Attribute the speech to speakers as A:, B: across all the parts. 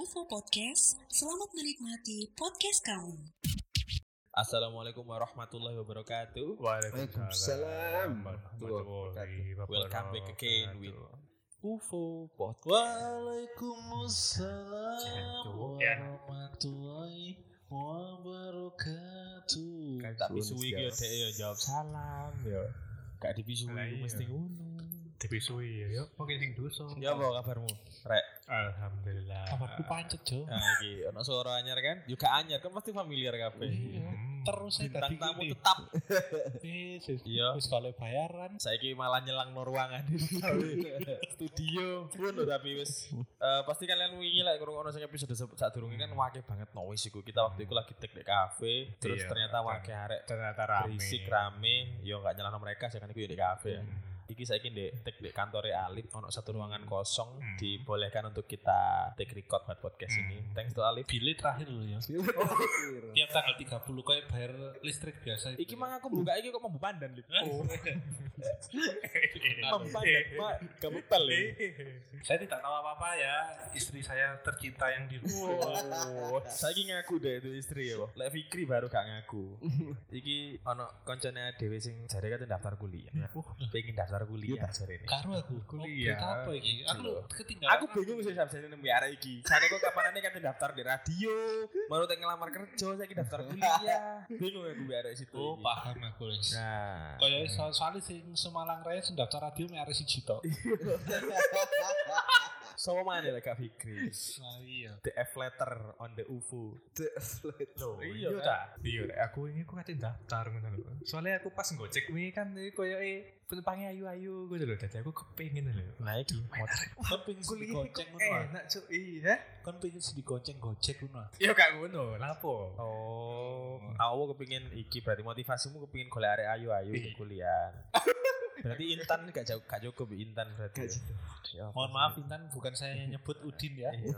A: Podcast. Selamat menikmati podcast kamu.
B: Assalamualaikum warahmatullahi wabarakatuh.
C: Waalaikumsalam.
D: warahmatullahi wabarakatuh.
B: Welcome back again with UFO Podcast. Iya.
E: Waalaikumsalam
D: Ya.
E: warahmatullahi wabarakatuh.
B: Kayak tak pisui iki yo
C: guys.
B: Dek, yo jawab salam yo. Gak dipisui
D: Lah, iya.
B: mesti ngono.
D: Dipisui ya, yuk. Mungkin sing dosa.
B: Ya apa kabarmu? Rek.
D: Alhamdulillah. Hmm.
E: Kabarku pancet jo.
B: Nah iki ono suara anyar kan? Yo gak anyar, kan pasti familiar kabeh.
D: Hmm.
E: Terus saya
B: Bintang
E: tadi
B: tamu
E: gini.
B: tetap.
E: Wis, wis.
B: Iya.
E: Wis kalau bayaran.
B: Saiki malah nyelang no ruangan studio pun tapi wis Eh, pasti kalian wingi lah kurang ono sing episode se- sadurunge kan wake banget noise iku kita waktu itu lagi tek di kafe terus
D: Iya,
B: ternyata
D: kan.
B: wake arek
D: ternyata rame.
B: berisik rame yo gak nyelano mereka sih kan iku yo di kafe
D: Iya.
E: Hmm.
B: ya iki saiki ndek tek di kantore Alif ono satu ruangan kosong
D: Hmm.
B: dibolehkan untuk kita take record buat podcast
D: Hmm.
B: ini thanks to Alif
E: Bili terakhir loh ya. Tiap tanggal 30 kayak bayar listrik biasa.
B: iki mang aku buka iki kok mambu pandan Lip oh
D: Iya,
B: mambu pandan mak kamu
D: Eh,
B: pel
E: Saya tidak tahu apa-apa ya. Istri saya tercinta yang di rumah.
B: Saiki ngaku deh itu istri ya, Pak. Lek Fikri baru gak ngaku. Iki ono koncone dhewe sing jare kate daftar kuliah. Pengen daftar kuliah jare ini.
E: Karo aku. Oh,
D: Kuliah.
E: berita apa iki? Aku
B: Iya.
E: ketinggalan.
B: Aku bingung sih sampe jane nembe arek iki. Jane kok kapanane kate daftar di radio, baru tak ngelamar kerja, saiki daftar kuliah. Bingung aku mbek arek situ.
E: Oh,
B: iki.
E: paham aku wis.
B: Nah.
E: Kaya
D: Hmm.
E: soal soalnya sing Semalang Raya sing daftar radio mek arek siji tok.
B: Sama mana lek Kak Fikri?
E: Nah, iya.
B: The F letter on the UFO.
D: Loh,
B: Iya,
D: iya
B: kan?
D: ta. Iya, Rek. aku ini aku katin daftar ngono lho. Soalnya aku pas gojek wingi kan ini koyo eh penumpangnya ayu-ayu ngono lho. Dadi aku kepengin lho.
B: Nah iki motor.
E: Kan pengen digoceng
B: eh.
E: ngono. ah.
D: Enak cuk. Iya.
E: Kan pengen digoceng gojek ngono. ah.
D: Iya gak ngono, lapo.
B: Oh, aku kepingin iki berarti motivasimu kepingin golek arek ayu-ayu di kuliah. berarti Intan gak jauh gak cukup Intan berarti. Ya,
E: Mohon maaf Intan bukan saya yang nyebut Udin ya.
B: Iya.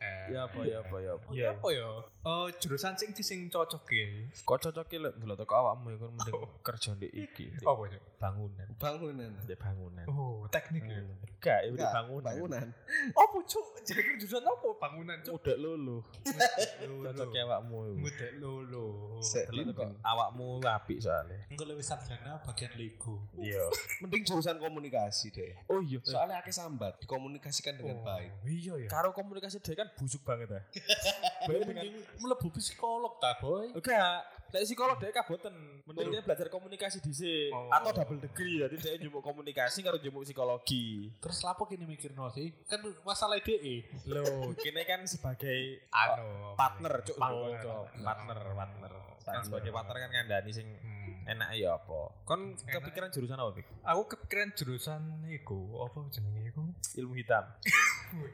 D: Eh,
B: Ya apa ya apa ya. apa.
D: Oh, iya apa ya? Oh, jurusan sing di sing cocok ya.
B: Kok cocok ki lek ndelok teko awakmu ya kon mending kerja ndek iki. ndek
D: Apa ya?
B: bangunan,
C: Bangunan.
B: ndek bangunan.
D: Oh, teknik ya.
B: Enggak, ya ndek
C: Enggak,
B: bangunan.
C: Bangunan.
D: Apa cuk? Jadi jurusan apa? Bangunan cuk.
B: Udah lulu. Cocok ki awakmu. iku.
D: Mudah lolo.
C: Sek,
B: Delok teko awakmu apik soalnya.
E: Engko lebih sarjana bagian Lego.
B: Iya.
C: Mending jurusan komunikasi deh.
B: Oh iya.
C: Soalnya akeh sambat dikomunikasikan dengan baik.
D: Iya ya.
B: Karo komunikasi dia kan busuk banget ya. Baik dengan
E: Melebu psikolog ta, Boy?
B: Enggak, lek psikolog dhek kaboten. Mending dia belajar komunikasi dhisik
D: Oh.
B: atau double degree jadi dia njupuk komunikasi karo njupuk psikologi.
E: Terus lapo kene mikirno sih? Kan masalah Anu, DE.
B: Loh, kene kan sebagai
D: Ano.
B: partner cuk
D: Kan, oh, iya. Partner.
B: cuk. partner partner. Kan sebagai partner kan ngandani sing
D: Hmm.
B: enak ya apa. Kon kepikiran jurusan apa, Pik?
D: Aku kepikiran jurusan iku, apa jenenge iku?
B: Ilmu hitam.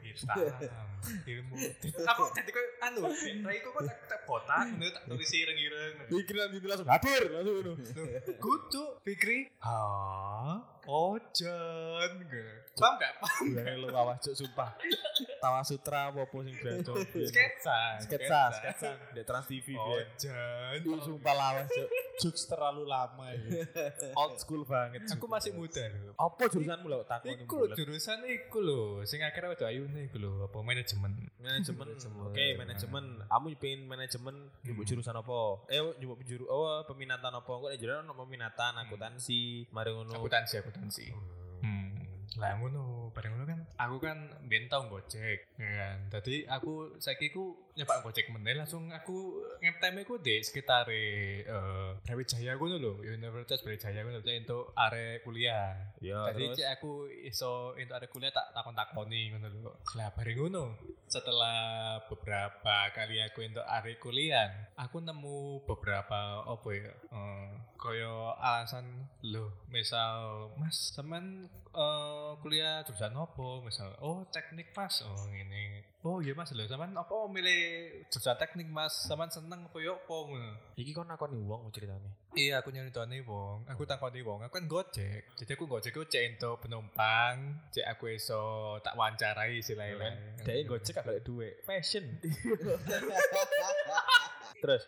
D: iya. Ilmu. Aku jadi koyo anu, nah iku kok tak tak botak, ngono tak tulis ireng-ireng.
B: Pikiran gitu langsung hadir, langsung ngono.
D: Kudu Fikri. Ha, ojen. Paham gak?
B: Bulange Iya, lu awas cuk sumpah. Tawa sutra apa sing bilang cuk.
D: Iya. Sketsa, Iya,
B: Sketsa, sketsa. Di Trans TV biyen.
D: Ojen.
B: Ih, Sumpah lawas cuk.
E: Jokes terlalu lama ya.
B: Old school banget. cuk.
D: Aku masih muda lho.
B: Apa jurusanmu lho takoni
D: Iku lho jurusan iku lho, sing akhirnya udah ayune iku lho, apa manajemen.
B: manajemen Nah. Hmm. oke manajemen kamu pengen manajemen nyebut jurusan apa eh nyebut penjuru oh peminatan apa kok jurusan ono peminatan akuntansi mari ngono
D: Akuntansi, akuntansi. Hmm. Lah ngono, bareng ngono kan aku kan mbiyen tau Gojek, ya kan. Dadi aku saiki ku nyepak Gojek meneh langsung aku ngeteme ku di sekitar eh Brawijaya ngono lho, Universitas Brawijaya ngono lho untuk arek kuliah.
B: ya
D: Tadi
B: terus
D: cek aku iso entuk ada kuliah tak takon takoni ngono lho. Lah bareng ngono. Setelah beberapa kali aku entuk arek kuliah, aku nemu beberapa opo ya? Eh koyo alasan lho, misal Mas teman kuliah jurusan opo? Misal oh teknik Mas. Oh ngene. Oh iya Mas lho, sampean opo milih jurusan teknik Mas? Sampean seneng koyo opo ngono?
B: iki kon nakoni wong ceritane
D: Iya, aku nyeritani wong, aku takoni wong, aku kan gojek. Jadi aku gojek aku cek entuk penumpang, cek aku iso tak wawancarai istilahnya kan.
B: dhek gojek gak golek duwe
D: fashion.
B: terus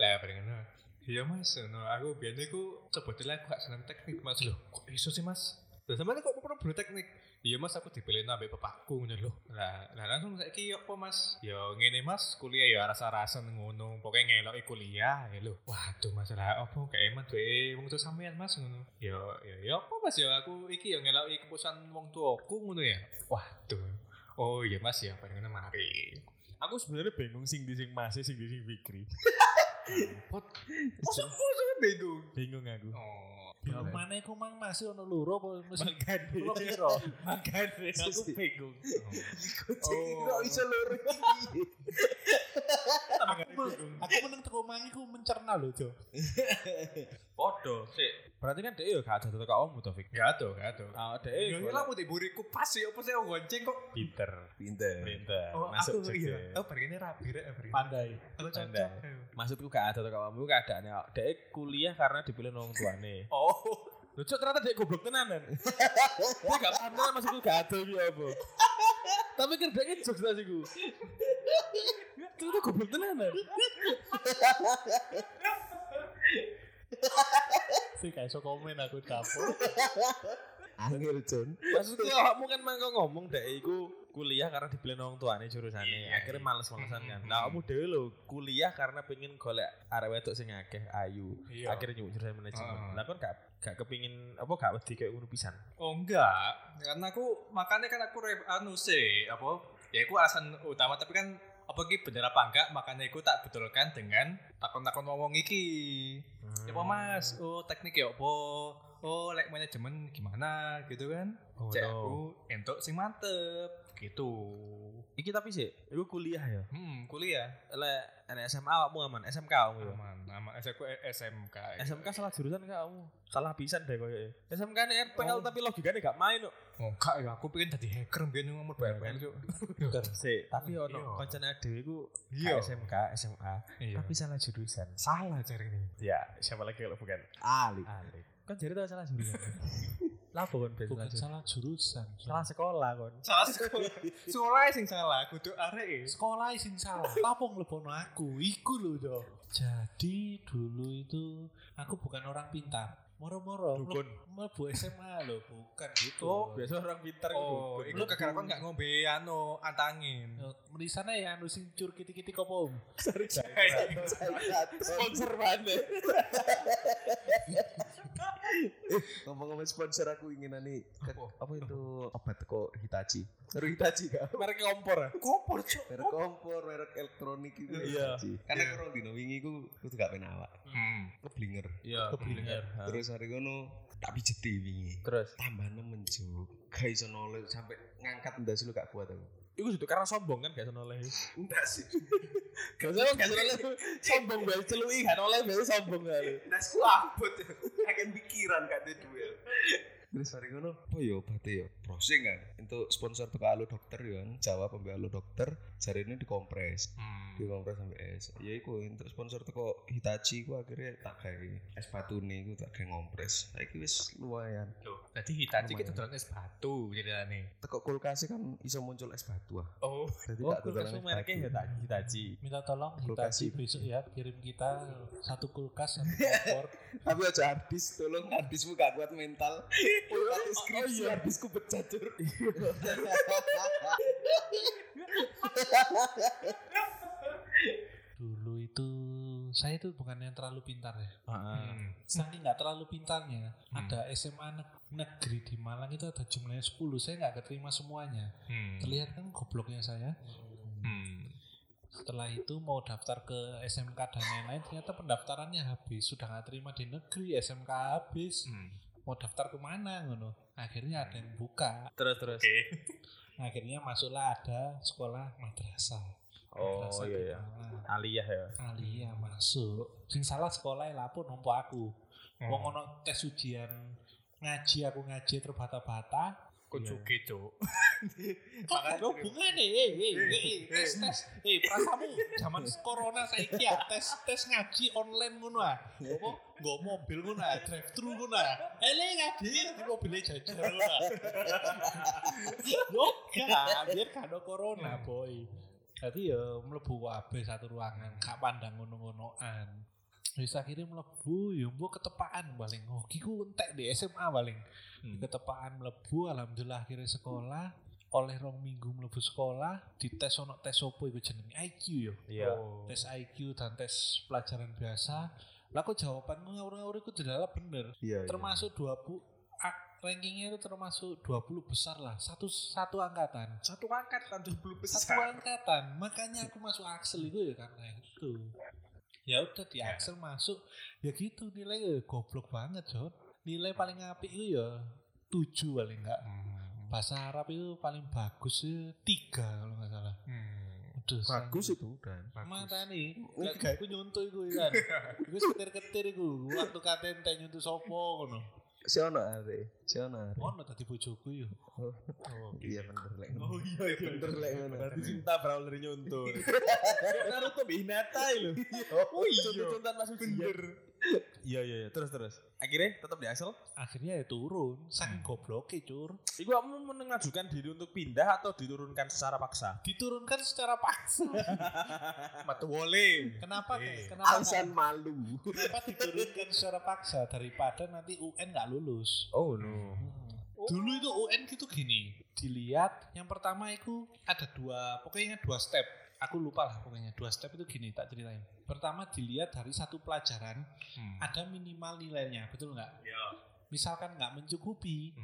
D: Lah bareng ngono. Nah, Iya Mas, no, aku biyen iku sebetulnya aku gak seneng teknik Mas lho. Kok iso sih Mas? Lah sampean kok perlu bro teknik? Iya Mas, aku dipilih ambek bapakku ngono lho. Lah lah langsung saiki yo apa Mas? Yo ngene Mas, kuliah yo rasa-rasa ngono. Pokoke ngeloki kuliah ya lho. Waduh Mas lah opo gak eman duwe wong tua sampean Mas ngono. Yo yo yo apa Mas yo aku iki yo ngeloki keputusan wong tuaku ngono ya. Waduh. Oh iya Mas ya, pengen mari.
B: Aku sebenarnya bingung sing di sing masih sing di sing Fikri.
D: Pot. Mosok mosok bingung.
B: Bingung aku.
D: Oh.
F: Ya mana iku mang masih ono loro apa mesti
B: Kok kira?
F: makane
B: Aku bingung.
C: Kok iso loro?
F: Nah, aku aku meneng teko mang iku mencerna lho, Jo.
B: Podo. Sik. Berarti kan dia yo gak ada teko ommu to Fik.
D: Gak ada, gak ada.
B: Ah,
D: Eh,
B: dia
D: yo lah putih buriku pas ya apa sih gonceng kok.
B: pinter.
C: Pinter.
B: Pinter.
D: Oh,
B: kan? Masuk
D: aku
B: juga.
D: iya. Oh, pergi rapi rek, pergi.
F: Pandai.
D: Aku Iya.
B: Pandai.
D: cocok.
B: Maksudku gak ada teko ommu keadaannya dia kuliah karena dipilih orang tuane.
D: Oh,
B: Lucu ternyata dia goblok tenanan. Dia gak paham tenan maksudku gak ada iki apa. Tapi kan dia jokes tadi ku. Ternyata goblok tenanan.
F: Sih gak iso komen aku kapok.
C: Angel John.
B: Maksudnya awakmu kan mangko ngomong dek iku kuliah karena dibeli orang tuane jurusane.
D: Iya.
B: Akhirnya males-malesan kan.
D: Mm-mm.
B: Nah, kamu dhewe lho kuliah karena pengen golek arek wedok sing akeh ayu.
D: Iya.
B: Akhirnya nyuwun jurusan manajemen.
D: Heeh.
B: Lah kan gak gak kepingin apa gak wedi kayak ngono pisan.
D: oh enggak. Karena aku makanya kan aku rep anu sih apa? Ya aku alasan utama tapi kan apa ki bener apa enggak makanya aku tak betulkan dengan takon-takon ngomong iki. Ya apa Mas?
B: Hmm.
D: Oh, teknik ya apa? Oh, lek manajemen gimana gitu kan?
B: Oh,
D: Cek
B: no.
D: aku entuk sing mantep gitu.
B: Iki tapi sih, iku kuliah ya.
D: Hmm, kuliah.
B: Lek anak SMA awakmu aman, SMK kamu ya.
D: Aman, aman. Aku SMK.
B: SMK salah jurusan kak kamu. Salah pisan deh koyo. e. Oh. SMK ini RPL tapi logikanya gak main kok.
D: Oh, enggak ya, aku pengen jadi hacker biar nomor
B: Iya, kan?
D: bayar-bayar cuk.
B: Sik, tapi
D: Iya.
B: ono koncane dhewe iku
D: Iya.
B: gak SMK, SMA,
D: Iya.
B: tapi salah jurusan.
D: salah cari ini.
B: Ya, siapa lagi kalau bukan
C: Ali.
B: Ali. Kan jadi tau salah jurusan. Lapo kon ben salah
F: Bukan
B: jurusan.
F: salah jurusan.
B: Salah sekolah kon.
D: Salah sekolah. sekolah sing salah, kudu arek.
F: sekolah sing salah apa ngelebono aku iku lho Jo jadi dulu itu aku bukan orang pintar moro-moro
B: Dukun.
F: mlebu SMA lho bukan gitu
B: biasa orang pintar
D: Oh,
B: iku.
D: iku kagak kon gak ngombe anu antangin.
F: di sana ya anu sing cur kiti-kiti kopo om
C: Sponsor mana? Ngomong-ngomong sponsor aku ingin ane
D: Apa?
C: apa itu obat kok Hitachi. Terus Hitachi gak?
B: merek kompor. ya?
D: Kompor cuk.
C: Merek kompor, merek elektronik itu.
B: Iya.
C: Hitachi. Karena aku orang dino wingi ku kudu gak pengen awak.
D: Hmm.
C: Keblinger.
B: Iya, keblinger. Ha.
C: Terus hari kono tak pijeti wingi.
B: Terus
C: Tambah nemen juk. Gak iso noleh sampai ngangkat ndas lu gak kuat aku.
B: iku sudah karena sombong kan gak sono oleh.
C: Enggak sih.
B: Gak sono gak sono oleh. Sombong banget celuki gak oleh biasa sombong kali.
C: Ndas ku abot. Akan pikiran gak ada duel. Terus hari kono apa ya obatnya ya? Browsing kan. Untuk sponsor teko Alu Dokter ya. kan. Jawab sampai Alu Dokter jarine dikompres.
D: Hmm.
C: dikompres sampai es ya iku untuk sponsor teko Hitachi ku akhirnya tak gawe es batu nih ku tak gawe ngompres saiki wis lumayan
D: Loh, Jadi Hitachi
B: ya.
C: Lumayan.
D: kita dodolan es batu ceritane.
C: teko kulkas kan iso muncul es batu ah
D: Oh,
C: jadi
B: Oh,
C: tak
B: kulkas
C: dodolan es
B: mereknya
C: batu.
B: Hitachi. Hitachi.
F: minta tolong
C: Kulkas
F: Hitachi
C: sih.
F: besok ya kirim kita satu kulkas satu kompor
C: tapi aja hardis tolong hardismu gak kuat mental
D: Iya.
C: kulkas
D: Oh,
C: skripsi hardisku pecah cur Iya,
F: dulu itu saya itu bukan yang terlalu pintar ya
B: Heeh.
D: Hmm.
F: saking nggak terlalu pintarnya
D: Hmm.
F: ada SMA neg- negeri di Malang itu ada jumlahnya 10 saya nggak keterima semuanya
D: Hmm.
F: terlihat kan gobloknya saya
D: Hmm.
F: setelah itu mau daftar ke SMK dan lain-lain ternyata pendaftarannya habis sudah nggak terima di negeri SMK habis
D: Hmm.
F: mau daftar kemana ngono akhirnya ada yang buka
B: Terus terus.
D: Oke.
F: akhirnya masuklah ada sekolah madrasah
B: Oh
F: Madrasah
B: iya
F: di
B: iya.
F: Malang.
B: Aliyah ya.
F: Alia masuk sing salah sekolah ya, lapor nompo aku
D: Wong
F: Wong ono tes ujian ngaji aku ngaji terbata-bata.
D: kucuke cuk.
F: Kok gak ada hubungannya? Eh, eh, eh, eh, tes tes. Eh, perasaanmu zaman corona saiki ya tes tes ngaji online ngono ah. Apa nggo mobil ngono ah, drive thru ngono ah. Ele ngaji di mobilnya jajar ngono ah. Yo gak, biar gak ada corona, boy. Jadi ya mlebu kabeh satu ruangan, gak pandang ngono-ngonoan. Wis akhirnya mlebu ya mbok ketepaan paling. Oh, ki ku entek di SMA paling.
D: Hmm.
F: Ketepaan mlebu alhamdulillah akhirnya sekolah oleh rong minggu mlebu sekolah dites ono tes opo iku jenenge IQ yo.
B: Iya.
F: Tes IQ dan tes pelajaran biasa. Lah kok jawabanku ngawur-ngawur iku delala bener.
C: Iya. iya.
F: Termasuk 20 a- rankingnya itu termasuk 20 besar lah. Satu satu angkatan.
D: Satu angkat kan 20
F: satu angkatan makanya aku masuk Axel itu ya karena itu ya udah di Axel masuk ya gitu nilai ya goblok banget Jon nilai paling apik itu ya tujuh paling enggak bahasa Arab itu paling bagus itu tiga kalau nggak salah udah
C: bagus itu kan.
F: mata nih nggak kayak aku nyontoh itu kan aku setir ketir itu waktu katen teh nyontoh sopo ngono
C: Si ono are, si ono are.
F: ngono tadi bojoku yo
C: Iya bener lek.
D: Oh iya iya.
C: Bener lek ngono.
D: Berarti cinta brawler nyontoh. Naruto Hinata lho.
C: Oh iya.
D: Contoh-contohan masuk bener. Iya iya iya. terus terus. Akhirnya tetap di asal.
F: akhirnya ya turun saking gobloknya cur
B: Iku kamu mengajukan diri untuk pindah atau diturunkan secara paksa?
F: diturunkan secara paksa
D: Mata wole.
F: Kenapa?
D: Eh,
F: Kenapa?
C: Alasan malu.
F: Kenapa diturunkan secara paksa daripada nanti UN nggak lulus?
B: Oh no.
D: Hmm.
F: Dulu itu UN gitu gini. Dilihat yang pertama itu ada dua, pokoknya dua step. Aku lupa lah pokoknya dua step itu gini tak ceritain. Pertama dilihat dari satu pelajaran
B: Hmm.
F: ada minimal nilainya, betul nggak?
D: Iya.
F: Misalkan nggak mencukupi,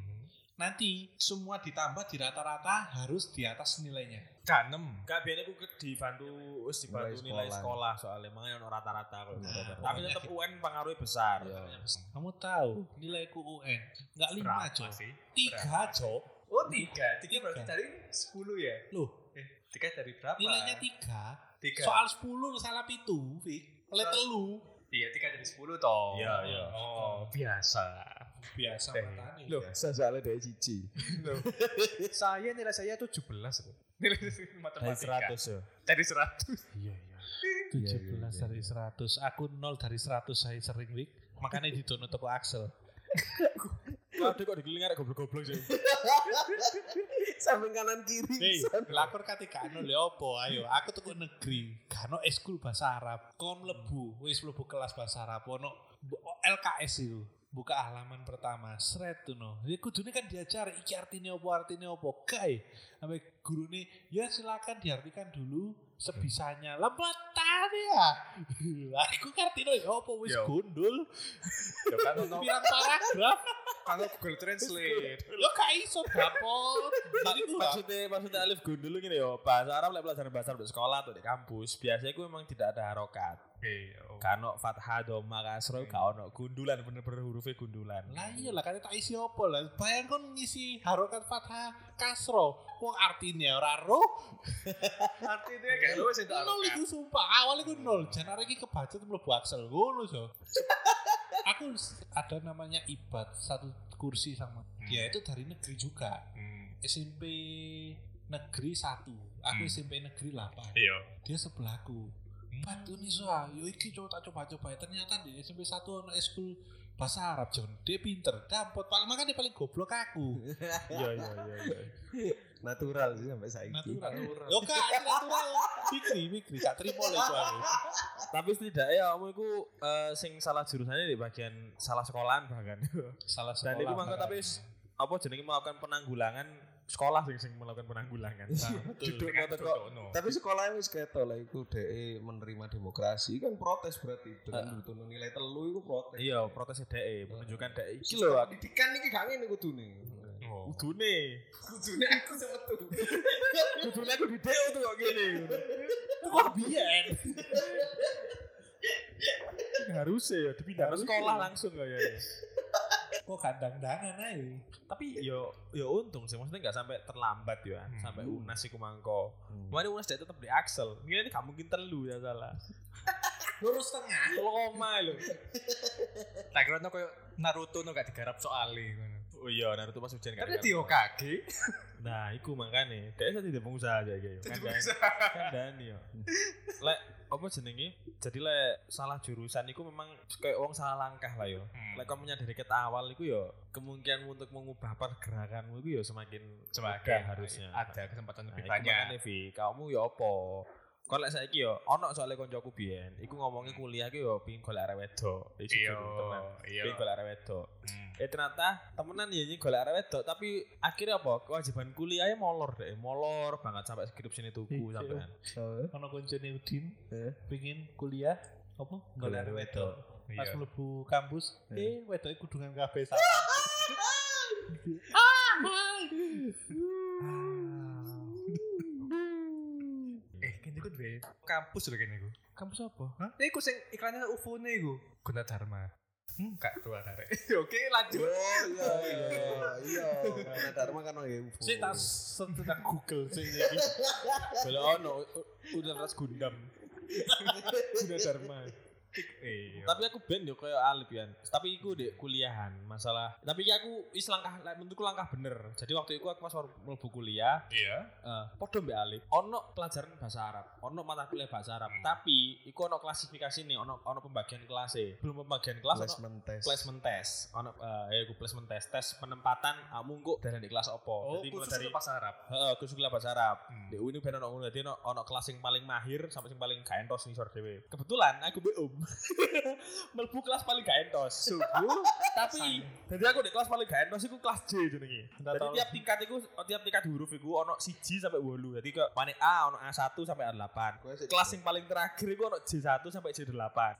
F: nanti semua ditambah di rata-rata harus di atas nilainya.
D: Kanem.
B: Gak biar aku ke- dibantu wis dibantu nilai
C: Nilai sekolah.
B: sekolah soalnya makanya ono rata-rata kok.
C: Nah,
B: Tapi tetap UN pengaruhnya besar.
C: Iya.
F: Kamu tahu nilaiku UN nggak lima
D: Berapa
F: cok,
D: sih?
F: tiga
D: Berapa?
F: cok.
D: Oh tiga. Tiga berarti
F: Tiga.
D: dari sepuluh ya.
F: Loh,
D: Eh, tiga dari berapa?
F: nilainya tiga
D: tiga.
F: soal 10 salah pitu Fik oleh
D: Terus?
F: telu
D: Iya tiga dari sepuluh toh.
B: Iya, iya.
D: Oh biasa.
F: biasa
D: Eh,
F: matane
D: Loh,
C: Biasa Iya. soalnya dari cici.
D: saya nilai saya tujuh belas loh. Nilai
B: Dari
D: matematika.
B: 100 ya.
D: Dari seratus.
F: iya iya
C: Iya, iya,
F: 17
C: iya,
F: dari 100 aku 0 dari 100 saya sering Fik makanya didono toko Axel
B: Waduh kok digelingar goblok-goblok sih.
C: Samping kanan kiri.
F: Hei,
C: San.
F: lakor kate gano le opo ayo aku tuku negeri gano eskul bahasa Arab kon mlebu wis mlebu kelas bahasa Arab ono bu- LKS itu buka halaman pertama sret tuh no jadi kudune kan diajar iki artinya opo artinya opo kai sampai guru nih ya silakan diartikan dulu sebisanya lebetan ya aku kan artinya ya opo wis
D: Yo.
F: gundul
D: Ya kan ono
F: pirang paragraf
D: kalau Google Translate.
F: yo gak iso dapur jadi ku gak-
B: maksudnya maksudnya Alif Gun dulu gini ya bahasa Arab lek pelajaran bahasa Arab di sekolah atau di kampus biasanya gue memang tidak ada harokat
D: Iya. oh.
B: kano fathah doma kasro gak ono gundulan bener-bener hurufnya gundulan
F: Lah iya lah kata tak isi opo lah. Bayang kon ngisi harokat fathah kasro. Wong artinya ora roh.
B: Kan
D: Artinya
B: iya,
D: kayak lu sih
F: Nol iku sumpah. Awal iku nol. Jan arek iki kebacut mlebu aksel ngono so. Aku s- ada namanya Ibat satu kursi sama dia itu dari negeri juga. SMP negeri satu.
D: Hmm.
F: Aku SMP negeri 8.
D: Iya.
F: Dia sebelahku. Bat ini soal, yo iki coba tak coba coba ternyata di SMP 1 ono eskul bahasa Arab John dia pinter dampot paling makanya dia paling goblok aku
B: iya iya iya iya.
C: Natural sih sampai saiki.
F: natural yo kak ini natural mikri mikri gak terima lah itu aku
B: tapi setidaknya kamu itu eh, sing salah jurusannya di bagian salah sekolahan bahkan
F: salah
B: dan
F: sekolah
B: itu mangkat
F: makanya.
B: tapi s- apa jenenge melakukan penanggulangan sekolah sing sing melakukan penanggulangan
D: Duduk
C: Dengan Tapi sekolah wis ketok lah iku dhek menerima demokrasi kan protes berarti dengan butuh nilai telu iku protes.
B: iya protes DE menunjukkan DE iki
C: Iki
B: lho
C: lho pendidikan iki gak ngene kudune.
B: Oh. kudune
C: Kudune aku semetu.
B: kudune aku di DE tuh kok gini
F: itu kok biyen
B: harusnya ya dipindah
C: Harusnya.
B: sekolah langsung kok ya
F: kok kandang dangan aja
B: tapi yo yo untung sih maksudnya nggak sampai terlambat ya
D: Hmm.
B: sampai unas iku mangko
C: Hmm.
B: kemarin unas dia tetap di Axel ini nggak mungkin telu ya salah
F: lurus tengah
B: telu koma lho
D: Tak kira ono koyo Naruto no gak digarap soalnya ngono.
B: oh iya Naruto pas hujan
D: Kan di Hokage.
B: nah iku makanya dia saja tidak pengusaha aja kayak
D: Jadi
B: Kandhani.
D: bisa.
B: kandhani yo lek apa jenenge jadi lek salah jurusan iku memang kayak wong salah langkah lah yo
D: Hmm.
B: lek kau menyadari ket awal iku yo kemungkinan untuk mengubah pergerakanmu iku yo semakin
D: Sebagai
B: mudah
D: ya,
B: harusnya
D: ada kesempatan
B: Nah,
D: lebih
B: iku
D: banyak.
B: makanya, Vi, kamu ya apa Kok lek saiki yo ono soalnya koncoku biyen, iku ngomongnya kuliah iku yo pengin golek arek wedok. Iki
D: Iya,
B: jujur, tenan.
D: iya.
B: Pengin golek arek wedok.
D: Hmm.
B: Eh ternyata temenan ya ini golek arek wedok, tapi akhirnya apa? Kewajiban kuliahnya molor deh, molor banget sampai skripsi ini tuku
D: Iya.
B: sampean.
E: Ono koncone Udin
C: Eh.
E: pengin kuliah apa?
B: Golek
E: Golek
B: wedok.
E: wedok. Pas
D: Iya.
E: mlebu kampus,
C: Eh.
E: eh wedoke kudungan kabeh salah.
B: Ah.
D: Eh, kene iku duwe kampus lho kene iku. Kampus apa? Hah? Eh, iku sing iklannya UFO ne iku. Gunadarma. Hmm, gak keluar arek. Oke, lanjut.
C: Oh iya iya iya. Karena Dharma kan orang UFO.
E: Sik tak sentuh tak Google sik iki.
B: Golek ono Universitas Gundam. Gunadarma.
D: Iya.
B: Tapi aku ben yo koyo Alif Yan. Tapi iku di kuliahan masalah. Tapi iki aku is langkah like, menurutku langkah bener. Jadi waktu itu aku pas baru mlebu kuliah,
D: Iya.
B: eh podo mbek Alif, ono pelajaran bahasa Arab, ono mata kuliah bahasa Arab.
E: Hmm.
B: Tapi iku ono klasifikasi nih, ono ono pembagian kelas e. Belum pembagian kelas ono
C: Placement test.
B: placement test. Ono eh iku placement test, tes penempatan ah, kamu kok dari di kelas opo.
D: Oh, khusus
B: mulai dari
D: untuk pas Arab.
B: Heeh, khusus kuliah bahasa Arab.
D: Hmm.
B: Di UIN ben ono ngono dadi ono ono kelas sing paling mahir sampai sing paling gak entos ngisor dhewe. Kebetulan aku be um. Mlebu kelas paling gak entos. Subuh, tapi dadi aku di kelas paling gak entos iku kelas J jenenge. Dadi
E: tahu.
B: tiap tingkat iku tiap tingkat huruf iku ono 1 sampai 8. Dadi kok panik A ono A1 sampai A8
C: Gue sih-
B: kelas yang paling terakhir itu ono J1 sampai J8.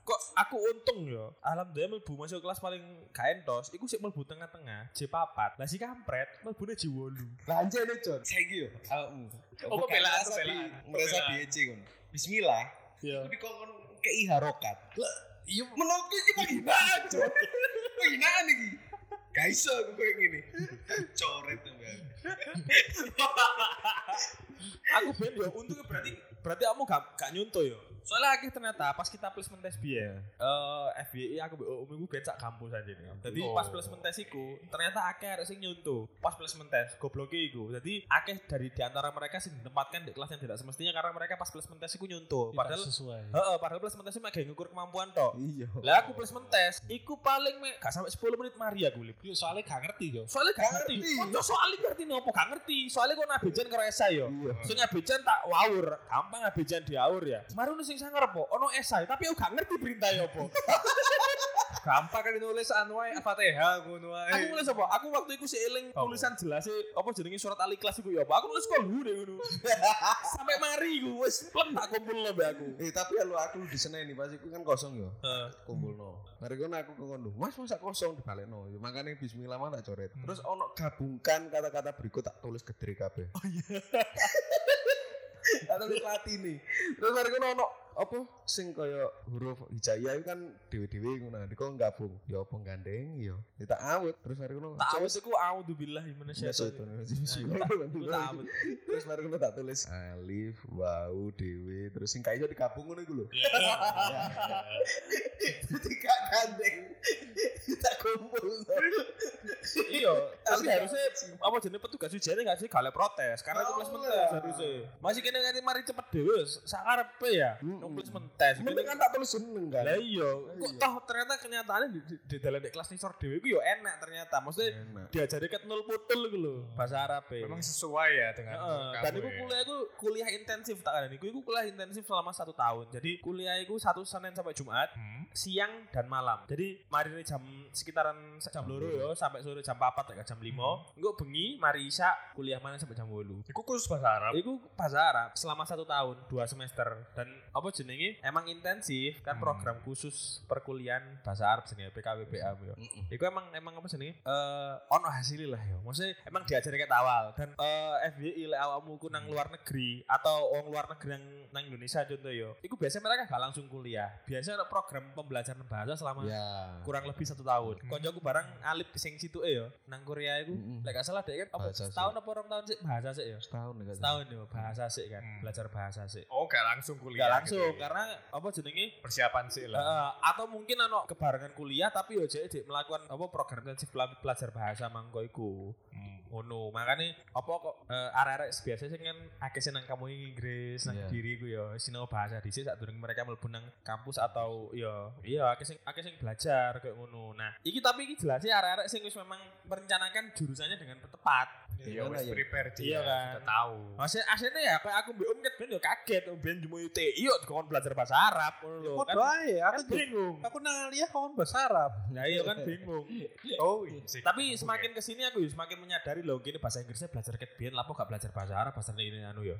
B: Kok aku untung ya. Alhamdulillah mlebu masuk kelas paling gak entos, iku sik mlebu tengah-tengah, J4. Lah si kampret mlebune J8.
C: Lanjut deh John. Saya gitu. Awakmu.
D: Oh, pembelaan,
C: Merasa di-
D: pembelaan.
C: Merasa
D: Pembelaan.
C: BC kon. Bismillah.
E: Iya.
C: Tapi kok kon kei harokat. Iya. Menurutku ini penghinaan John. Penghinaan ini. Gak iso aku kayak gini. Coret tuh Bang.
B: aku ben yo untungnya berarti berarti kamu gak gak nyuntuh yo soalnya akhirnya ternyata pas kita placement test biar eh FBI aku be oh, minggu ben sak kampus aja nih jadi pas
D: Oh.
B: placement test iku ternyata akeh arek sing nyuntuh pas placement test goblok iku jadi akeh dari diantara mereka sing ditempatkan di kelas yang tidak semestinya karena mereka pas placement test iku nyuntuh padahal
E: sesuai.
B: Heeh, padahal placement test mah kayak ngukur kemampuan tok.
C: Iya.
B: Lah aku placement test, iku paling me, gak sampai 10 menit mari aku lip.
E: Yo soalnya gak ngerti yo.
B: Soalnya gak ngerti. Iya. Kocok soalnya ngerti nopo gak ngerti. Soalnya kok nabejan karo esai yo. Sing abejan tak waur, gampang abejan diaur ya. Kemarin ono sing sangar po, ono esai tapi aku gak ngerti perintah ya apa.
D: Gampang kan nulis anu ae Al-Fatihah ngono ae.
B: aku nulis apa? Aku waktu iku sik eling
D: Apa?
B: tulisan jelas e, apa jenenge surat al ikhlas iku ya apa. Aku nulis kok ngene ngono. Sampai mari iku wis plek tak kumpulno mbek aku.
C: Eh tapi lu aku di sana ini pas iku kan kosong yo. Kumpul Mari kan aku ke kondo. Mas masa kosong di balik no. Makanya Bismillah mah tak coret.
B: Hmm.
C: Terus ono gabungkan kata-kata berikut tak tulis gede kabeh. Oh iya. tak tulis latini. Terus mari kan ono apa sing kaya huruf hijaiyah itu kan dewe-dewe ngono. Nek kok gabung ya apa gandeng ya. Ya tak awet. Terus mari kan
B: Tak Nah, awes iku auzubillahi
C: Nah,
B: minasyaitonir Iku tak awet.
C: Terus mari kan tak tulis alif, wau, dewe. Terus sing kaya digabung ngono iku lho.
B: Iya.
C: Jadi gak gandeng. Kita kumpul.
B: Iya, tapi harusnya apa jenenge petugas ujiannya gak sih gale protes karena itu
C: Oh,
B: placement
C: iya.
B: test harusnya. Masih kene ngerti mari cepet dhewe sakarepe ya.
C: Mm-mm.
B: Nang placement test.
C: Mending kan tak tulis seneng kan.
B: Lah iya, kok
C: iya.
B: toh ternyata kenyataannya di, di, di dalam dek kelas nisor dhewe iku yo enak ternyata. Maksudnya
C: Enak.
B: diajari ket nol putul iku lho bahasa Arab. e.
D: Iya. Memang sesuai ya dengan kamu
B: dan iku
D: ya.
B: kuliah iku kuliah intensif tak kan iku iku kuliah intensif selama satu tahun. Jadi kuliah iku satu Senin sampai Jumat
D: Hmm.
B: siang dan malam. Jadi mari ini jam sekitaran jam loro yo sampai sore jam 4 tak jam 5. Engko bengi mari isak kuliah mana sampai jam 8.
D: Iku khusus bahasa Arab.
B: Iku bahasa Arab selama satu tahun dua semester dan apa jenenge emang intensif kan
D: Hmm.
B: program khusus perkuliahan bahasa Arab jenenge PKWBA yo. Iku emang emang apa jenenge eh ono hasilnya lah yo. Maksudnya emang diajari ket awal dan eh FYI lek awakmu ku nang luar negeri atau orang luar negeri yang nang Indonesia contoh yo. Iku biasanya mereka gak langsung kuliah. Biasanya ada program pembelajaran bahasa selama
C: Ya.
B: kurang lebih satu tahun.
D: Hmm.
B: Koncoku bareng alip sing situ eh yo nang Korea iku.
C: Mm-mm.
B: Lek gak salah dek kan apa
C: Hmm. Bahasa sih.
B: setahun apa orang tahun sih bahasa sih yo.
C: Setahun ya.
B: Setahun yo bahasa sih kan,
D: Hmm.
B: belajar bahasa sih.
D: Oh, gak langsung kuliah.
B: Gak langsung
D: gitu ya.
B: karena apa jenenge
D: persiapan sih lah.
B: Eh, atau mungkin ano kebarengan kuliah tapi yo jek jek melakukan apa program intensif pela- belajar bahasa mangko iku.
D: Hmm.
B: ngono makanya apa kok eh, arek-arek biasa sih kan akeh sih nang kamu Inggris nang
C: Iya.
B: diri ku ya sinau bahasa dhisik saat durung mereka mlebu nang kampus atau ya iya akeh sing akeh sing belajar kayak ngono nah iki tapi iki jelas sih arek-arek sing wis memang merencanakan jurusannya dengan tepat
C: Iya,
D: wis
C: iya.
D: prepare
B: Iya
D: dia
B: kan.
D: sudah tahu.
B: Maksudnya aslinya ya kayak aku mbek Om Ket ben yo kaget Om Ben jumu UTI yo dikon belajar bahasa Arab ngono lho.
F: Kok
B: Kan-
F: doae
B: kan
F: Ya, aku juga-
B: bingung.
F: aku nang lihat kawan bahasa Arab.
B: Nah iya kan bingung.
D: Oh, iya sih.
B: Tapi semakin kesini aku yo semakin menyadari loh gini bahasa Inggrisnya belajar ket biyen lapo gak belajar bahasa Arab bahasa ini anu yo.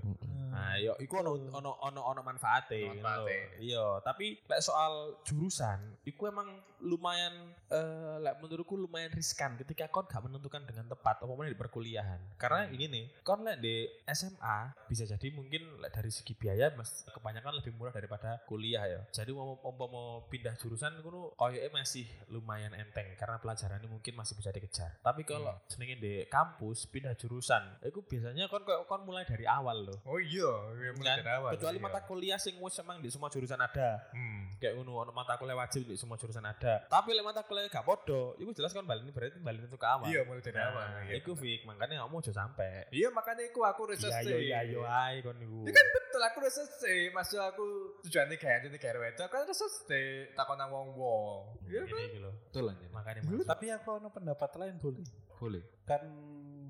B: Nah yo iku ono ono ono ono manfaate. ngono
D: Ono manfaate.
B: lho. Iya, tapi lek soal jurusan iku emang lumayan eh lek menurutku lumayan riskan ketika kon gak menentukan dengan tepat apa di perkuliahan. Karena ini nih, kon lek di SMA bisa jadi mungkin lek dari segi biaya mas kebanyakan lebih murah daripada kuliah ya. Jadi mau mau, mau pindah jurusan ngono koyoke masih lumayan enteng karena pelajarannya mungkin masih bisa dikejar. Tapi kalau jenenge di kampus pindah jurusan, itu biasanya kon kon kon mulai dari awal loh
D: Oh iya, iya,
B: Kan,
D: mulai dari awal.
B: kecuali
D: iya.
B: mata kuliah sing wis emang di semua jurusan ada
D: Hmm.
B: kayak ngono ono mata kuliah wajib di semua jurusan ada tapi lek mata kuliah gak podo iku jelas kan balik berarti balik itu ke awal
D: Iya, mulai dari awal.
B: Nah,
D: iya.
B: iku fik makanya kamu aja sampai
D: Iya, makanya aku aku research.
B: iya
D: sih.
B: iya iya ae kon iku
D: Itu kan betul aku research sih, maksud aku tujuannya kayak itu kayak itu, aku kan research sih, takon nang wong wong. Iya
B: Ngene iki lho
C: Betul aja.
B: gitu makanya
F: Dulu
B: masuk.
F: tapi aku ada pendapat lain boleh.
C: Boleh.
F: Kan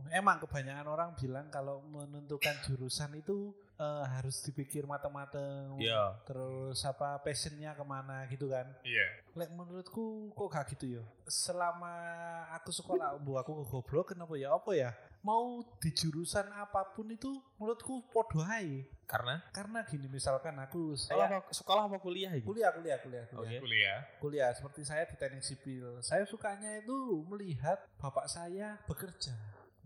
F: emang kebanyakan orang bilang kalau menentukan jurusan itu eh, harus dipikir matang-matang.
B: iya
F: Terus apa passionnya kemana gitu kan?
D: Iya.
F: Lek menurutku kok gak gitu ya. Selama aku sekolah bu aku goblok kenapa ya apa ya? Mau di jurusan apapun itu menurutku podo ae.
B: karena
F: Karena gini misalkan aku
B: sekolah
F: saya
B: apa, sekolah apa kuliah iku
F: kuliah kuliah kuliah kuliah.
B: oke
D: Kuliah.
F: Kuliah seperti saya di teknik sipil. Saya sukanya itu melihat bapak saya bekerja.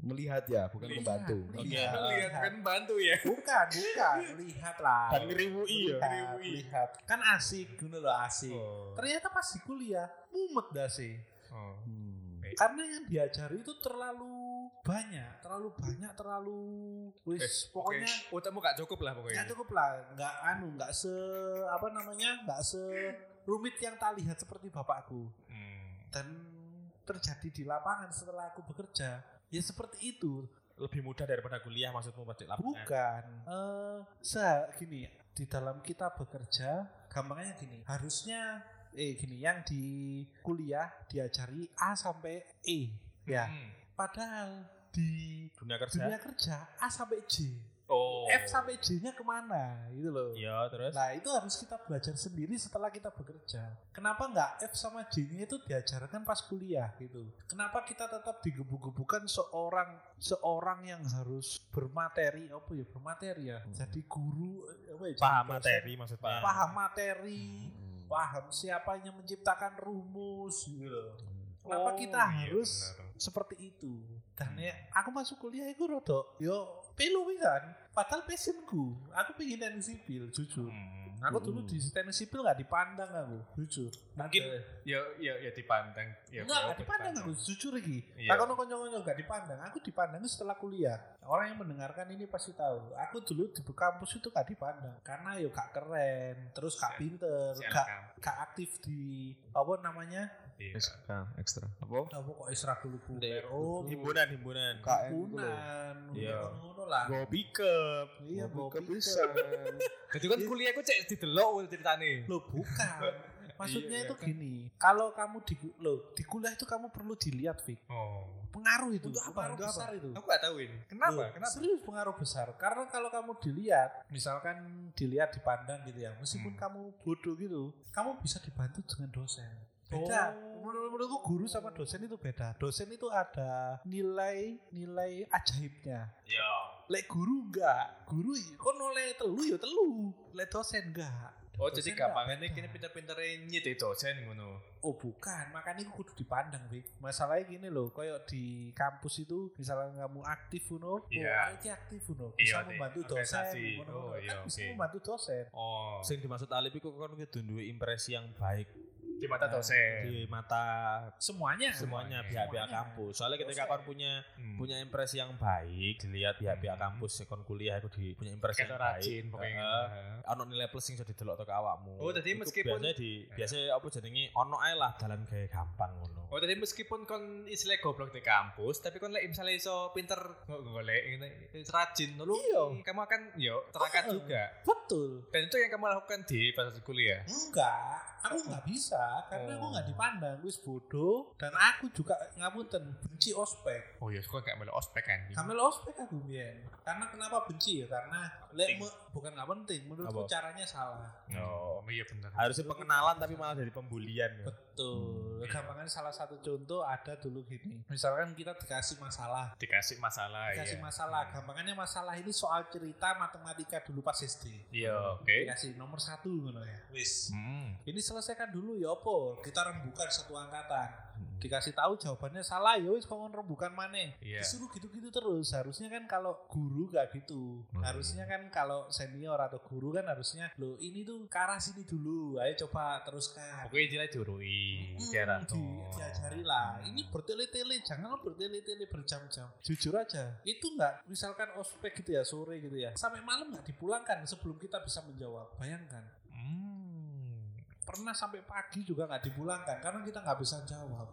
C: Melihat ya, bukan
F: Melihat.
C: membantu.
F: Iya.
D: Iya, lihat kan bantu ya.
F: Bukan, bukan, lihat lah.
B: dan ngeriwui ya
F: Lihat, lihat. Kan asik, gitu loh asik.
B: Oh,
F: Ternyata pas di kuliah mumet dah sih.
D: Oh.
C: Hmm.
F: karena yang diajari itu terlalu banyak terlalu banyak terlalu wis pokoknya
D: otakmu gak cukup lah
F: nggak
D: pokoknya.
B: Iya.
F: cukup lah nggak anu nggak se apa namanya nggak se rumit yang tak lihat seperti bapakku
D: Hmm.
F: dan terjadi di lapangan setelah aku bekerja ya seperti itu
B: lebih mudah daripada kuliah maksudmu pasti lapangan
F: bukan eh se- gini di dalam kita bekerja gampangnya gini harusnya eh gini yang di kuliah diajari A sampai E ya
D: Hmm.
F: padahal di
B: dunia kerja
F: dunia kerja A sampai J
D: Oh.
F: F sampai J nya kemana gitu loh
B: iya terus
F: nah itu harus kita belajar sendiri setelah kita bekerja kenapa nggak F sama J nya itu diajarkan pas kuliah gitu kenapa kita tetap digebu-gebukan seorang seorang yang harus bermateri apa ya bermateri ya jadi guru eh, apa ya jadi
B: paham
F: dosen,
B: materi maksudnya
F: paham materi
C: Hmm.
F: paham siapa yang menciptakan rumus gitu loh
D: Oh,
F: Kenapa kita
D: iya,
F: harus
D: benar.
F: seperti itu? Dan
D: Hmm.
F: ya, aku masuk kuliah itu rodok yo pilu pisan. Padahal passionku, aku pengen teknik sipil jujur.
D: Hmm.
F: Aku dulu di teknik sipil nggak dipandang aku, jujur.
D: Mungkin- Ya ya ya dipandang. Ya,
F: Enggak,
D: ya,
F: nggak dipandang aku, jujur lagi.
D: Iya.
F: Takon konyol-konyol nggak dipandang. Aku dipandang setelah kuliah. Orang yang mendengarkan ini pasti tahu. Aku dulu di kampus itu nggak dipandang karena yo gak keren, terus
D: Si-
F: gak pinter,
D: Si
F: gak,
D: anak
F: gak aktif di apa namanya?
D: Iya.
C: Ekstra, ekstra. Apa?
F: Apa kok isra kuluku?
B: Di-
F: Oh,
B: himpunan himpunan
C: Kak. KM gitu loh.
F: Kunan,
B: Iya.
F: ngono lah.
B: go pick up
F: Iya,
C: Mau
F: gua pikir.
C: kepisan.
D: Jadi kan kuliah aku cek didelok ceritane.
F: Loh, bukan. Maksudnya
D: Iya,
F: itu
D: iya, kan.
F: gini, kalau kamu di lo di kuliah itu kamu perlu dilihat, Fik.
D: Oh.
F: Pengaruh itu,
D: Untuk apa?
F: pengaruh
D: Untuk apa?
F: besar itu.
D: Aku gak tahu ini.
F: Loh,
D: Kenapa? Kenapa?
F: Serius pengaruh besar. Karena kalau kamu dilihat, misalkan dilihat dipandang gitu ya, meskipun
D: Hmm.
F: kamu bodoh gitu, kamu bisa dibantu dengan dosen. Beda.
D: Oh.
F: Menurut menurutku guru sama dosen itu beda. Dosen itu ada nilai nilai ajaibnya.
B: ya
D: Iya.
F: Lek guru enggak, guru i- kok noleh telu ya telu, lek dosen enggak.
D: Oh, jadi
F: Dosen
D: gampangannya
F: enggak
D: kini
F: beda.
D: pinter-pinterin nyit dosen ngono.
F: Oh bukan, makanya aku kudu dipandang, Wik. Masalahnya gini loh, koyok di kampus itu misalnya kamu aktif ngono,
D: Iya.
F: oh, iki aktif ngono,
D: Iya,
F: bisa
D: di
F: membantu dosen,
D: organisasi.
F: ngono-ngono.
D: Oh, iya,
F: kan bisa
D: oke.
F: membantu dosen.
D: Oh.
B: sing dimaksud Alip iku kan kudu duwe impresi yang baik
D: di mata dosen.
B: di mata
D: Eh. Semuanya.
B: semuanya pihak-pihak kampus. Soalnya ketika
D: Dosen.
B: kon punya
D: Hmm.
B: punya impresi yang baik dilihat pihak-pihak
D: Hmm.
B: kampus kon kuliah itu di punya impresi
D: Ketok
B: yang
D: rajin
B: baik.
D: pokoknya. gitu.
B: Heeh. ono nilai plus sing iso didelok tok awakmu.
D: Oh, dadi
B: Iku
D: meskipun- Ya.
B: biasanya di biasanya apa jenenge ono ae lah dalan gawe gampang ngono.
D: Oh tadi meskipun kon istilah goblok di kampus, tapi kon lek misalnya iso pinter ngo- golek ngene, rajin nulung,
B: Iya.
D: kamu akan yo terangkat juga.
F: Betul.
D: Dan itu yang kamu lakukan di pas kuliah.
F: Enggak, aku nggak bisa karena aku
D: Oh.
F: nggak dipandang wis bodoh dan aku juga ngapunten benci ospek.
D: Oh iya, kok gak melu ospek kan?
F: Kamel ospek aku biyen. Karena kenapa benci ya? Karena lek me- bukan nggak penting, menurutku
B: Apa?
F: caranya salah.
D: Oh, iya bener.
B: Harusnya pengenalan tapi malah dari pembulian. ya.
F: Betul.
D: Iya.
F: Gampangan salah satu contoh ada dulu gini. Misalkan kita dikasih masalah,
D: Dikasih masalah
F: dikasih
D: iya.
F: masalah. Gampangannya masalah ini soal cerita matematika dulu pas SD.
D: Iya, oke.
F: Dikasih nomor satu ngono ya. Wis.
D: Hmm.
F: Ini selesaikan dulu ya opo. Kita rembukan satu angkatan.
B: Hmm.
F: Dikasih tahu jawabannya salah ya wis kok rembukan maneh.
D: Iya.
F: Disuruh gitu-gitu terus. Harusnya kan kalau guru gak gitu.
D: Hmm.
F: Harusnya kan kalau senior atau guru kan harusnya lo ini tuh ke arah sini dulu. Ayo coba teruskan.
D: Pokoknya jelas jurui,
F: Hmm,
D: tiara
F: di- diajari lah ini bertele-tele jangan bertele-tele berjam-jam jujur aja itu nggak misalkan ospek gitu ya sore gitu ya sampai malam nggak dipulangkan sebelum kita bisa menjawab bayangkan
D: Hmm.
F: pernah sampai pagi juga nggak dipulangkan karena kita nggak bisa jawab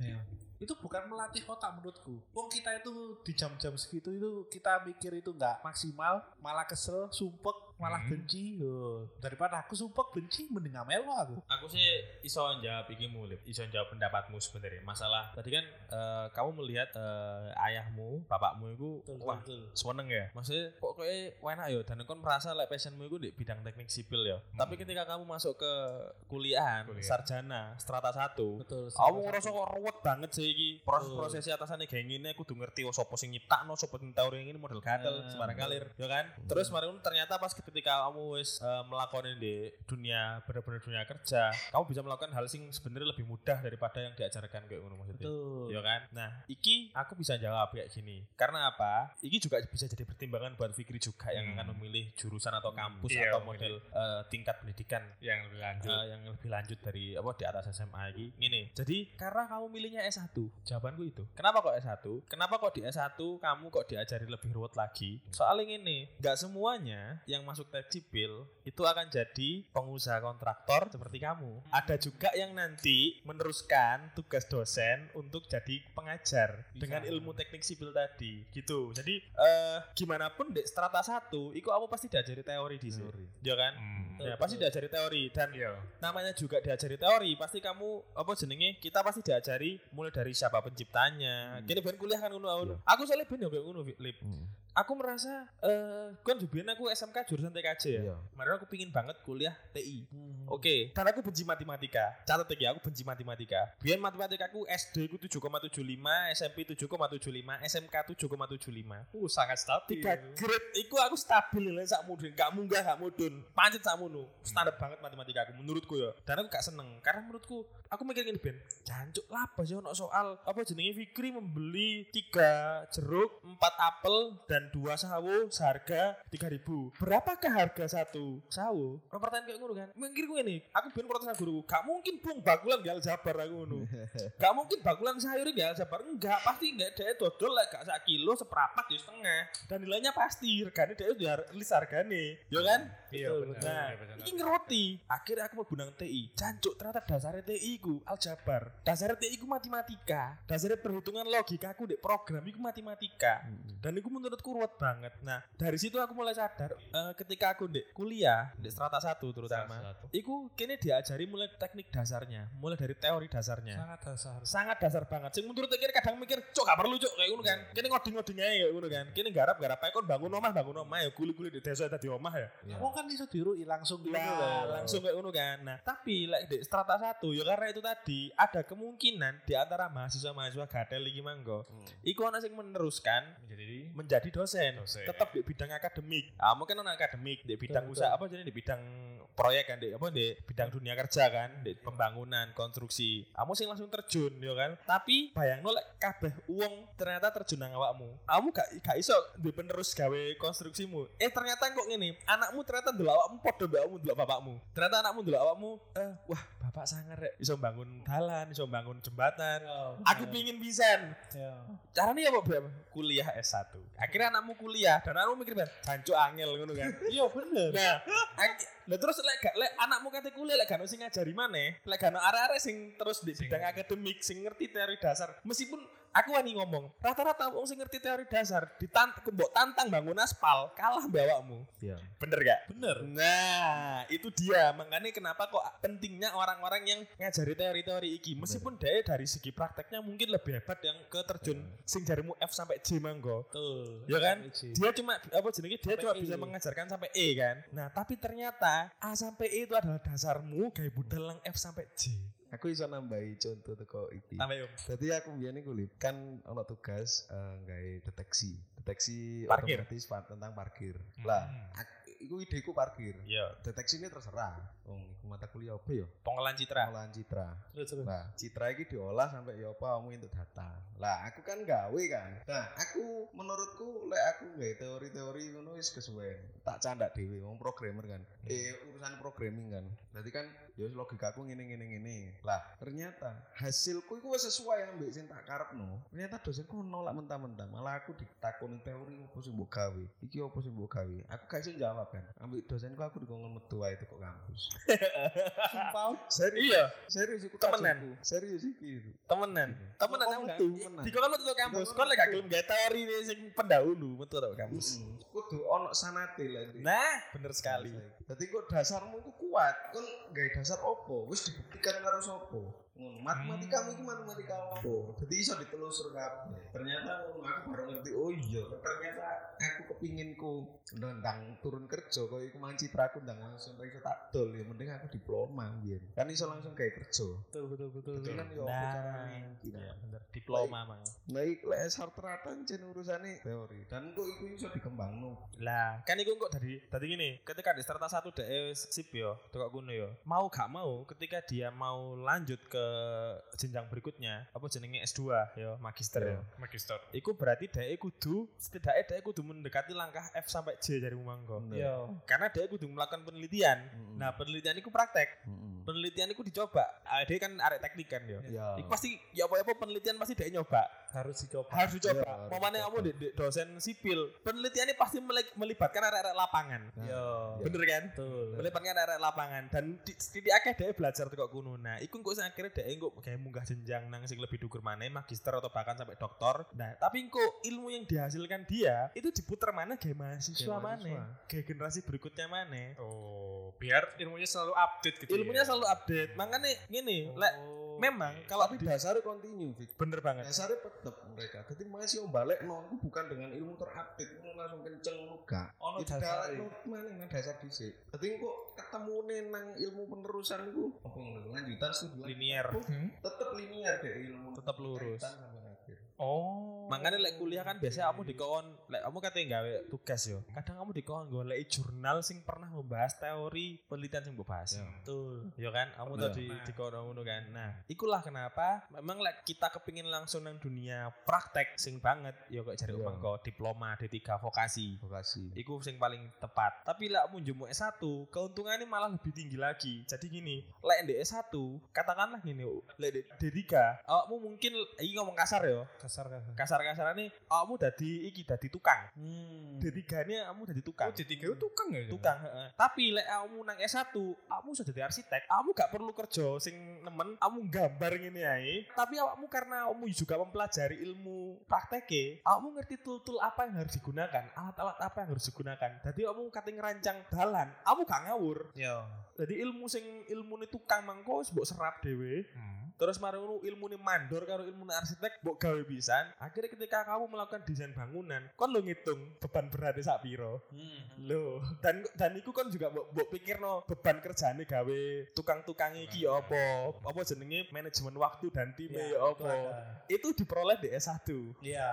F: ya itu bukan melatih otak menurutku. Wong kita itu di jam-jam segitu itu kita mikir itu nggak maksimal, malah kesel, sumpek, malah
D: Hmm.
F: benci. Loh, Daripada aku sumpek benci mending nggak melu aku.
B: Aku sih iso jawab iki mulip, iso jawab pendapatmu sebenarnya. Masalah tadi kan eh, kamu melihat eh, ayahmu, bapakmu itu wah seneng ya maksudnya pokoknya enak ya dan kon merasa like passionmu itu di bidang teknik sipil ya tapi ketika kamu masuk ke kuliahan
D: Kuliah.
B: sarjana strata 1
F: Betul.
B: aku ngerasa kok ruwet banget sih iki proses-proses atasannya kayak gini aku udah ngerti oh, sopo sing nyiptakno sopo sing tau ini model gatel
F: Ah,
B: sembarang kalir ya kan terus kemarin ternyata pas ketika kamu wis eh, melakoni di dunia bener-bener dunia kerja kamu bisa melakukan hal sing sebenarnya lebih mudah daripada yang diajarkan kayak ngono maksudnya
F: Betul.
B: Ya kan? Nah, iki aku bisa jawab kayak gini. Karena apa? Iki juga bisa jadi pertimbangan buat Fikri juga yang
D: Hmm.
B: akan memilih jurusan atau kampus
D: Iya,
B: atau model
D: memilih.
B: eh, tingkat pendidikan
D: Yang lebih lanjut.
B: eh, yang lebih lanjut dari apa di atas SMA ini. Ini. Jadi karena kamu milihnya S1, jawabanku itu. Kenapa kok S1? Kenapa kok di S1 kamu kok diajari lebih ruwet lagi? Soalnya ini, nggak semuanya yang masuk teknik sipil itu akan jadi pengusaha kontraktor seperti kamu. Ada juga yang nanti meneruskan tugas dosen untuk jadi pengajar dengan ilmu teknik sipil tadi. Gitu. Jadi eh, gimana pun di strata 1, itu kamu pasti diajari teori di sini. Ya kan?
D: Hmm.
B: Ya, pasti diajari teori dan
D: Iya.
B: namanya juga diajari teori pasti kamu apa jenenge kita pasti diajari mulai dari siapa
D: Hmm.
B: penciptanya kini ben kuliah kan ngono
D: Iya.
B: aku aku soalnya ben yo kayak ngono Lip. aku merasa eh kan jubian aku SMK jurusan TKJ ya
C: Iya.
B: kemarin aku pingin banget kuliah TI
D: Hmm.
B: Oke, karena aku benci matematika. Catat iki aku benci matematika. Biar matematika aku SD ku 7,75, SMP 7,75, SMK 7,75
D: Uh, sangat stabil.
B: tiga grade iku aku stabil nilai sak mudun gak munggah gak mudun pancet sak mono standar banget matematika aku menurutku ya dan aku gak seneng karena menurutku aku mikir gini Ben jancuk lah sih ono soal apa jenenge Fikri membeli tiga jeruk empat apel dan dua sawo seharga tiga ribu berapakah harga satu sawo Ono pertanyaan kayak ngono kan mikir gue ini aku Ben protes sama guru gak mungkin bung bakulan gak jabar aku ngono gak mungkin bakulan sayur gak jabar enggak pasti enggak dia dodol lah gak sak kilo seperapat ya setengah dan nilainya pasti regane dia udah list hargane ya kan
D: Iya,
B: Betul,
D: benar.
B: nah
D: Iya, benar.
B: ini ngeroti akhirnya aku mau benang TI jancuk ternyata dasarnya TI ku aljabar dasarnya TI ku matematika dasarnya perhitungan logika aku dek program iku matematika dan itu menurutku ruwet banget nah dari situ aku mulai sadar eh, ketika aku dek kuliah dek strata satu terutama
D: Satu.
B: Iku kini diajari mulai teknik dasarnya, mulai dari teori dasarnya
F: sangat dasar
B: sangat dasar banget. Sing menurut kene kadang mikir, "Cuk, gak perlu, Cuk." Kayak ngono kan. Kene ngoding-ngoding ae kayak ngono kan. Kene garap-garap ae kon bangun omah, bangun omah ya guli-guli di desa tadi omah ya.
F: Kamu kan iso diru langsung gitu
B: Lah,
F: loh.
B: langsung kayak ngono kan. Nah, tapi lek di strata 1 ya karena itu tadi ada kemungkinan di antara mahasiswa-mahasiswa gatel iki mangko.
F: Hmm.
B: Iku ana sing meneruskan
D: Menjadi
B: menjadi dosen,
D: Dosen.
B: tetap di bidang akademik. Ah, mungkin anak akademik di bidang
F: Betul,
B: usaha apa jadi di bidang proyek kan, di apa di bidang dunia kerja kan, di pembangunan, konstruksi. Kamu sih langsung terjun ya kan. Tapi bayangno lek kabeh uang ternyata terjun nang awakmu. Kamu gak gak iso duwe penerus gawe konstruksimu. Eh ternyata kok ngene, anakmu ternyata ndelok awakmu padha mbakmu ndelok bapakmu. Ternyata anakmu ndelok awakmu, eh wah bapak sangar rek iso bangun dalan, iso bangun jembatan. Aku pingin pisan. Caranya apa Bram? Kuliah S1. Akhirnya anakmu kuliah dan anakmu mikir, "Bang, jancuk angel ngono kan."
E: Iya bener.
B: Nah, ak- nah terus lek gak lek anakmu kate kuliah lek gak ono sing ngajari maneh, lek gak ono arek-arek sing terus di bidang akademik sing ngerti teori dasar. Meskipun aku wani ngomong, rata-rata wong sing ngerti teori dasar ditant mbok tantang bangun aspal, kalah bawakmu.
C: Iya.
B: Bener gak?
E: Bener.
B: Nah, itu dia. Makanya kenapa kok pentingnya orang-orang yang ngajari teori-teori iki. Meskipun dia dari segi prakteknya mungkin lebih hebat yang ke terjun
E: Iya.
B: sing jarimu F sampai J manggo.
E: Tuh.
B: Ya kan?
E: Iji.
B: Dia cuma apa jenenge dia
E: Sampai
B: cuma
E: E.
B: bisa mengajarkan sampai E kan. Nah, tapi ternyata A sampai E itu adalah dasarmu kayak budal lang F sampai J.
C: Aku iso nambahi contoh teko iki.
B: Sampai yo.
C: Tadi aku biyen iku Lip, kan ono tugas eh, nggawe deteksi. Deteksi
B: Parkir.
C: otomatis pa- tentang parkir. Lah, ak- iku ideku parkir.
B: Iya,
C: Deteksi ini terserah. Wong iku mata kuliah apa ya?
B: pengelan citra.
C: Pengolahan citra.
E: Terus terus.
C: Nah, citra ini diolah sampai ya apa kamu untuk data. Lah, aku kan gawe kan. Nah, aku menurutku lek aku gawe teori-teori ngono wis kesuwen. Tak candak dhewe wong programmer kan. Eh urusan programming kan. Berarti kan ya wis logikaku ngene ngene ngene. Lah, ternyata hasilku iku wis sesuai ambek sing tak karepno. Ternyata dosenku nolak mentah-mentah. Malah aku ditakoni teori opo sing mbok gawe. Iki opo sing mbok gawe. Aku gak iso jawab kan. Ambek dosenku aku dikongkon metu ae teko kampus. Sumpah, serius.
B: Iya,
C: Serius iku
E: Iya.
B: Temenan.
C: temenan. Serius iki.
B: temenan.
D: Iya.
B: Temenan tau
C: Kok
B: gak?
C: metu, menan.
B: Di kau lu tutup kampus, kau lagi gak gelem gak teori nih sing pendahulu, metu tau kampus.
C: Mm-mm. Hmm, Kudu ono sanate lah. Dik.
B: Nah, bener sekali.
C: Dadi kok dasarmu iku kuat. Kon gawe dasar opo? Wis dibuktikan karo sapa? Ngono. Matematika
B: Hmm.
C: iki matematika opo? Dadi iso ditelusur kabeh. Ternyata ngono, aku baru ngerti. Oh iya, ternyata aku kepinginku tentang turun kerja koyo iku mang citraku ndang langsung ra iso tak dol ya mending aku diploma biyen. Kan iso langsung gawe kerja.
E: Betul betul betul.
C: Dadi kan yo
B: Nah.
C: cara
B: Iya, bener. Diploma mang.
C: Nah, iku lek sartratan jen urusane teori. Dan kok iku iso dikembangno.
B: Lah, kan iku kok dari tadi gini, ketika diserta satu dhewe wis sip yo, tekok kuno yo. Mau gak mau ketika dia mau lanjut ke jenjang berikutnya, apa jenenge S2 yo, magister yo.
D: magister
B: Iku berarti dhewe kudu setidaknya dhewe kudu mendekati langkah F sampai J dari Mangko.
C: Bener.
E: Iya.
B: Karena dhewe kudu melakukan penelitian.
C: Mm-mm.
B: Nah, penelitian iku praktek.
C: Mm-mm.
B: Penelitian iku dicoba. Ah, Dhewe kan arek teknik kan yo.
C: Ya.
B: Iku pasti ya apa-apa penelitian pasti dhewe nyoba.
E: Harus dicoba.
B: harus dicoba.
C: Iya, harus
B: Mamane
C: dicoba.
B: kamu di, di- dosen sipil, penelitiannya pasti mele- melibatkan arek-arek lapangan.
C: Nah,
B: Yo,
C: iya.
B: bener kan? Melibatkan arek-arek lapangan dan di- titik akeh dhek belajar teko kuno. Nah, iku engko sing akhirnya dhek engko kayak munggah jenjang nang sing lebih dhuwur maneh, magister atau bahkan sampai doktor. Nah, tapi engko ilmu yang dihasilkan dia itu diputer mana kayak mahasiswa
C: Kayak
B: maneh,
C: mahasiswa.
B: kayak generasi berikutnya maneh.
D: oh biar ilmunya selalu update gitu
B: Ilmunya
D: ya.
B: selalu update. Makanya ngene, lek
D: Oh,
B: memang
D: oke.
B: kalau
C: Tapi
B: di-
C: dasarnya continue, Fik.
B: bener banget.
C: Dasarnya tetep mereka. Jadi masih om balik no, iku bukan dengan ilmu terupdate, iku langsung kenceng luka.
E: Ono
C: Oh, dasar e.
E: dasare.
C: no, mana nang dasar dhisik. Dadi kok ketemu nang ilmu penerusan iku apa ngono lanjutan studi lanjutan.
B: Linear.
C: tetep linier deh ilmu
B: Tetep lurus.
C: kaitan sampai akhir.
D: oh
B: Makanya lek kuliah kan biasanya kamu dikon, lek kamu katanya gawe tugas yo. Kadang kamu dikon golek jurnal sing pernah membahas teori penelitian sing mbok bahas.
C: Ya.
B: Betul. Yo kan, kamu
C: Bener.
B: tadi dikon ngono kan. Nah, ikulah kenapa memang lek kita kepingin langsung nang dunia praktek sing banget yo kok jare
C: Iya.
B: omong kok diploma D3 vokasi.
C: Vokasi.
B: Iku sing paling tepat. Tapi lah mau njemuk S1, keuntungannya malah lebih tinggi lagi. Jadi gini, lek ndek S1, katakanlah gini, lek ndek D3, awakmu mungkin iki ngomong kasar ya. Kasar kasar. Kasar kasarannya awakmu dadi iki dadi tukang. D3 nya kamu Hmm. dadi tukang.
D: oh, di tiga itu tukang ya
B: tukang heeh. Tapi lek kamu nang S1, kamu sudah jadi arsitek, kamu gak perlu kerja sing nemen, kamu gambar ngene ae. Tapi awakmu karena kamu juga mempelajari ilmu prakteke, kamu ngerti tool-tool apa yang harus digunakan, alat-alat apa yang harus digunakan. Jadi kamu kate ngerancang dalan, kamu gak ngawur.
D: ya
B: Jadi ilmu sing ilmune tukang mangko wis mbok serap dhewe.
D: Hmm.
B: Terus mari ngono ilmune mandor karo ilmune arsitek mbok gawe pisan. Akhirnya ketika kamu melakukan desain bangunan, kon lo ngitung beban beratnya sak piro. Loh, dan dan iku kon juga mbok mbok pikirno beban kerjane gawe tukang-tukang iki ya apa? Apa jenenge manajemen waktu dan tim ya apa? Itu diperoleh di S1.
E: Iya,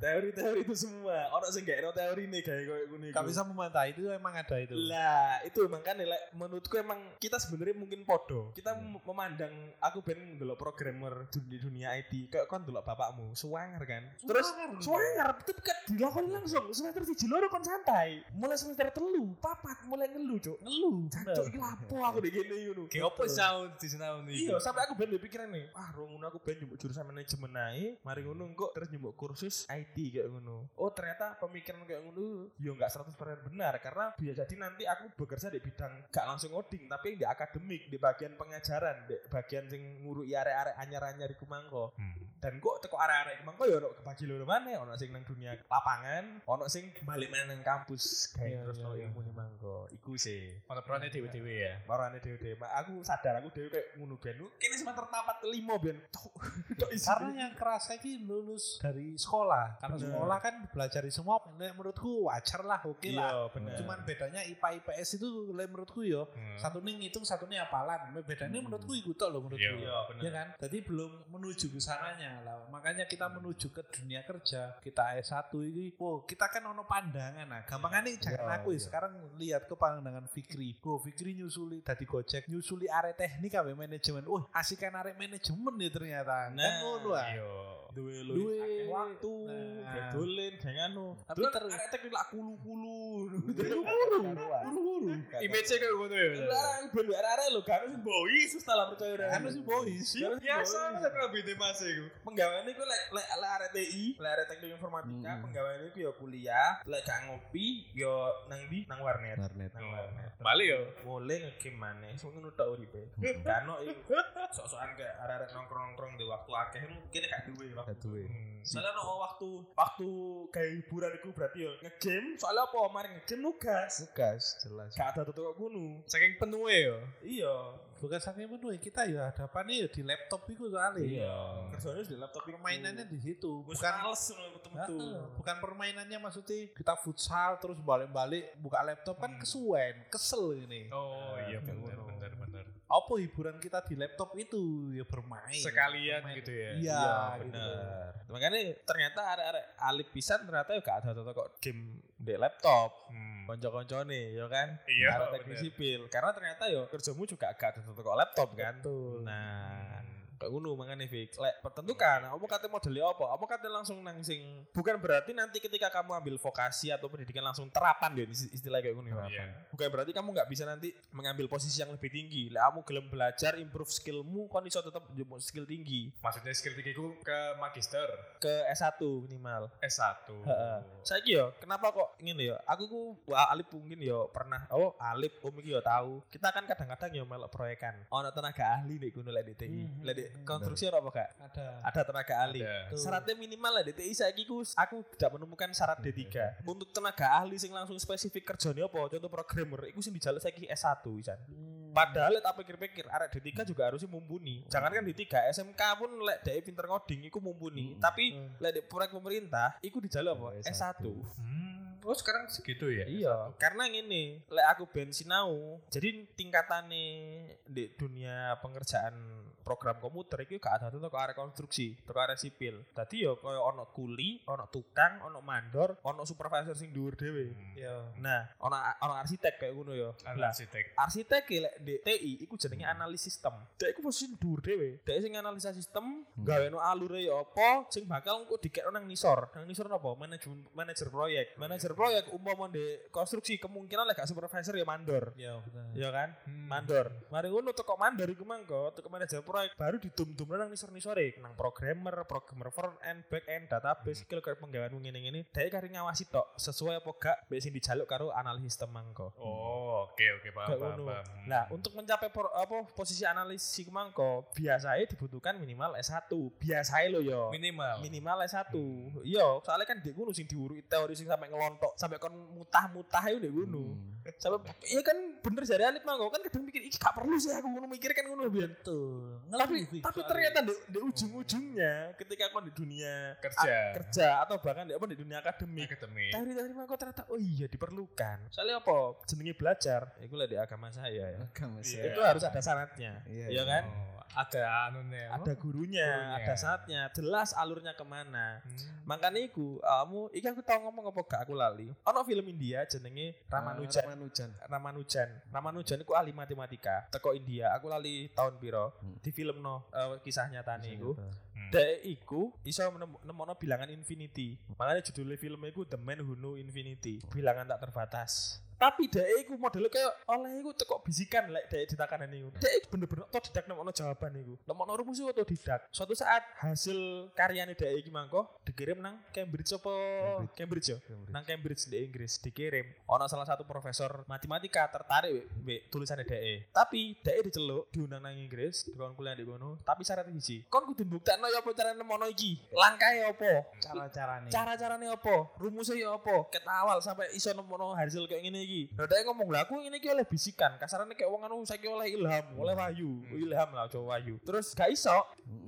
B: Teori-teori itu semua. Orang sing gak eno teori nih kayak koyo ngene. iku.
E: Gak bisa memantau itu emang ada itu.
F: kan
B: Lah, itu makanya lek menurutku emang kita sebenarnya mungkin podo. Kita mem- memandang aku ben ndelok
F: delok programmer dun- di dunia IT, kayak kon delok bapakmu, suwanger kan. Terus suwanger, itu kan dilakoni langsung semester 3 loro kon santai. Mulai semester 3, papat mulai ngeluh, Cuk. Ngeluh. Cuk, iki lapo aku dek kene ngono.
D: Kayak apa sound di sana ini?
F: Iya, sampai aku ben pikiran nih. Wah, rong ngono aku ben nyumbuk jurusan manajemen ae, mari
D: Hmm.
F: ngono engko terus nyumbuk kursus IT kayak ngono. Oh, ternyata pemikiran kayak ngono ya enggak 100% benar karena bisa jadi nanti aku bekerja di bidang gak langsung ngoding tapi di akademik, di bagian pengajaran, di bagian sing ngurui arek-arek anyar-anyar iku mangko.
D: Hmm.
F: Dan kok teko arek-arek iku mangko ya ono kebagi loro maneh, ono sing nang dunia lapangan, ono sing balik meneh nang kampus kayak
D: Iya,
F: terus
D: iya,
F: ono
D: iya.
F: ilmu nih mangko. Iku sih.
D: Ono
B: Nah,
D: prone dewe-dewe ya.
F: Marane dhewe dhewe. Mak, Aku sadar aku dhewe kayak ngono ben. Lu Kene semester papat limo ben. Tok. Tok isi.
B: Karena yang kerasa ini lulus dari sekolah. Karena
F: Bener.
B: sekolah kan belajar di semua, men- menurutku wajar lah, oke lah.
F: Iya, bener. Hmm.
B: Cuman bedanya IPA IPS itu le- menurutku yo. Satu ning ngitung, satu ning apalan. Bedanya
D: Hmm.
B: menurutku iku tok loh menurutku.
D: Iya, bener.
F: Nah.
B: Ya kan? Tadi belum menuju ke sananya lah. Makanya kita
F: Hmm.
B: menuju ke dunia kerja. Kita S1 ini, wow, kita kan ono pandangan nah. Gampangane jangan
F: Iya,
B: aku ya.
F: iya.
B: sekarang lihat ke pandangan Fikri. Go Fikri nyusuli tadi Gojek, nyusuli area teknik abe manajemen. Wah, asik kan area manajemen ya ternyata. Kan
F: Nah,
B: ngono ah.
D: Iya.
F: Duwe
B: Duwe.
F: akeh waktu,
B: Nah.
F: gak dolen, gak nganu.
B: Tapi
F: Dolen
B: ter-
F: anu. arek tek lak kulu-kulu.
B: Buru-buru.
D: Image-nya kayak ngono ya.
F: Arek ben arek lho gak sing boi sus tak lah percaya ora.
B: Kan sih boys.
F: Iya,
D: Biasa sampe bete mas iku.
F: penggaweane iku lek lek lek arek TI, lek arek teknik informatika,
C: Mm-mm.
F: penggaweane iku ya kuliah, lek gak ngopi ya nang di nang warnet.
C: Warnet.
F: Nang warnet.
D: Bali yo.
F: boleh ngegame maneh sing ngono tok uripe
C: Heeh.
F: kano iku sok-sokan kayak arek-arek nongkrong-nongkrong di waktu akeh mungkin gak duwe waktu
C: Gak duwe.
D: Hmm.
F: soalnya no waktu waktu kayak hiburan iku berarti ya. yo ngegame soalnya apa mari ngegame nugas
C: Tugas jelas.
F: gak ada tutuk kuno
D: Saking ya? penuhe yo.
F: iya
B: Bukan saking menu kita ya hadapannya ya di laptop itu soalnya.
F: Iya. kerjanya di laptop iku.
B: Permainannya di situ,
F: Wes
B: bukan
F: males ngono metu-metu
B: Heeh, bukan permainannya maksudnya kita futsal terus balik-balik buka laptop
F: Hmm.
B: kan kesuwen kesel ini
D: Oh iya
B: Kayak
D: bener
B: ngono.
D: bener bener.
B: apa hiburan kita di laptop itu ya bermain
D: Sekalian
B: Bermain.
D: gitu ya.
B: iya
F: Nah,
B: gitu.
F: bener makanya ternyata arek-arek alip pisan ternyata yo gak ada tutuk game di laptop
D: Hmm.
F: konco-koncone ya kan
D: Iya,
F: Karena teknik
D: bener.
F: sipil karena ternyata yo kerjamu juga gak tentu kok laptop kan nah kayak ngono makanya fix lek pertentukan kamu kate modele apa kamu kate langsung nang sing bukan berarti nanti ketika kamu ambil vokasi atau pendidikan langsung terapan deh isti- istilah kayak ngono ya.
D: Iya.
F: bukan berarti kamu nggak bisa nanti mengambil posisi yang lebih tinggi lek kamu gelem belajar improve skillmu kon iso tetep njupuk skill tinggi
D: Maksudnya skill 3 ku ke magister
F: ke S1 minimal
D: S1.
F: Heeh. Saiki yo, kenapa kok ngene yo? Aku ku wah, Alip mungkin yo pernah oh Alip Om iki yo tahu. Kita kan kadang-kadang yo melok proyekan. Ono tenaga ahli nek ngono lek di TI.
B: Mhm.
F: Lek di konstruksi ono apa gak?
B: ada
F: Ada tenaga ahli.
D: Ada.
B: Betul.
F: Syaratnya minimal lah DTI saiki ku aku tidak menemukan syarat D3.
D: Iya,
F: Untuk tenaga ahli sing langsung spesifik kerjane apa? Contoh programmer iku sing dijaluk saiki S1 isan.
D: Hmm.
F: Padahal lek tak pikir-pikir arek D3 juga harusnya mumpuni.
D: Oh.
F: Jangan kan D3 SMK pun lek dhek pinter ngoding iku mumpuni.
C: Hmm.
F: Tapi
B: Hmm.
F: lek di proyek pemerintah iku dijaluk apa?
C: Oh,
F: S1.
C: S1.
D: Hmm. Oh sekarang segitu ya?
F: Iya, karena ngene, lek aku ben sinau, jadi tingkatane di dunia pengerjaan program komputer itu gak ada tuh ke arah konstruksi, ke arah sipil. Tadi ya kaya ono kuli, ono tukang, ono mandor, ono supervisor sing dhuwur dhewe.
D: Hmm.
F: Nah, ono ono arsitek kayak ngono ya. Lah,
D: Arsitek.
F: arsitek ki lek di TI iku jenenge analis sistem. Dek iku posisi dhuwur dhewe. Dek sing analisa sistem, gaweno alure ya apa sing bakal engko dikekno nang ngisor. Nang ngisor napa? Manajemen manajer proyek. Manajer proyek umpama di konstruksi kemungkinan lek gak supervisor ya mandor.
B: ya benar
F: Ya kan? Mandor. Mari ngono teko mandor iku mangko, teko manajer proyek baru didum-dum nang ngisor-ngisore nang programmer, programmer front end, back end, database, skill kaya penggaweanmu ngene-ngene. Dek kari ngawasi tok sesuai apa gak mek sing dijaluk karo analis sistem mangko.
D: Oh oke oke paham
F: Kayak
D: paham.
F: ngono.
D: paham.
F: Nah, untuk mencapai por- apa posisi analis si mangko, biasanya dibutuhkan minimal S1. Biasanya lo yo.
D: minimal.
F: Minimal S1. Iya, soalnya kan dek ngono sing diurui teori sing sampai ngelontok, sampai kon mutah-mutah yo dek
B: Hmm.
F: ngono.
C: Hmm.
F: Sampai iya kan bener jare Alif mangko kan kadang mikir iki gak perlu sih aku ngono mikir kan ngono biyen.
B: betul
F: Tapi
B: Ngelih,
F: tapi
B: soalnya.
F: ternyata di, di ujung-ujungnya ketika kon di dunia
D: Kerja.
B: ah,
F: a- kerja atau bahkan di, apa di dunia akademik
D: Akademik.
F: teori-teori mangko ternyata oh iya diperlukan. Soalnya apa? Jenenge belajar. Iku lah di agama saya ya
C: Agama sih.
B: Iya.
F: itu harus ada syaratnya
C: Iya,
F: iya
C: iya.
F: kan
D: Oh, ada anune apa?
B: ada gurunya,
D: Gurunya.
B: ada saatnya, jelas alurnya kemana.
D: Hmm.
B: Makanya iku, kamu, iki aku tau ngomong apa gak aku lali. Ono film India jenenge
C: Ah,
B: Ramanujan.
C: Ramanujan.
B: Ramanujan. Ramanujan iku ahli matematika teko India. Aku lali tahun piro
C: Hmm.
B: di film no kisah nyatane iku.
D: Hmm.
B: Dek iku iso menem- nemono bilangan infinity. Makanya judulnya film iku The Man Who Knew Infinity, bilangan tak terbatas. Tapi dek iku modelnya kayak oleh iku tekok bisikan lek dek ditakanan iku. Dek iku bener-bener to didak nemono jawaban iku. Nemono rumus iku to didak. Suatu saat hasil karyane dek iki mangko dikirim nang Cambridge apa Cambridge, ya? yo. Nang Cambridge di Inggris dikirim. Ono salah satu profesor matematika tertarik wek wek tulisannya DE. Tapi DE diceluk diundang nang Inggris, dikon kuliah di kono, tapi syaratnya siji. Kon kudu mbuktekno ya apa carane nemono iki. Langkahe apa?
F: Cara-caranya.
B: Cara-carane apa? Rumusnya ya apa? Ket awal sampai iso nemono hasil kayak ngene iki. Nah, DE ngomong lah aku ngene iki oleh bisikan, kasarane kayak wong anu saiki oleh ilham, oleh wahyu, Oh, ilham lah Jawa wahyu. Terus gak iso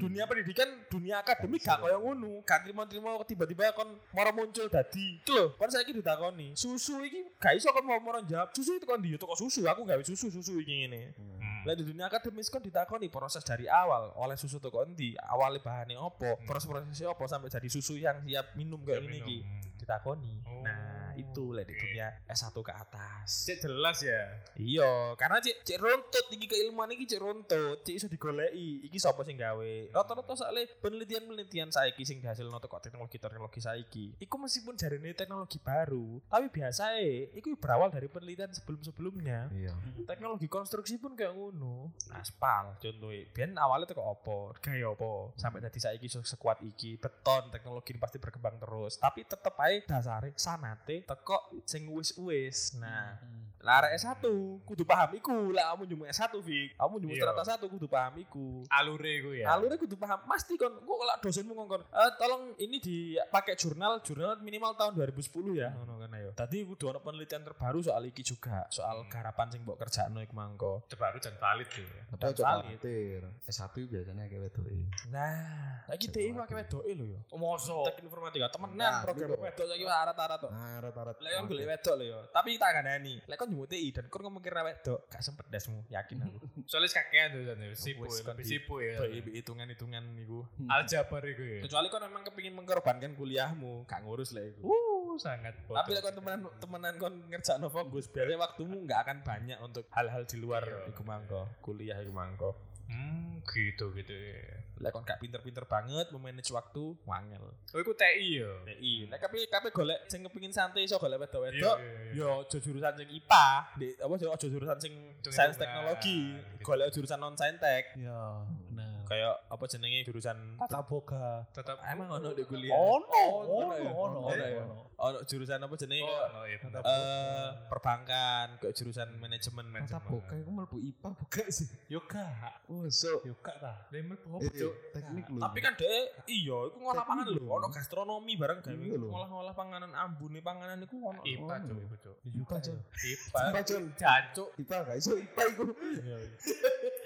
B: dunia pendidikan dunia akademik Hmm. gak koyo ngono gak trimo-trimo tiba-tiba kon moro muncul dadi itu lho kon saiki ditakoni susu iki gak iso kon mau moro jawab susu itu kon di toko susu aku gawe susu susu iki ngene
D: Hmm,
B: Lah di dunia akademis kon ditakoni proses dari awal oleh susu toko endi awale bahane opo proses-prosesnya opo sampai jadi susu yang siap minum kayak
D: Hmm. Siap
B: ngene
D: minum.
B: iki
D: Hmm.
B: ditakoni
D: Oh,
B: nah itu lah di
D: oke.
B: dunia S1 ke atas
D: Cek jelas ya.
B: Iya, karena cek cek runtut iki keilmuan iki cek runtut, cek iso digoleki. Iki sapa sing gawe? Rata-rata soalnya penelitian-penelitian saiki sing dihasilno teko teknologi-teknologi saiki. Iku meskipun jarine teknologi baru, tapi biasae iku berawal dari penelitian sebelum-sebelumnya.
C: Iya.
B: Teknologi konstruksi pun kayak ngono. Aspal Nah, contohnya, biyen awalnya teko opo, gaya opo, sampai dadi saiki se- sekuat iki, beton teknologi ini pasti berkembang terus. Tapi tetep ae dasare sanate teko sing wis-wis. Nah,
F: Hmm.
B: lah arek S1 kudu paham iku. Lah kamu njumuk S1 Fik. Kamu njumuk
D: Iya.
B: strata 1 kudu paham iku.
D: Alure iku ya.
B: Alurnya kudu paham. Pasti kon kok lak dosenmu ngongkon. Eh tolong ini dipakai jurnal jurnal minimal tahun 2010 ya ngono kan ayo. Tadi kudu ono penelitian terbaru soal iki juga, soal garapan sing mbok kerjakno iku mangko.
D: Baru jan valid tuh ya.
C: Ada
B: Dan valid.
C: khawatir. S1 biasanya kayak gitu, iya. wetu.
B: Nah, saiki
C: Cek
B: DI
C: lagi.
B: pakai
F: e
B: wedoke lho ya.
D: Moso.
B: Teknik informatika temenan
C: Nah,
B: program
C: gitu.
B: wedok saiki wah, arat-arat to.
C: Arat-arat.
B: Lek kon golek wedok lho ya. Tapi tak kandhani. Lek kon njumuk TI dan kon ngomong kira wedok, gak sempet desmu, yakin aku.
D: Soalnya kakean tuh jan. Sipu,
B: Wes, kan
D: lebih
B: di-
D: sipu ya.
B: Doi hitungan-hitungan iku.
D: Aljabar iku ya.
B: kecuali kau memang kepingin mengorbankan kuliahmu gak ngurus lah itu
D: Uh, sangat bodoh.
B: tapi kau temenan temenan kau ngerjain fokus biasanya waktumu nggak akan banyak untuk hal-hal di luar
D: Iya.
B: iku mangko kuliah iku mangko
D: Hmm, gitu gitu ya.
B: lek kon gak pinter-pinter banget memanage waktu wangel iya,
D: Oh, iku TI ya.
B: TI lek tapi tapi golek sing kepingin santai iso golek
D: Iya,
B: wedok-wedok
D: iya, iya.
B: Yo, ojo jurusan sing IPA, di, apa sih, ojo jurusan sing
D: Hitung-hitungan,
B: sains teknologi,
D: gitu.
B: golek jurusan non saintek,
F: Ya, benar.
B: kayak apa jenenge jurusan
F: Tata boga.
D: Tetap
B: emang ono di kuliah,
F: Ono, ono,
B: ya?
F: ono,
B: Ono ya?
F: ono.
B: ono jurusan apa jenenge
D: Oh,
B: kayak-
D: no, iya, tetap.
B: eh perbankan ke jurusan manajemen
D: Iya.
F: Tata boga itu mlebu IPA boga sih.
D: Yoga.
F: Oh, so.
D: Yoga ta. Lemel bohong.
C: Eh, teknik lho.
B: tapi kan deh iya itu ngolah
C: Teknik
B: panganan lho
C: lho.
B: ono gastronomi bareng gawe
C: Iya lho.
B: ngolah-ngolah panganan ambune panganan iku ono
D: IPA cuk, iku cuk.
F: IPA aja.
D: IPA.
C: IPA, Jon.
D: Jancuk.
C: IPA gak iso IPA iku.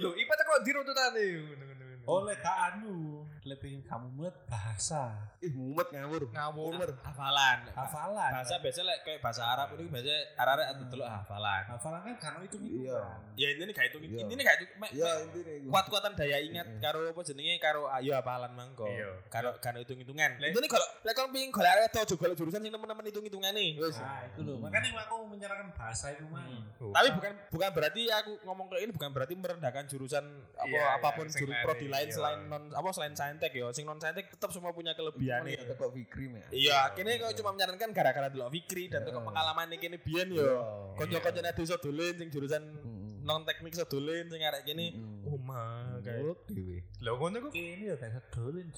D: Lho, IPA tak kok diruntutane. Ngono-ngono.
F: Oleh Kak Anu, lebih kamu mumet bahasa,
C: Ih mumet ngawur.
D: ngawur.
B: hafalan
F: hafalan.
B: bahasa biasa lek kayak bahasa Arab itu biasa arek-arek atuh delok hafalan
F: hafalan kan karena itu
C: Iya.
B: ya intine gak itu
C: Iya.
B: intine gak itu mek-
C: Ya
B: mek-
C: intine iku.
B: kuat-kuatan daya ingat karo apa jenenge karo ayo hafalan mangko
D: Iya.
B: karo karo hitung-hitungan intine kalau lek kon pengin golek arek wedok aja golek jurusan sing temen-temen hitung-hitungane wis
F: Nah, itu loh.
C: Hmm.
F: Makanya aku menyarankan bahasa
B: Hmm.
F: itu mah.
D: Oh.
B: Tapi bukan bukan berarti aku ngomong kayak ini bukan berarti merendahkan jurusan apa
D: Iya, iya,
B: apapun
D: sing
B: juru
D: lain,
B: prodi lain
D: iya.
B: selain non apa selain saintek ya. Sing non saintek tetap semua punya kelebihan
C: Mana ya
B: ya.
C: tekok Fikri ya.
B: Iya, kini kau cuma menyarankan gara-gara delok Fikri dan teko pengalaman kini biyen
C: Iya.
B: yo. Kanca-kanca nek desa dolen sing jurusan
C: Mm-mm.
B: non teknik iso dolen sing arek "Oh kene
C: Mm-mm.
B: omah kayak.
C: Ngurut dhewe.
D: Lho, ngono iku.
F: Ini ya kayak dolin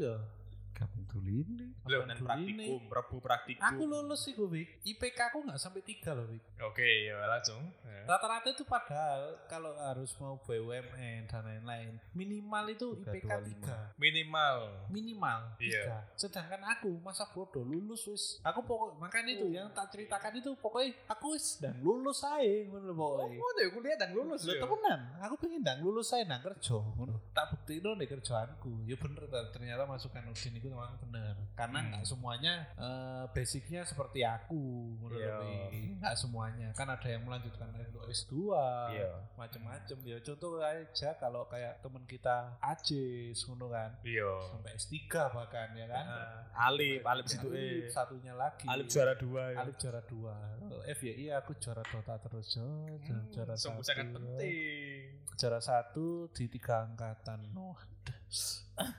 F: ya.
C: Kabeh duline.
D: Lho,
B: Nen
F: Dulene.
B: praktikum, rebu praktikum.
F: Nah, Aku lulus sih gue, Wik. IPK aku nggak sampai tiga loh, Wik.
D: Oke, ya langsung.
B: Kan?
D: Ya.
F: Rata-rata itu padahal kalau harus mau BUMN dan lain-lain, minimal itu IPK 3.
D: Minimal.
F: Minimal
D: Iya.
F: 3. Sedangkan aku masa bodoh lulus wis. Aku pokok makanya itu yang tak ceritakan itu pokoknya aku wis dan lulus ae ngono lho, pokoknya.
D: Ngono iku kuliah dan
B: Oh,
D: lulus
B: iya.
F: Lho temenan, aku pengen ndang lulus ae nang kerja ngono. Tak buktiin nih kerjaanku. Ya bener ta, ternyata masukan Udin ini itu memang benar karena
B: Hmm.
F: nggak semuanya eh, basicnya seperti aku ngono lho,
B: Iya.
F: Pi. nggak semuanya kan ada yang melanjutkan untuk S2
B: Iya.
F: macam-macam ya contoh aja kalau kayak teman kita Ajis ngono kan
B: Iya.
F: sampai S3 bahkan ya kan
B: Alif,
F: Iya.
B: Alif situ eh.
F: satunya lagi
B: Ah. Alif juara dua ya.
F: Alif juara dua FYI aku juara Dota terus Jo.
B: Hmm,
F: juara
B: sungguh
F: satu,
B: sangat
F: Jo.
B: penting.
F: juara satu di tiga angkatan Wah,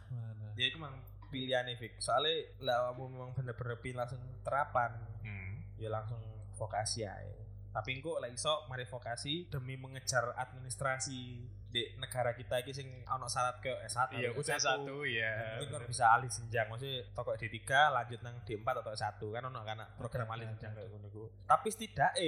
F: mana
B: Ya itu memang pilihan Fik. Soalnya lah kamu memang bener-bener pilih langsung terapan.
D: Hmm.
B: Ya langsung vokasi aja. Tapi engko lah iso mari vokasi demi mengejar administrasi di negara kita iki sing ana syarat ke S1.
D: Iya, aku
B: S1.
D: satu ya.
B: Mungkin kan bisa alih jenjang, maksudnya toko D3 lanjut nang D4 atau S1 kan ono kan program alih
D: Iya,
B: jenjang kayak ngono iku. Tapi setidaknya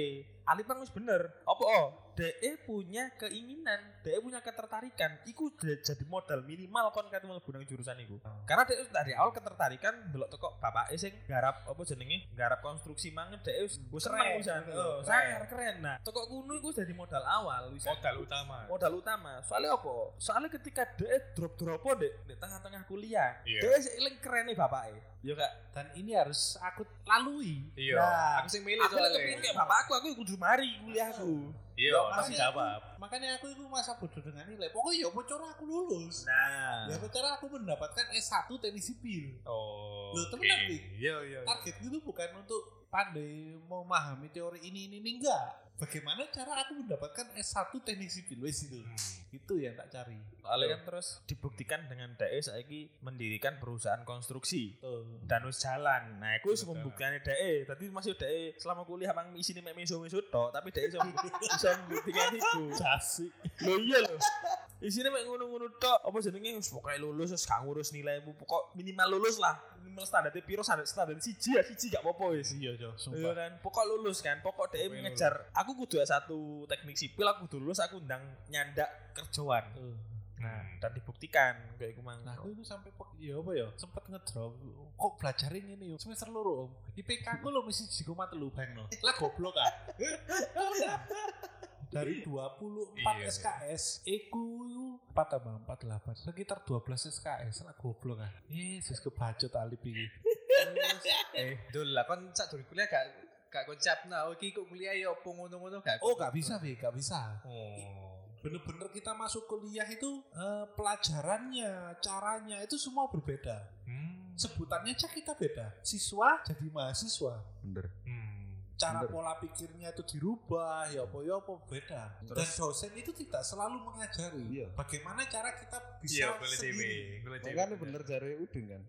B: alih kan wis bener. Apa oh, DE punya keinginan, DE punya ketertarikan, iku de- jadi modal minimal kon kan mlebu nang jurusan iku.
D: Oh.
B: Karena DE wis dari awal ketertarikan delok toko bapake sing garap apa jenenge? Garap konstruksi mangan DE wis wis seneng usaha. Oh, sangar keren. Nah, toko kuno iku jadi modal awal wis
D: Modal utama.
B: modal utama soalnya apa soalnya ketika E dia drop drop deh di tengah-tengah kuliah
D: Iya.
B: dia eling keren nih bapak ya kak
F: dan ini harus aku lalui
D: Iya.
B: Nah,
D: Aku sing milih
B: aku lagi
D: soalnya.
B: kepingin kayak bapak aku aku kudu mari kuliahku
D: Iya,
F: Makanya
D: pasti jawab.
F: aku- makanya aku itu masa bodoh dengan nilai pokoknya ya bocor aku lulus
B: nah
D: Iya.
F: ya bocor aku mendapatkan S1 teknik sipil
D: Oh.
F: Loh,
D: oke.
F: temenan, Dik.
D: Iya, iya. iya.
F: target itu bukan untuk pandai memahami teori ini ini, ini. enggak bagaimana cara aku mendapatkan S1 teknik sipil wes itu itu yang tak cari
B: Hmm. soalnya kan terus dibuktikan dengan DE saiki mendirikan perusahaan konstruksi
F: Tuh.
B: dan wis jalan nah aku wis
D: Betul.
B: membuktikan DE tadi masih DE selama kuliah mang isine mek meso-meso tok tapi DE iso iso membuktikan itu
F: Asik.
B: Loh iya loh. Isine mek ngono-ngono tok, apa jenenge wis pokoke lulus wis gak ngurus nilaimu, pokok minimal lulus lah. Minimal standar piro standar standar siji ya siji gak apa-apa wis.
F: iya
B: Iya
F: Jo, sumpah
B: kan, pokok lulus kan, pokok dhek
D: Pokoknya
B: mengejar. Aku kudu ya satu teknik sipil, aku kudu lulus, aku ndang nyandak kerjaan.
F: Tuh.
B: Nah, dan dibuktikan kayak iku mang.
F: Nah,
D: Oh.
F: aku itu sampai pek, ya apa ya? Sempet ngedrop. Kok belajar ini yuk? Semester loro, Om. IPK aku lho mesti 3,3 bang no. Lah goblok ah. Dari 24
D: Iya.
F: SKS, iku 4 tambah 4 8. Sekitar 12 SKS lah goblok ah. Yesus kebacut alip iki.
D: Eh, dul lah kon sak durung kuliah gak gak kocap nah iki kok kuliah ya opo ngono-ngono gak.
F: Oh, gak bisa, Bi, gak bisa.
D: Oh.
F: Bener-bener kita masuk kuliah itu eh, pelajarannya, caranya itu semua berbeda.
D: Hmm.
F: Sebutannya aja kita beda. Siswa jadi mahasiswa.
C: bener
D: Hmm.
F: cara
C: Bener.
F: pola pikirnya itu dirubah ya apa ya apa beda dan dosen itu tidak selalu mengajari
C: Iya.
F: bagaimana cara kita bisa
D: Iya, boleh dewe.
F: sendiri
D: Boleh dewe.
C: Makanya bener jare Udin kan.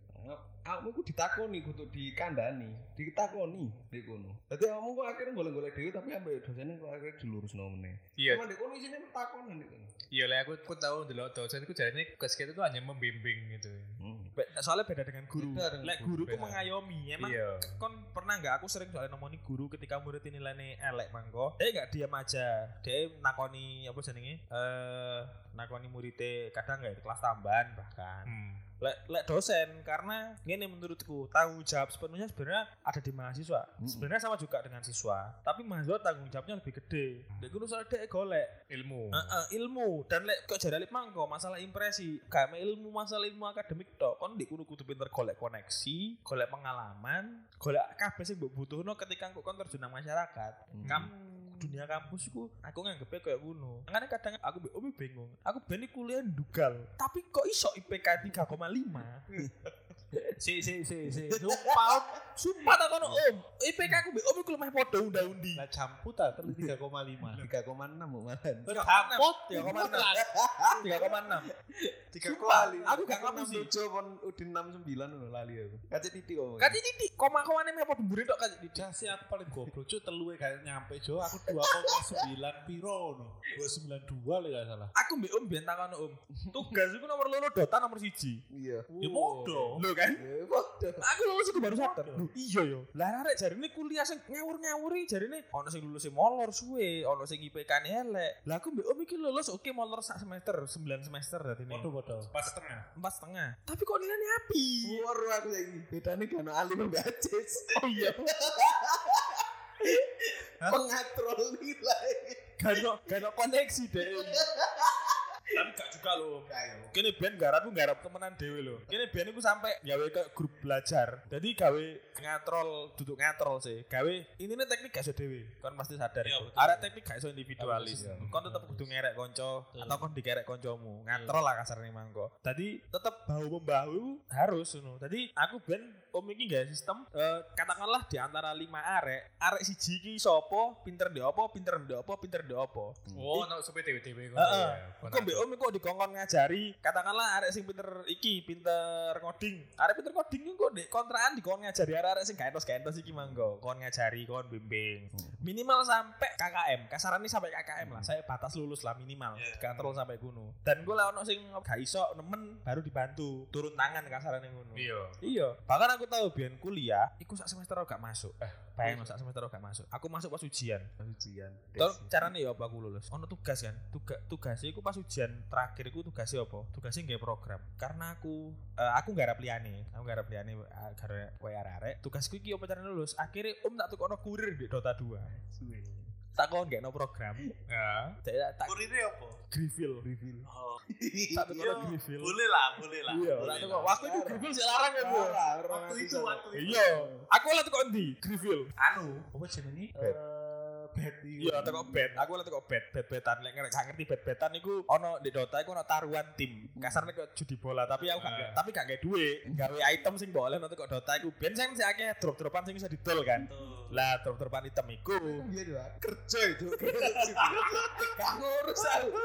C: Kamu ku ditakoni kudu dikandani, ditakoni di kono. Dadi kamu ku akhirnya golek-golek dhewe tapi ambek dosennya ku akhirnya dilurusno meneh.
D: Iya,
C: Cuma di kono isine takoni di kono.
D: iya lah aku aku tahu ndelok dosen iku jarane tugas kita itu hanya membimbing gitu.
B: Be- soalnya beda dengan guru.
C: Hmm. Beda dengan
B: Lek
C: guru,
B: guru ku
C: beda.
B: mengayomi, emang
D: Iya.
B: kon pernah nggak aku sering soalnya nemoni guru ketika murid ini nilainya elek mangko dia nggak diam aja dia nakoni apa jenenge eh nakoni muridnya kadang nggak di kelas tambahan bahkan
D: Hmm.
B: lek lek dosen karena ini menurutku tanggung jawab sepenuhnya sebenarnya ada di mahasiswa sebenarnya sama juga dengan siswa tapi mahasiswa tanggung jawabnya lebih gede
D: Hmm.
B: dia guru soalnya dia golek
D: Ilmu.
B: Heeh, ilmu dan lek kok jadi lip mangko masalah impresi kayak ilmu masalah ilmu akademik tok kon di kudu kudu pinter golek koneksi golek pengalaman golek kabeh sing mbok butuhno ketika kok kon terjun nang masyarakat
C: Hmm.
B: kamu dunia kampus ku aku nganggepnya kayak ngono karena kadang aku be- umi bingung aku beli kuliah dugal tapi kok iso IPK 3,5 si si si si sumpah Om. sumpah tak kono om IPK aku be umi kuliah podo undang-undi
F: lah campur tak terus 3,5
C: 3,6 mau malahan.
B: Berkapot 3,6 3,6 Sumpah,
C: 3,5.
B: aku gak ngerti sih.
C: 7 pon Udin 69 lho, lali aku. Kacet titik kok.
B: Kati titik, koma koma nih apa Kan diburi tok kati titik.
F: Dah sih aku paling goblok cuy teluwe kayak nyampe jo aku 2,9 piro no 292 lah gak salah
B: Aku mbak om biar takon om. Tugas itu nomor loro dota nomor siji.
C: Iya.
F: ya podo
B: Lo kan?
C: Ya padha.
B: Aku lulus itu baru sadar. Loh, iya yo. Lah arek jarine kuliah sing ngawur-ngawuri jarine ono sing lulus sing molor suwe, ono sing IPK ne elek. Lah aku mbek om iki lulus oke molor sak semester, 9 semester dadi
F: podo
B: ne.
F: podo
D: Pas setengah.
B: Empat setengah. Tapi kok nilainya api.
C: Woro aku saiki. Bedane gak ono alim ambek acis.
B: Oh iya.
C: Pengatrol nilai.
B: Gak ada- gak ada koneksi deh. Tapi gak juga loh.
D: iya. Oh,
B: Kini band garap ku garap temenan dewe loh. Kini band ku sampai gawe ke grup belajar. Jadi gawe ngatrol, duduk ngatrol sih. Gawe ini nih teknik gak iso dewe. Kon pasti sadar.
D: Iya,
B: itu.
D: betul.
B: Ada teknik gak iso individualis.
C: Iya.
B: Kon tetep kudu ngerek konco
D: Betul.
B: atau kon dikerek
E: Iya.
B: koncomu. Ngatrol lah kasarnya mangko. Tadi tetep bahu membahu harus ngono. Tadi aku band om iki gawe sistem eh, katakanlah di antara lima arek, arek siji iki sopo, pinter di opo, pinter di opo, pinter di opo.
D: Oh, no, sampai dewe-dewe ngono
B: Heeh.
D: ya. Kon
B: Kok mbek
D: aku-
B: om kok dikongkon ngajari, katakanlah arek sing pinter iki, pinter coding. Arek pinter coding iku kok dek kontrakan dikon ngajari arek-arek sing gak entos-entos iki manggo. Kon ngajari, kon bimbing. Minimal sampai KKM, kasarannya sampai KKM lah. Saya batas lulus lah minimal.
D: Iya.
B: Gak terus sampai kuno. Dan gue lah ono sing gak iso nemen baru dibantu, turun tangan kasarannya ngono.
D: Iya.
B: Iya, bahkan aku tahu biar kuliah, iku sak semester aku gak masuk. Eh, bayang sak semester aku gak masuk. Aku masuk pas ujian.
C: Oh, ujian
B: Terus caranya ya apa aku lulus? Ono tugas kan? Tugas tugasnya aku pas ujian terakhir aku tugasnya apa? Tugasnya nggak program. Karena aku eh, aku nggak harap liane, aku nggak harap liane eh, karena wae arek. Tugasku iki apa caranya lulus? Akhirnya om tak tukono kurir di Dota 2. Tak kon nggak no program.
D: Ya.
B: Tak tak
E: Kurirnya apa?
B: Grifil.
E: Oh,
B: Tak tukono Grifil.
E: boleh lah, boleh lah.
B: Iya,
E: boleh
B: tak
E: lah.
B: tukono. Waktu itu Grifil sih larang ya, Bu.
E: Waktu itu, waktu itu.
B: Iya, aku lah tukono di Grifil.
E: Anu,
F: Apa jenenge?
C: Bet.
F: Eh, Bet.
B: Iya, teko bet. Aku lek teko bet, bet-betan lek ngerti gak ngerti bet-betan iku ono di Dota iku ono taruhan tim. Kasarnya kok judi bola, tapi aku gak tapi gak kayak duit. Gawe item sing boleh ono teko Dota iku ben sing sing akeh drop-dropan sing iso didol kan. Lah drop-dropan item iku
C: Iya doa kerja itu. Gak ngurus aku.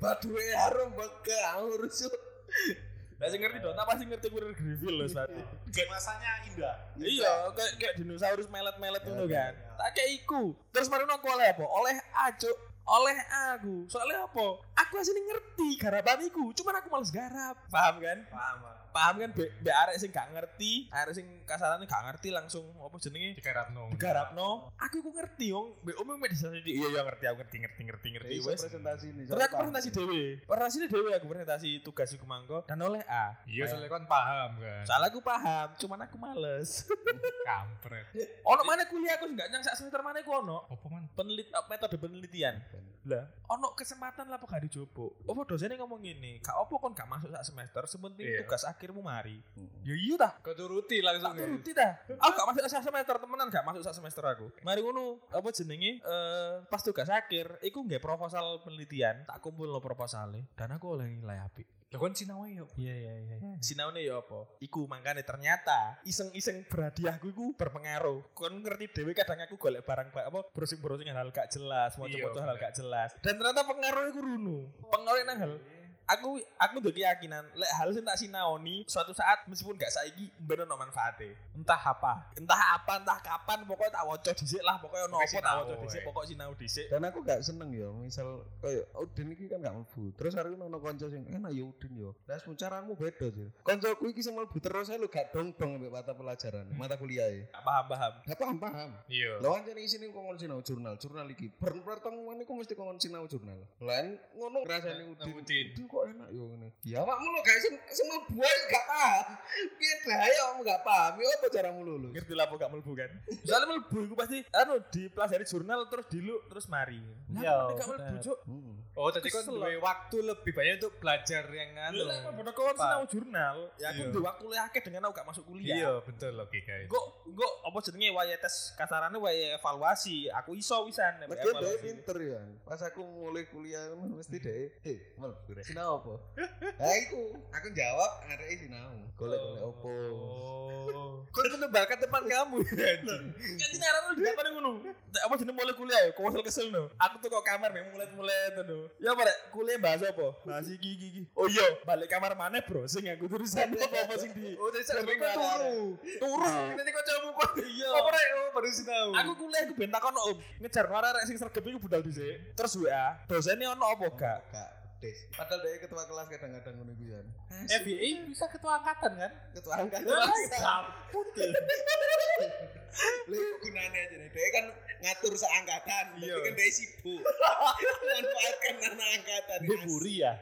C: Badue harum beke ngurus. yuk.
B: Lah sing ngerti Dota pasti ngerti kurir Griffil lho berarti.
E: game rasanya indah.
B: Iya, kayak kayak dinosaurus melet-melet ngono kan. Tak kayak iku. Terus mari aku oleh apa? Oleh ajuk oleh aku soalnya apa aku asli ngerti garapan iku cuman aku males garap paham kan
E: Paham.
B: paham kan be, be arek sing gak ngerti arek sing kasarannya gak ngerti langsung apa jenenge
D: Digarapno.
B: digarapno aku ku ngerti wong be omong medis iya iya ngerti aku ngerti ngerti ngerti ngerti
C: Iso
B: wes
C: presentasi ini.
B: terus aku presentasi dewe presentasi dewe aku presentasi tugas iku mangko dan oleh A
D: Iya, soalnya kon paham kan.
B: soalnya aku paham cuman aku males
D: Kampret.
B: ono mana kuliah aku nggak nyang sak semester mana aku ono
D: Apa man?
B: penelit eh, metode penelitian lah ono kesempatan lah apa gak dicoba apa dosennya ngomong gini kak opo kon gak masuk sak semester sementing
D: Iya.
B: tugas akhirmu mari ya iya dah
D: Kau turuti
B: Tak
D: langsung. ya?
B: turuti dah. Aku gak masuk sak semester temenan gak masuk sak semester aku. Mari ngono, apa jenenge? Eh pas tugas akhir iku nggih proposal penelitian, tak kumpul lo proposalnya dan aku oleh nilai apik.
D: Lah kon sinawe yo.
B: Iya iya iya. Sinaune ya apa? Iku mangkane ternyata iseng-iseng berhadiahku iku berpengaruh. Kon ngerti dhewe kadang aku golek barang ba- apa browsing-browsing hal gak jelas, maca-maca hal gak jelas. Dan ternyata pengaruh iku runo. Pengaruh nang hal aku aku udah keyakinan lek hal sing tak sinaoni suatu saat meskipun gak saiki bener no manfaate entah apa entah apa entah kapan pokoknya tak waca dhisik lah pokoknya ono apa
D: Pokoknya
B: tak
D: sinau,
B: waca dhisik
D: eh.
B: pokoknya sinau dhisik
C: Dan aku gak seneng ya, misal kayak oh, Udin iki kan gak mlebu. Terus hari ono kanca sing enak ya Udin ya. Lah semun caramu beda sih. Kancaku iki sing mlebu terus ae lho gak dong-dong ambek mata pelajaran, mata kuliah e.
B: gak paham-paham
C: Gak paham-paham.
D: Iya.
C: Lah anjene isine kok ngono sinau jurnal, jurnal iki. Per pertemuan iku mesti kok ngono sinau jurnal. Lain ngono rasane
D: Nang
C: Udin.
D: Udin.
C: Udin kok enak ya ngene. Ya awakmu lho gak sing sing mlebu ae gak paham. Piye dae awakmu gak paham ya apa caramu lulus?
B: ngerti lah apa gak mlebu kan soalnya mlebu iku pasti anu dipelajari jurnal terus diluk terus mari Lah,
F: Iya,
B: kok gak mlebu cuk
C: Hmm.
D: Oh, tadi kon
B: Kesel
D: duwe waktu lebih banyak untuk belajar yang anu.
B: Lha padha kon sinau jurnal ya aku
D: Iya.
B: duwe waktu luwih akeh dengan aku gak masuk kuliah
D: Iya, betul logika itu.
B: Gue gue apa jenenge wayahe tes kasarane wayahe evaluasi. Aku iso wisan nek
C: Mereka dia
B: evaluasi.
C: pinter ya. Pas aku mulai kuliah kan mesti deh. Eh, mal, sinau apa? Nah, iku aku jawab ada sinau. Golek golek
B: Oh.
C: opo.
B: Kau itu nembakan depan kamu ya Kan ini arah lu di depan ngono. Apa jenenge mulai kuliah ya? Kau kesel kesel no. Aku tuh kok kamar memang mulai mulai itu no. Ya apa Rek? kuliah bahasa apa? Bahasa gigi gigi. Oh iya, balik kamar mana bro? Sing aku tulisan apa apa sing di.
D: Oh, tadi
B: Tapi kok turu, turu. Nanti kau coba kok. Iya.
D: Apa rek? Oh, baru sinau.
B: Aku kuliah aku bentak ono om ngejar warna rek sing sergep iku budal dhisik. Terus WA, dosennya ono apa gak?
C: Gak des. Padahal dia ketua kelas kadang-kadang ngono iku ya.
F: FBI Eh, bisa ketua angkatan kan?
C: Ketua angkatan.
F: Sampun deh.
C: Lha iku gunane aja nih. Dia kan ngatur seangkatan. Tapi kan dia sibuk. Manfaatkan anak angkatan.
F: Dia buri ya.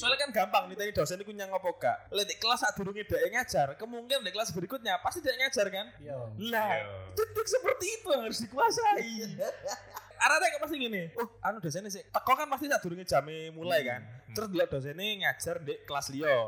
B: Soalnya kan gampang nih tadi dosen itu nyang apa gak? Lah di kelas saat durungnya dia ngajar, kemungkinan di kelas berikutnya pasti dia ngajar kan?
F: Iya.
C: Iya.
B: Lah, titik seperti itu yang harus dikuasai. arahnya kok pasti gini. Oh, anu dosennya sih. Teko kan pasti tak durunge jame mulai kan.
D: Hmm.
B: Terus delok dosennya ngajar di kelas liya.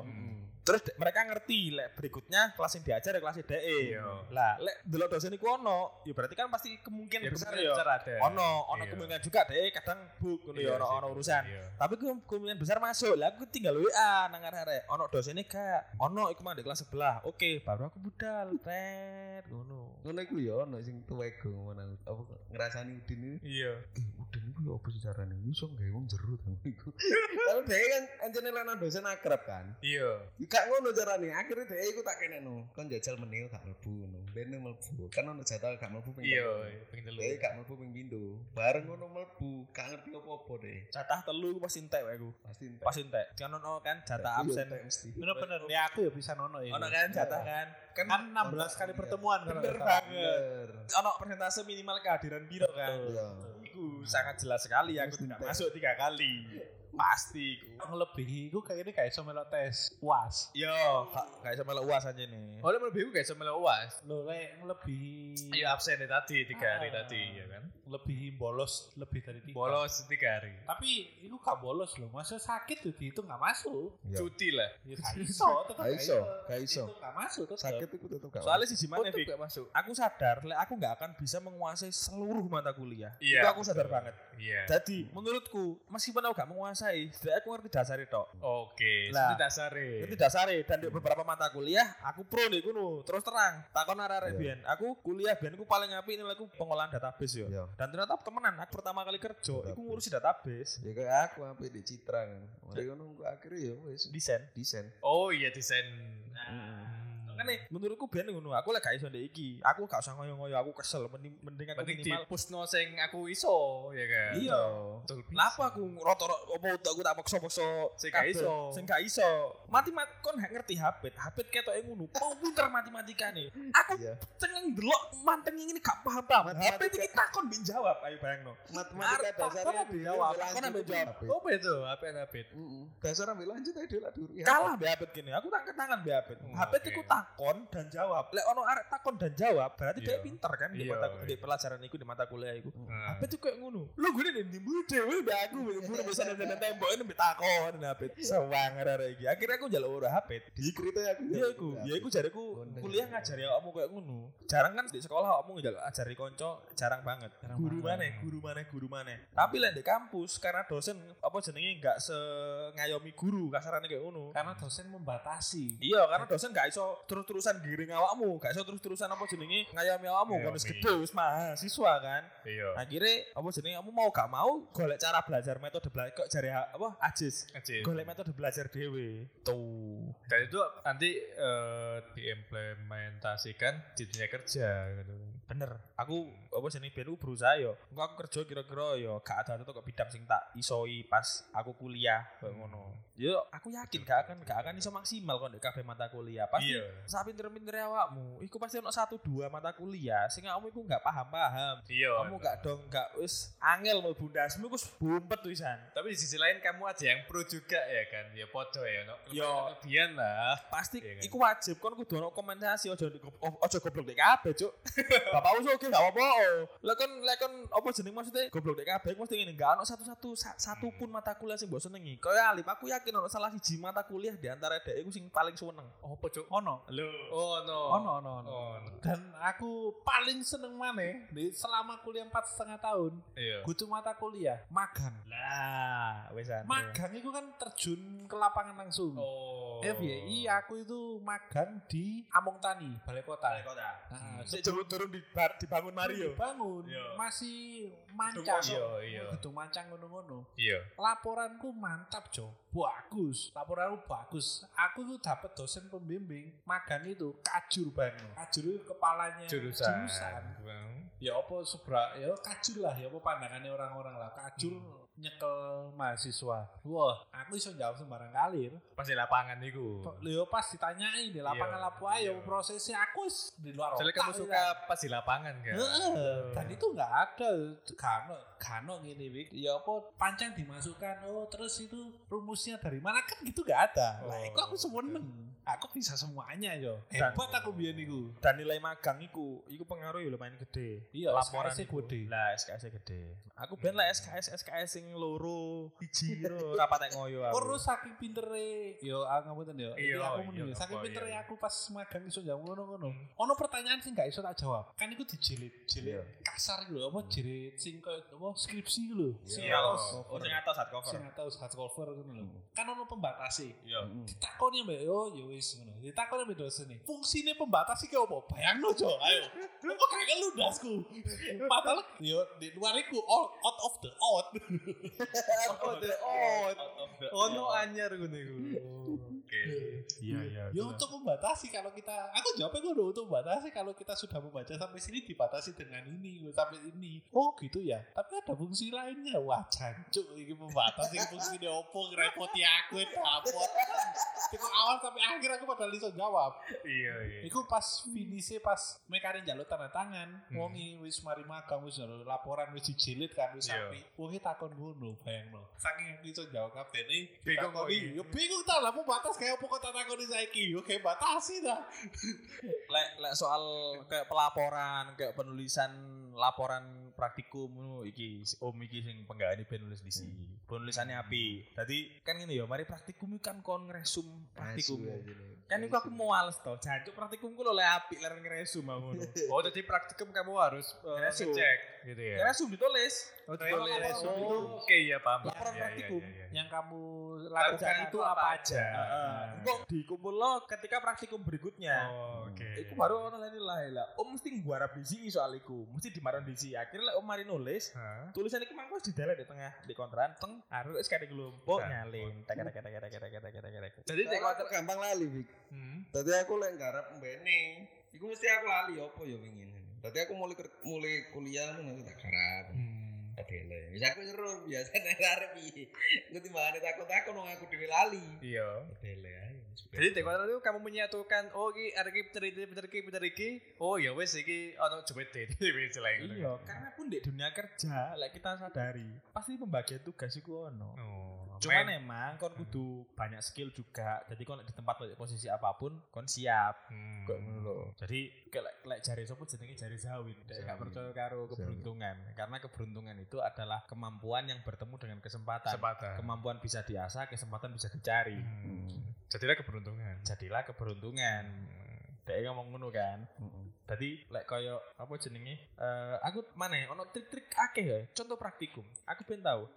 B: Terus de- mereka ngerti lek berikutnya kelas yang diajar ya kelas DE.
D: Iya.
B: Lah, lek delok dosen iku ono, ya berarti kan pasti kemungkinan besar ya.
D: ada.
B: Ono, ono
D: Iya.
B: kemungkinan juga DE kadang buk ngono ya ono ono urusan.
D: Iya.
B: Tapi ke- kemungkinan besar masuk. Lah aku tinggal WA nang arek-arek. Ono dosennya gak. Ono iku mang di kelas sebelah. Oke, baru aku budal. Tet ngono.
C: Ngono iku ya ono sing tuwek go ngono. Apa ngrasani Udin ini.
B: Iya.
C: "Eh, Udin iku ya apa sih carane? Iso gawe wong jero ta ngono iku. Kalau dhek kan anjene lan dosen akrab kan.
D: Iya.
C: Gak ngono carane. Akhirnya dhek iku tak kenekno. Kon jajal meneh gak mlebu ngono. Bene mlebu. Kan ono jadwal gak mlebu ping
D: Iya,
C: telu.
D: pengen telu.
C: Dhek gak mlebu ping pindho. Bareng ngono mlebu, gak ngerti apa-apa dhek.
B: Jatah telu iku pasti entek wae aku.
C: Pasti entek.
B: Pas entek. Kan ono kan jatah
C: Iya,
B: absen.
C: entek mesti.
F: Bener-bener ya aku ya bisa nono ya.
B: Ono kan jatah kan. Kan
F: Kan 16 kali pertemuan kalau
B: bener
F: nggak salah.
B: banget.
D: Iya.
B: Ono persentase minimal kehadiran biro kan.
C: Iya.
B: Iku sangat jelas sekali aku tidak masuk tiga kali. Pasti iku.
F: Ngelebihi gue kayaknya kayak iso melok tes UAS.
B: Yo, gak gak iso melu uas aja nih.
D: Oleh melebihi gue Oh, gak bisa melakukan uas.
F: Lo kayak ngelebihi
D: Iya absen deh tadi tiga hari
F: Ah.
D: tadi ya kan.
F: lebih bolos lebih dari tiga.
D: Bolos tiga hari.
F: Tapi itu gak bolos loh. Masa sakit tuh itu gak masuk.
C: Iya.
D: Cuti lah.
F: Ya gak iso, tetep
C: Gak iso, gak iso.
F: Itu gak masuk tetep.
C: Sakit iku tetep gak.
B: Soalnya sih gimana
D: Tetep
B: Vic?
D: gak masuk.
B: Aku sadar, lek aku nggak akan bisa menguasai seluruh mata kuliah.
D: Iya,
B: Itu aku sadar
D: betul.
B: banget.
D: Iya.
B: Jadi menurutku, meskipun aku gak menguasai, setidaknya aku ngerti dasarnya tok.
D: Oke.
B: Lah.
D: Cuti dasare.
B: Ngerti dasarnya dan di beberapa mata kuliah aku pro nih kuno. Terus terang, takon arek-arek
C: Iya.
B: biyen. Aku kuliah biyen aku paling apik nilaiku pengolahan database yo.
C: Iya.
B: Dan ternyata temenan aku pertama kali kerja, aku
C: Database.
B: ngurusi database,
D: Iya.
C: Ya kayak aku sampai di Citra kan. Mari ngono aku akhirnya ya wis
B: desain.
C: desain.
D: Oh iya desain.
B: Kan nih, menurutku biyen ngono, aku lek gak iso ndek iki. Aku gak usah ngoyo-ngoyo, aku kesel mending, mending aku
D: Mending di
B: minimal
D: push no sing aku iso ya kan.
B: Iya.
D: Betul.
B: Kenapa aku rotor opo aku tak paksa-paksa
D: Sing gak
B: kabel,
D: iso.
B: Sing gak iso. Mati mati kon gak ngerti habit. Habit ketoke ngono. Mau pinter matematika nih. Aku
C: Iya.
B: cengeng delok manteng ini gak paham-paham.
C: Matematika.
B: Habit iki takon ben jawab. Ayo bayangno.
C: Matematika
B: Arta,
C: dasarnya
B: kan ambil
C: dia
B: jawab,
C: lanjut
B: kan ambil
C: itu
B: jawab.
C: habis.
D: Apa itu? Apa yang habit?
C: Mm-mm. Dasar ambil lanjut aja lah dulu. Ya.
B: Kalah be habit gini. Aku tak ketangan be habit.
D: Oh,
B: habit
D: oke.
B: iku takon dan jawab. Lek ono arek takon dan jawab, berarti dia
D: Iya.
B: pinter kan di
D: Iya,
B: mata
D: iya.
B: di pelajaran iku di mata kuliah iku.
D: Nah.
B: Habit iku kayak ngono. Lu gue nih nimbu dhewe be aku be mbuh bisa nendang tembok ini be takon habit. Sewang arek iki. Akhirnya aku njaluk ora habit.
C: Di cerita aku.
B: Iya iku, ya iku jariku
C: Gondeng.
B: kuliah ngajari awakmu kayak ngono. Jarang kan di sekolah awakmu ngajak ajari konco, jarang banget. guru mana, guru mana, guru mana. Tapi lah di kampus karena dosen apa jenenge nggak se ngayomi guru kasarane kayak ngono.
F: Karena dosen membatasi.
B: Iya, karena dosen gak iso terus-terusan giring awakmu, gak iso terus-terusan apa jenenge ngayomi awakmu, kan wis
D: Ngayomi.
B: gede wis mahasiswa kan.
D: Iya.
B: Akhirnya apa jenenge kamu mau gak mau golek cara belajar metode belajar kok jari apa ajis.
D: Ajin.
B: Golek metode belajar dhewe. Tuh.
D: Dan itu nanti eh, diimplementasikan di dunia kerja gitu.
B: bener aku apa sih nih aku berusaha yo engko aku kerja kira-kira yo gak ada tuh ke bidang sing tak isoi pas aku kuliah kayak ngono
D: Hmm.
B: yo aku yakin gak akan gak akan iso maksimal kon di kabeh mata kuliah pasti
D: Iya.
B: saat pinter-pinter awakmu iku pasti ono satu dua mata kuliah sing awakmu iku gak paham-paham
D: Iya.
B: kamu gak dong gak wis angel mau bundasmu iku wis bumpet wisan
D: Tapi di sisi lain kamu aja yang pro juga ya kan. Ya podo ya. No.
B: Iya.
D: Kelebihan lah.
B: pasti
D: Iya kan?
B: iku wajib kon kudu ono kompensasi ojo di- o- ojo goblok dek kabeh cuk bapak usul oke gak apa-apa lek kon lek kon apa jeneng maksudnya goblok dek kabeh mesti ngene gak ono satu-satu sa- satu
D: Hmm.
B: pun mata kuliah sing mbok senengi kaya alim aku yakin ono salah siji mata kuliah di antara dek iku sing paling seneng
F: Apa cuk? Ono.
D: Lo. Oh no.
F: Ono, ono, ono.
D: Oh, no.
F: Dan aku paling seneng mana di selama kuliah empat setengah tahun.
D: Iya.
F: Gue cuma mata kuliah magang.
B: lah wesan
F: Magang itu kan terjun ke lapangan langsung.
D: Oh.
B: Eh, Iya,
F: FYI aku itu magang di Among Tani, Balai Kota. Nah, Balai Kota.
B: sik turun di bar- dibangun Hmm. Mario
F: Bangun
D: Iya.
F: masih mancang. Oh,
D: Iya, iya.
F: Gedung mancang ngono-ngono.
D: Iya.
F: laporanku mantap Jo bagus laporanku bagus aku tuh dapat dosen pembimbing magang itu kajur banget kajur itu kepalanya
D: Jurusan.
F: ya apa sebra ya kajur lah ya apa pandangannya orang-orang lah kajur
D: Hmm.
F: nyekel mahasiswa wah aku iso jawab sembarang kali
D: Pasti lapangan itu.
F: Leo pas ditanyain di lapangan
D: Iya,
F: lapo ayo
D: iya.
F: prosesnya aku wis di luar
D: Soalnya kamu
F: otak, ya.
D: suka pas di lapangan
B: Ya.
D: kan.
F: Heeh, dan itu nggak ada kano kano gini Wik. ya apa pancang dimasukkan oh terus itu rumusnya dari mana kan gitu nggak ada lah
D: Oh,
F: itu aku semua
D: betul.
F: seneng aku bisa semuanya yo.
B: Dan-
F: Hebat aku biyen niku.
B: Dan nilai magang iku, iku pengaruh ya lumayan gede.
F: Iya,
B: laporan
F: SKS-nya
B: iku.
F: gede.
B: Lah, SKS
D: E
B: -nya gede. Aku ben E
D: Hmm.
B: lah SKS SKS sing loro, hiji loro, rapat ngoyo aku.
F: Oh, Terus saking pintere, yo aku ngapunten yo. Iki
D: Iya,
F: aku
D: iya,
F: menunggu. Saking
D: apa,
F: pintere
D: iya.
F: aku pas magang iso jawab ngono-ngono. Ono pertanyaan sing gak iso tak jawab. Kan iku
C: Iya.
F: dijelit, jelit kasar gitu lho, apa jelit sing koyo apa skripsi gitu lho. Sing
B: Hmm. Iya.
F: atas
B: Oh,
F: cover.
B: sing atas hard cover.
F: Sing atas hard cover ngono lho. Kan ono pembatasi.
B: Iya.
F: Ditakoni mbak, yo yo wis ngono. Ditakoni mbak dosen nih. Fungsine pembatasi ki opo? Bayangno jo, ayo. Opo kagak ludasku. Padahal yo di luar iku all out of the out.
C: Oh, the odd.
D: Ono anyar ngono iku. Oh. Oke. Iya iya.
F: Ya untuk membatasi kalau kita, aku jawabnya gue udah untuk membatasi kalau kita sudah membaca sampai sini dibatasi dengan ini sampai ini. Oh gitu ya. Tapi ada fungsi lainnya. Wah jancuk ini membatasi fungsi ini opo ngerepoti aku dapot. Itu awal sampai akhir aku padahal iso jawab.
D: Iya iya.
F: Iku pas finishnya pas mekarin jalur tanda tangan,
D: Hmm.
F: wongi wis mari magang wis njaluk laporan wis dijilid kan wis
D: Iya.
F: sampai wongi takon ngono bayangno. Saking aku iso jawab kabeh
D: Bingung kok
F: takoni,
D: iki.
F: yo bingung ta lah mau batas kayak apa kok tak takoni saiki, yo kayak batasi ta.
B: Lek lek soal kayak pelaporan, kayak penulisan laporan praktikum ngono iki si- om iki sing penggaweane ben nulis disi. Penulisannya api. Tadi kan ngene ya, mari praktikum iki kan kon ngresum praktikum. Kan iku aku males to, jancuk praktikumku lho lek apik leren ngresum aku ngono.
D: Oh jadi praktikum kamu harus eh,
B: Resum.
D: ngecek gitu ya.
B: Ngresum ditulis.
D: Oh,
B: Kayak
D: ditulis.
B: laporan
D: Resum
B: itu.
D: itu Oke iya paham.
B: Laporan
D: Iya, iya,
B: praktikum.
D: iya, iya.
F: Yang kamu
D: Lakukan
F: lakukan itu apa aja?
B: Heeh. Engko dikumpul lo ketika praktikum berikutnya.
D: Oh, Oke.
B: Iku baru orang lain lah lah. Om mesti nggarap disi soal iku. Mesti dimaron disi. Akhirnya lah om mari nulis.
D: Hah?
B: Tulisan iku mangko di di tengah di kontran teng arep wis kadek gelombok
D: Nah.
B: nyalin. Tek tek tek tek tek tek tek tek tek.
D: Jadi
C: Soalnya
D: nek
C: aku gampang lali, Vic.
D: Hmm.
C: Tadi aku lek nggarap mbene. Iku mesti aku lali opo ya wingi. Tadi aku mulai ker- mulai kuliah ngono tak garap.
B: Hmm.
C: Adele. Wis aku seru biasa nek arep piye. Iku timbangane takon-takon wong aku dhewe lali.
D: Iya.
C: Adele ae. wis
D: Jadi
C: biasa.
D: tek itu kamu menyatukan oh iki arek iki bener iki bener iki bener iki. Oh ya wis iki ono jepit dhewe wis lah gitu.
B: Iya, karena pun di dunia kerja lek kita sadari pasti pembagian tugas iku ono.
D: Oh.
B: Cuman
D: men.
B: emang kon kudu banyak skill juga. Jadi kon di tempat di posisi apapun kon siap.
D: Hmm.
B: Kok ngono lho. Jadi kayak lek- lek jari sopo jenenge jari zawin. Dek gak
C: Zawin.
B: percaya karo keberuntungan. Karena keberuntungan itu adalah kemampuan yang bertemu dengan kesempatan.
D: Kesempatan.
B: Kemampuan bisa diasah, kesempatan bisa dicari.
D: Hmm. Jadilah keberuntungan.
B: Jadilah keberuntungan. Dek ngomong ngono kan. Tadi lek koyo apa jenenge? Eh aku maneh ono trik-trik akeh ya. Contoh praktikum. Aku ben tau.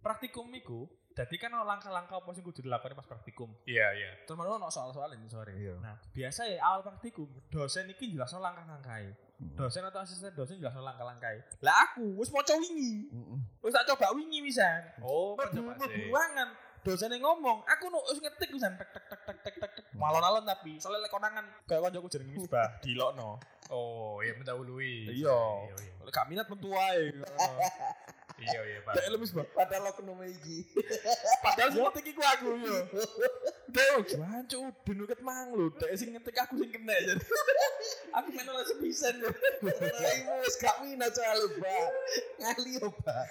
B: Praktikum iku jadi kan ono langkah-langkah apa sing kudu dilakoni pas praktikum.
D: Iya iya.
B: Terus malah ono soal-soal ini sore.
C: Iya.
B: Nah, biasa ya awal praktikum dosen iki jelasno langkah-langkahe.
F: Hmm.
B: Dosen atau asisten dosen jelasno langkah-langkahe. Lah aku wis maca wingi.
C: Heeh.
B: Wis tak coba wingi wisan.
D: Oh,
B: Mlebu
D: coba
B: mlebu
F: Iya.
D: sih.
B: ruangan. Dosennya ngomong, aku nu wis ngetik wisan tek tek tek tek tek tek tek.
F: Hmm.
B: Malon-alon tapi soalnya lek konangan kayak kancaku jenenge Misbah dilokno.
D: Oh, ya mendahului.
B: Iya.
D: Iya, iya.
B: Lek gak minat metu wae.
D: Iya iya Pak.
B: Dek lu Misbah.
C: Padahal aku nemu iki.
B: Padahal sing ngetik iku aku yo. Deo, gimana cu, ben nuket mang lho, dek sing ngetik aku sing kena jadi. aku main oleh sepisan lho.
C: Ibu wis gak minat soalnya, Mbak. Ngali yo, Mbak.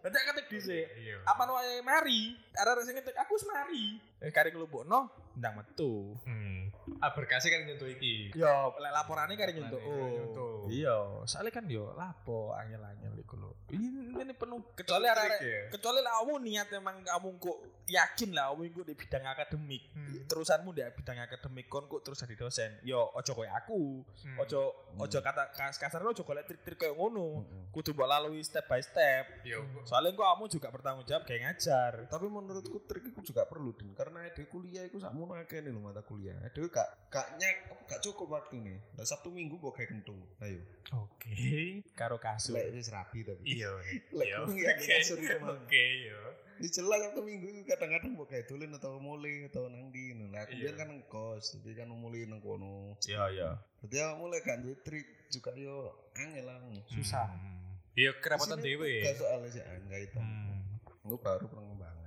B: Nanti aku ngetik dhisik.
D: Iya.
B: Apa wae mari, ada sing ngetik aku wis mari. Eh kari nglebokno ndang metu.
D: Hmm. Aberkasi kan nyentuh iki.
B: Yo, lek laporane kari nyuntuk.
D: Laporane kari nyuntuk.
B: Iya, soalnya kan yo lapo angel-angel iku lho. Ini ini penuh kecuali arek
D: Trik ya.
B: kecuali lah kamu niat emang kamu kok yakin lah kamu ikut di bidang akademik
D: Hmm.
B: terusanmu di bidang akademik kon kok terus jadi dosen yo ojo koyo aku
D: Hmm.
B: ojo ojo kata kas- kasar ojo golek trik-trik koyo ngono kudu mbok lalui step by step
D: Yo.
B: soalnya kok kamu juga bertanggung jawab kayak ngajar
C: Tapi menurutku trik itu juga perlu din karena ada kuliah itu sak mono akeh nih lho mata kuliah. Ada gak gak nyek apa gak cukup waktu nih. Lah Sabtu Minggu kok kayak kentung. Ayo.
D: Oke.
B: karo kasur
C: Lek wis rapi tapi.
D: Iya.
C: Lek
D: Iya.
C: kuwi yang
D: Oke.
C: kasur itu mah.
D: Oke, iya. yo.
C: Di celah Sabtu Minggu itu kadang-kadang kok kayak tulen atau mulai atau nang di. ngono. Lah aku
D: Iya.
C: biyen kan ngekos, jadi kan mulai nang kono.
B: iya iya
C: Dadi aku mulai gak duwe trik juga yo angel lah.
B: susah
D: Hmm. Iya kerepotan dewe.
C: Gak soal sih enggak itu.
D: Hmm.
C: Aku baru pengembangan.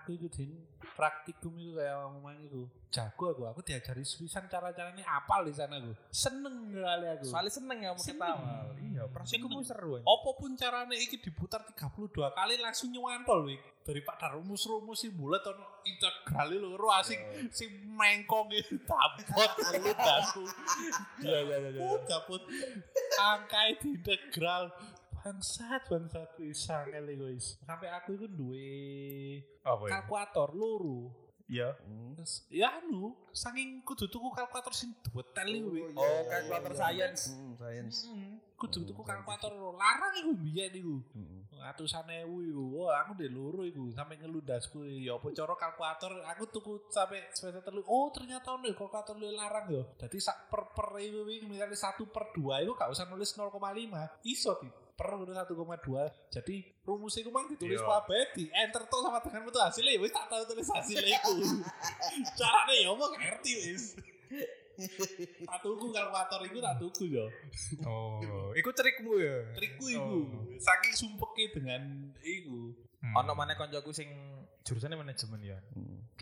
F: Aku itu din praktikum itu kayak orang omong itu. Jago aku, aku diajari sulisan cara-caranya apal di sana aku. Seneng kali aku.
B: soalnya seneng ya mau
F: Seneng.
B: ketawa
C: Iya,
B: ya proses
F: Sing
B: itu
F: penting.
B: seru anjing.
F: Apa pun carane iki diputar 32 kali langsung nyuwantol iki. Daripada rumus-rumus sing bulat ono integrale loro asing
B: Iya,
F: sing mengkong iki dapot lu dasku.
B: iya iya iya iya.
F: Oh, dapot angkae diintegral. Bangsat, bangsat pisang kali guys. Sampai aku iku duwe
B: Apa ya?
F: kalkulator loro.
B: Iya.
F: Terus, Ya anu, saking kudu tuku kalkulator sing duwe tel iki.
C: iya,
B: Oh, kalkulator science.
C: Hmm, science.
F: Mm, kudu tuku
C: Hmm.
F: kalkulator
B: iya,
F: loro. larang iku biyen iku.
C: Hmm.
F: ratusan ewu iku wah aku ndek loro iku sampe ngelundasku ya apa cara kalkulator aku tuku sampe sepeda telu oh ternyata ono ya kalkulator lu larang yo dadi sak per per iku iku, misalnya satu per dua iku gak usah nulis 0,5 iso di per ngono 1,2 jadi rumus iku mang ditulis
B: Iya.
F: kabeh di enter to sama dengan metu hasilnya wis tak tau tulis hasilnya iku carane ya apa gak ngerti wis tak tuku kalkulator iku tak tuku yo
D: Oh, iku trikmu ya.
F: trikku iku saking sumpeke dengan iku
D: Hmm.
B: Ono mana koncoku sing jurusannya manajemen ya.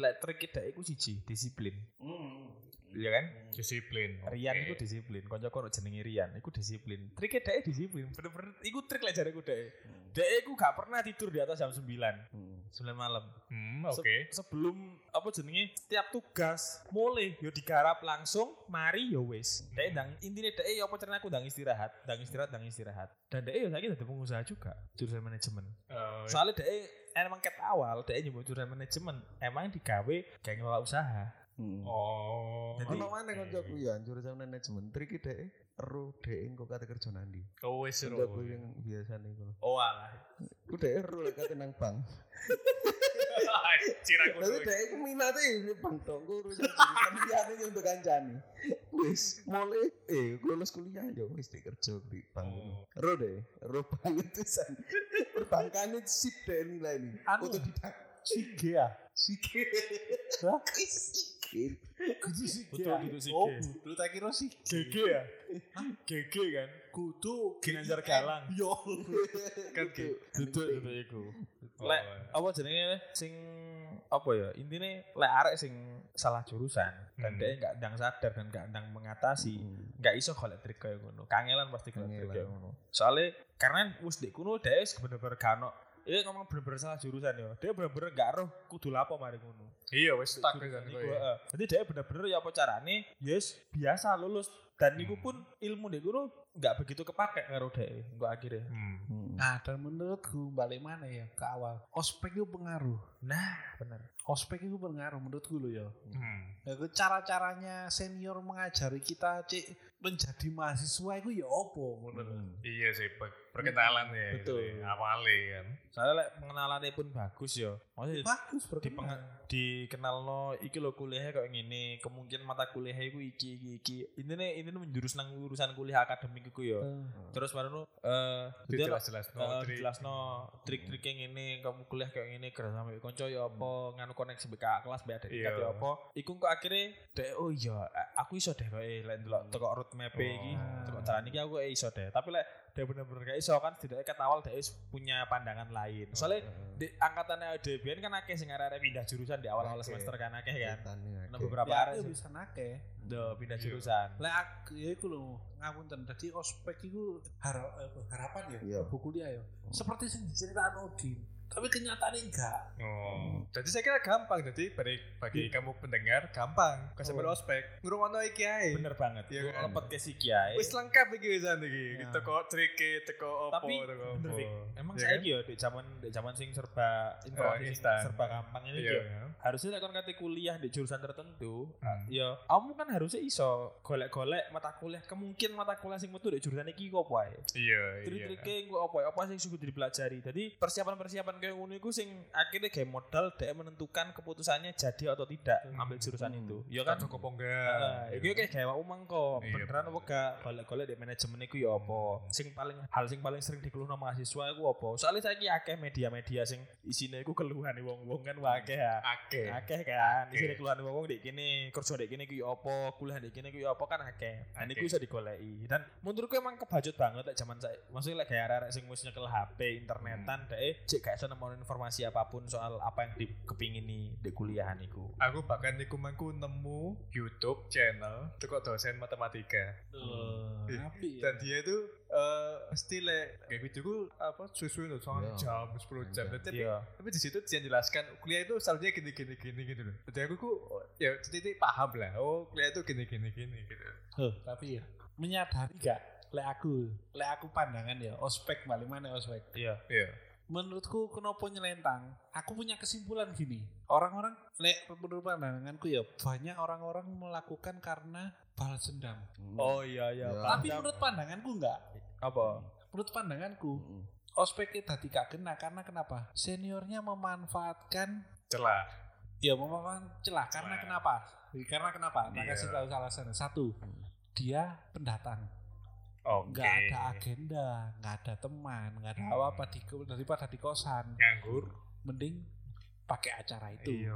B: Lek trik kita iku siji disiplin.
D: hmm,
B: Iya kan?
D: disiplin.
B: Rian
D: Oke.
B: iku disiplin. Koncoku ono jenenge Rian, iku disiplin. Triknya dhek disiplin. Bener-bener iku trik lek jareku dhek. Dhek iku gak pernah tidur di atas jam 9. 9 malam.
D: Hmm,
B: Se-
D: oke.
B: sebelum apa jenenge setiap tugas mulai yo digarap langsung mari yo wis dek ndang intine dek yo apa carane aku ndang istirahat ndang istirahat ndang istirahat dan dek "Eh, yo saiki dadi pengusaha juga jurusan manajemen
D: Eh,
B: soalnya dek emang ket awal dek nyebut jurusan manajemen emang digawe kayak ngelola usaha
D: Oh.
B: Jadi-
C: Ono mana kancaku
D: Hmm.
C: ya jurusan manajemen trik dhek ero dhek engko kate kerja nandi.
D: Oh, wis seru.
C: Kancaku yang biasane iku.
B: oh alah
C: Ku dhek ero lek kate nang bank.
D: Anjir aku
C: Tapi
D: duwe.
C: dhek iku minate di bank tok ku urusan jurusan liyane yang untuk kancane. Wis mulai eh ku lulus kuliah ya wis dhek kerja di bank.
D: Oh.
C: Ero dhek ero banget pisan. Perbankane sip dhek nilai ini.
F: Anu.
C: Untuk didak
F: Sige ya?
C: sikil.
F: Hah?
C: Sikil.
F: Kudu sige.
B: Betul, kudu sige.
F: Oh, kudu tak kira sige.
B: GG ya GG kan
F: Kudu
B: Ginanjar Galang.
F: Yo.
C: Kan gitu.
B: duduk duduk iku
D: Oh,
B: lek apa jenenge sing apa ya intine lek arek sing salah jurusan dan
D: Hmm.
B: dek nggak ndang sadar dan nggak ndang mengatasi nggak iso golek trik kaya ngono. Kangelan pasti golek trik
C: Kangelan.
B: kaya ngono. Soale karena wis ndek kuno dhewe bener-bener gak ono. Iya ngomong bener-bener salah jurusan ya. Dia bener-bener gak roh kudu lapo mari ngono.
D: Iya, wis stuck kan
B: Jurusan
D: kowe.
B: iku, heeh. Jadi dia bener-bener ya apa carane? Yes, biasa lulus dan niku
D: Hmm.
B: pun ilmu ndek kuno nggak begitu kepake karo dhewe engko akhirnya.
D: Hmm.
F: Nah, dan menurutku balik mana ya ke awal. Ospek itu pengaruh.
B: Nah, bener.
F: Ospek itu pengaruh menurutku lo ya.
D: Hmm.
F: Ya, itu cara-caranya senior mengajari kita cek menjadi mahasiswa itu ya opo ngono.
D: Iya sih, per- perkenalan ya.
B: Betul.
D: gitu ya, Awalnya kan.
B: Soalnya lek pengenalannya pun bagus ya. Maksudnya
F: Bagus
B: di
F: berarti.
B: dikenal no iki lo kuliahnya kayak gini kemungkinan mata kuliahnya iku iki iki iki ini nih ini menjurus nang urusan kuliah akademik iku
C: Iya.
B: ya terus baru no eh jadi Eh, lo
D: Jelas-jelas
B: jelas no trik-trik yang ini kamu kuliah kayak gini kerja sama konco ya apa nganu koneksi BK kelas BK dekat ya
D: Iya.
B: apa iku kok akhirnya deh oh iya a- aku iso deh kok eh lek ndelok teko road map iki
D: Hmm. Oh.
B: teko jalan iki aku eh, iso deh tapi lek deh bener-bener gak iso kan setidaknya ket awal deh punya pandangan lain
D: Eh,
B: soalnya di angkatannya DBN kan akeh sing arek pindah jurusan di awal-awal
C: Oke.
B: semester kan akeh kan. Nah,
C: Oke.
B: beberapa
F: Ya,
B: arek
F: itu
B: sih
F: bisa nake.
B: do pindah
D: Iya.
B: jurusan.
F: Lek aku ya iku lho, ngapunten dadi ospek iku har- apa, harapan ya,
C: Iya.
F: buku kuliah ya.
B: Oh.
F: Seperti sing diceritakan Odin, tapi kenyataannya enggak.
D: Oh. Jadi saya kira gampang. Jadi bagi, bagi kamu pendengar gampang. Kasih
B: Iya. Oh.
D: ospek. Ngurungono iki ae.
B: Bener banget.
D: Iya
B: Itu
D: kan?
B: lepet ke si kiai.
D: Wis lengkap iki wisan iki. Gitu
B: Ya.
D: Teko trike, teko opo,
B: Tapi,
D: teko
B: bener,
D: opo.
B: Dik. Emang
D: Iya
B: saya
D: kan?
B: ya di zaman di zaman sing serba informasi sing
D: instan.
B: serba gampang ini
D: Iya.
B: ya. Harusnya lek kon kate kuliah di jurusan tertentu,
D: Hmm.
B: ya kamu kan harusnya iso golek-golek mata kuliah kemungkinan mata kuliah sing metu di jurusan iki kok wae.
D: Iya, iya.
B: trik-triknya gue apa ya, apa sih yang sudah dipelajari jadi persiapan-persiapan kayak ngono itu sing akhirnya kayak modal dia menentukan keputusannya jadi atau tidak
D: Hmm.
B: ambil jurusan
C: Hmm.
B: itu ya kan
D: Kan cukup apa enggak?
B: Nah, itu kayak kayak mau mengko
D: Iya,
B: beneran apa
D: bener.
B: gak golek-golek di manajemen itu ya apa sing paling hal sing paling sering dikeluh sama mahasiswa itu apa soalnya saya akeh media-media sing isinya itu keluhan wong-wong kan wakeh ya
D: Oke.
B: akeh kan
D: Oke.
B: isinya keluhan wong-wong di kini kerja di kini ku ya apa kuliah di kini ku apa kan akeh nah ini
D: Oke.
B: bisa digoleki dan menurutku emang kebajut banget lek zaman saya maksudnya lek kayak arek sing wis nyekel HP internetan deh cek Eh, gak iso nemonin informasi apapun soal apa yang dikepingini di kuliahan iku
D: Aku bahkan niku mangku nemu YouTube channel teko dosen matematika.
F: Tapi ya,
D: Dan dia itu eh mesti lek kayak gitu ku apa susu itu soalnya
C: Iya.
D: jam 10 jam tapi
B: Iya.
D: tapi di situ dia jelaskan kuliah itu seharusnya gini gini gini gitu loh jadi aku ku oh, ya titik paham lah oh kuliah itu gini gini gini gitu
F: Huh, tapi ya menyadari gak lek aku lek aku pandangan ya ospek balik mana ospek
B: Iya.
D: iya
F: menurutku kenapa nyelentang aku punya kesimpulan gini orang-orang lek menurut pandanganku ya banyak orang-orang melakukan karena balas dendam
B: Oh iya iya.
C: Iya.
B: paham.
F: tapi menurut pandanganku enggak
B: apa?
F: menurut pandanganku ospeknya tadi gak kena karena kenapa seniornya memanfaatkan
D: celah
F: Ya memang celah karena
D: Celah.
F: kenapa? Karena kenapa?
D: Iya.
F: Nah,
D: Hmm.
F: kasih tahu alasannya. Satu, dia pendatang,
D: oh
F: nggak ada agenda, nggak ada teman, nggak ada
D: Hmm.
F: apa-apa di daripada di kosan,
D: nganggur
F: mending pakai acara itu.
D: iya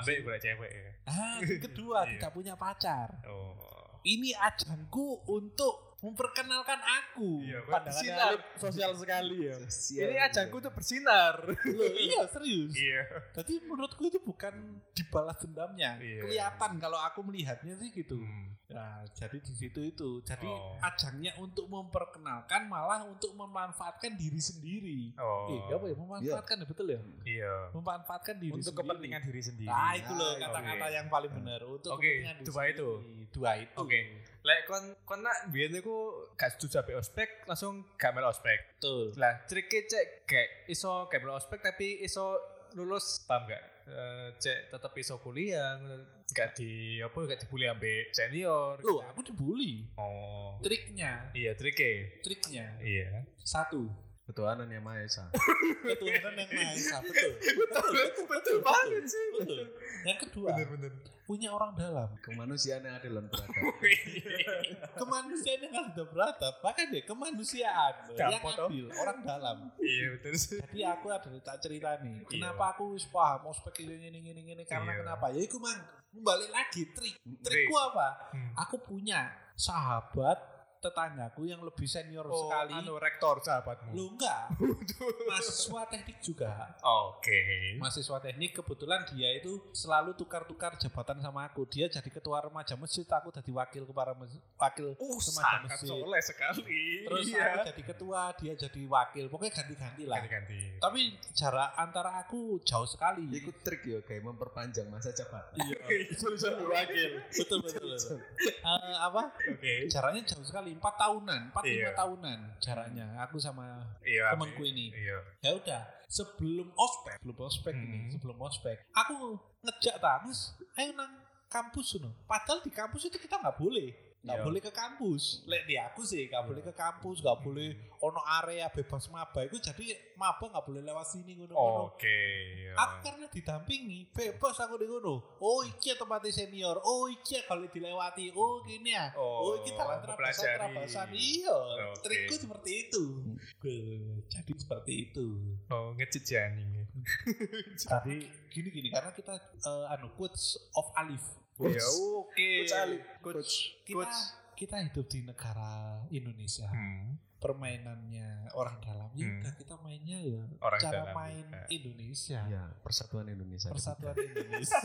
D: ambek gue cewek ya
F: Nah, yang kedua
D: Iya.
F: tidak punya pacar.
D: oh
F: Ini ajangku untuk memperkenalkan aku.
D: Iya, gue
F: Pandangannya
B: Bersinar sosial sekali ya.
C: iya,
D: ini ajangku tuh bersinar
F: Loh, iya serius.
D: iya
F: Jadi menurutku itu bukan dibalas dendamnya.
D: Iya.
F: Kelihatan kalau aku melihatnya sih gitu.
D: Hmm.
F: Nah, jadi di situ itu. Jadi
D: Oh.
F: ajangnya untuk memperkenalkan malah untuk memanfaatkan diri sendiri.
D: oh
F: Eh, apa ya? Memanfaatkan ya, betul ya?
D: iya
F: Memanfaatkan diri
B: Untuk
F: sendiri.
B: kepentingan diri sendiri.
F: Nah, itu loh
C: Nah,
F: kata-kata
D: oke.
F: yang paling benar untuk
D: Oke,
F: kepentingan diri
D: dua itu.
F: sendiri. Dua itu.
D: Oke. Lek kon kon nak biyen iku gak setuju sampai ospek langsung gak melu ospek.
F: Betul.
D: Lah triknya cek gak iso gak melu ospek tapi iso lulus paham gak? Eh, cek tetep iso kuliah ngono. gak di apa gak dibully ambek senior.
F: Loh, aku dibully.
D: Oh.
F: Triknya,
D: Iya triknya.
F: triknya.
D: Iya.
F: Satu,
C: Ketuhanan yang maha esa.
F: ketuhanan yang maha esa, betul.
D: Betul betul banget sih.
F: Betul. Yang kedua,
D: bener.
F: punya orang dalam.
C: Kemanusiaan yang adil dan beradab.
F: Kemanusiaan yang sudah beradab, bahkan ya kemanusiaan yang
D: Dapet, toh.
F: adil, orang dalam.
D: Iya betul sih.
F: Jadi aku ada tak cerita nih. Kenapa aku wis paham ospek ini ini ini ini karena
D: Iya.
F: kenapa? Ya iku mang balik lagi trik.
D: Trik.
F: Trikku apa?
D: Hmm.
F: Aku punya sahabat tetanggaku yang lebih senior sekali.
D: anu rektor sahabatmu.
F: Lu enggak. mahasiswa teknik juga.
D: Oke.
F: Mahasiswa teknik kebetulan dia itu selalu tukar-tukar jabatan sama aku. Dia jadi ketua remaja masjid, aku jadi wakil kepala masjid, wakil
D: Uh,
F: remaja
D: sangat
F: masjid.
D: soleh sekali. Iya.
F: Terus aku jadi ketua, dia jadi wakil. Pokoknya Iya. ganti-ganti lah.
D: ganti-ganti.
F: Tapi jarak antara aku jauh sekali. Eh,
C: Iku trik ya kayak memperpanjang masa jabatan.
F: betul betul. betul. Eh, apa?
D: Oke.
F: Jaraknya jauh sekali, empat tahunan, empat lima
D: Iya.
F: tahunan jaraknya. Aku sama
D: Iya.
F: temanku ini.
D: Iya.
F: Ya udah, sebelum ospek, sebelum ospek ini,
D: Hmm.
F: sebelum ospek, aku ngejak ta, Mas, ayo nang kampus no. Padahal di kampus itu kita nggak boleh. Nggak
D: Iya.
F: boleh ke kampus. Lek di aku sih nggak boleh ke kampus, nggak boleh ono area bebas maba. Itu jadi maba nggak boleh lewat sini ngono-ngono.
D: Oke. iya.
F: Aku karena didampingi, bebas aku di ngono. Oh iki ya tempatnya senior, oh iki ya kalau dilewati, oh gini ya.
D: Oh,
F: Oh, iki talan terabasan
D: mempelajari.
F: terabasan. Iya,
D: Oke.
F: trikku seperti itu. Be- Jadi seperti itu.
D: Oh, ngecit ya ini.
F: Tapi gini gini karena kita eh, anu quotes of Alif. Eh,
D: Ya oke.
C: Coach Ali. Coach.
F: Kita
D: Quotes.
F: kita hidup di negara Indonesia.
D: Hmm,
F: Permainannya orang dalam ya
D: Hmm.
F: udah kita mainnya ya Iya.
D: Orang
F: cara
D: dalam.
F: main
D: Eh,
F: Indonesia.
C: Ya, persatuan Indonesia.
F: Persatuan Indonesia.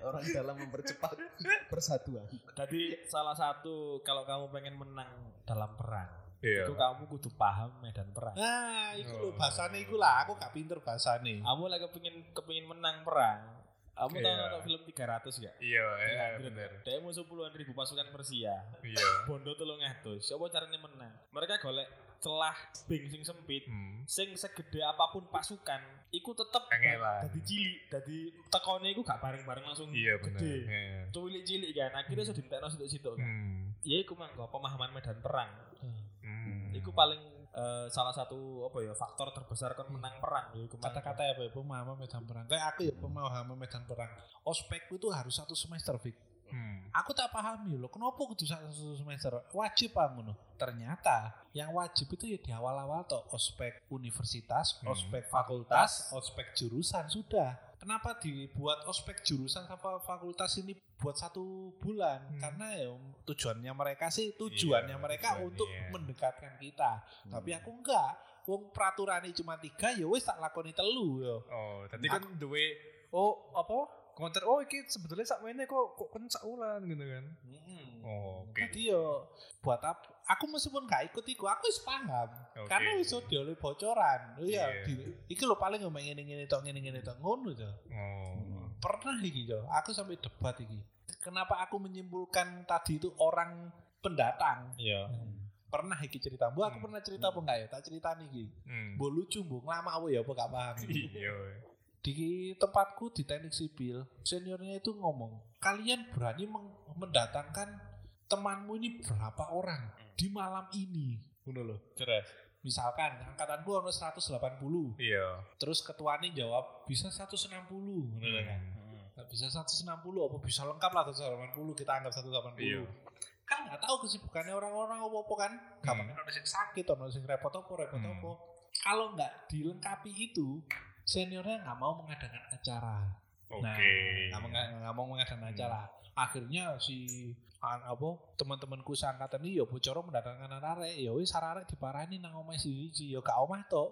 C: Orang dalam mempercepat persatuan.
B: Tadi salah satu kalau kamu pengen menang dalam perang,
D: Iya.
B: itu kamu kudu paham medan perang.
F: Nah, iku lho bahasane iku lah, aku gak pinter bahasane. ya.
B: Kamu lagi kepingin kepingin menang perang. Kamu tahu
D: Iya.
B: nonton film 300 gak?
D: Iya, eh, bener.
B: Bener. Dia musuh puluhan ribu pasukan Persia.
D: Iya.
B: Bondo tolong atus. Siapa caranya menang? Mereka golek celah bing sing sempit.
D: Hmm.
B: Sing segede apapun pasukan, iku tetep
D: Kangelan.
B: dadi cilik, dadi tekone iku gak bareng-bareng langsung
D: Iya bener.
B: gede.
D: Iya.
B: Cilik-cilik kan, akhirnya sudah ditekno situ-situ kan.
D: Hmm.
B: Ya iku mangko pemahaman medan perang.
D: Hmm.
B: Iku paling eh, salah satu apa ya faktor terbesar kan menang perang ya iku mangko.
F: Kata-kata ya, Pak, pemahaman medan perang. Kayak aku ya
D: Hmm.
F: pemahaman medan perang. Ospekku itu harus satu semester, Fik.
D: Hmm.
F: Aku tak pahami loh, kenapa kudu satu semester? Wajib apa ngono? Ternyata yang wajib itu ya di awal-awal toh ospek universitas,
D: Hmm.
F: ospek fakultas, ospek jurusan sudah. Kenapa dibuat ospek jurusan sama fakultas ini buat satu bulan?
D: Hmm.
F: Karena ya tujuannya mereka sih tujuannya
D: Iya,
F: mereka
D: tujuannya. Hmm.
F: untuk mendekatkan kita. Tapi aku enggak. Wong ya. peraturannya cuma tiga, ya wis tak lakoni telu yo.
D: Oh, tadi kan duwe oh apa?
B: konter oh iki sebetulnya sak mainnya kok kok kencak ulan gitu kan. Oh, oke.
F: Jadi yo buat apa? Aku meskipun gak ikut iku, aku wis paham.
B: Oke.
F: Karena wis dioleh bocoran. Iya,
B: Iya.
F: di- iki lho paling ngomong ngene-ngene tok ngene-ngene tok ngono to.
B: Oh.
F: Pernah iki yo, aku sampai debat iki. Kenapa aku menyimpulkan tadi itu orang pendatang?
B: Iya.
F: Pernah iki cerita. Bu, aku
B: Hmm.
F: pernah cerita apa enggak ya? Tak cerita iki.
B: Hmm.
F: Bu lucu, Bu. Lama aku ya apa gak paham.
B: Iya.
F: di tempatku di teknik sipil seniornya itu ngomong kalian berani meng- mendatangkan temanmu ini berapa orang di malam ini Ngono loh
B: Terus.
F: misalkan angkatanku ono 180
B: Iya.
F: terus ketuanya jawab bisa 160 Ngono loh
D: Hmm.
F: kan
B: Hmm.
F: Nggak bisa 160 apa bisa lengkap lah 180 kita anggap
B: Iya.
F: 180 kan nggak tahu kesibukannya orang-orang apa-apa kan kapan ada yang sakit ada yang repot apa repot
B: Hmm.
F: apa kalau nggak dilengkapi itu seniornya nggak mau mengadakan acara
B: Oke.
F: Nah, nggak mau
B: Iya.
F: nggak mau mengadakan acara akhirnya si an, apa teman-temanku seangkatan ini ya bocoro mendatangkan arek ya wis arek diparani nang omah si si ya gak omah tok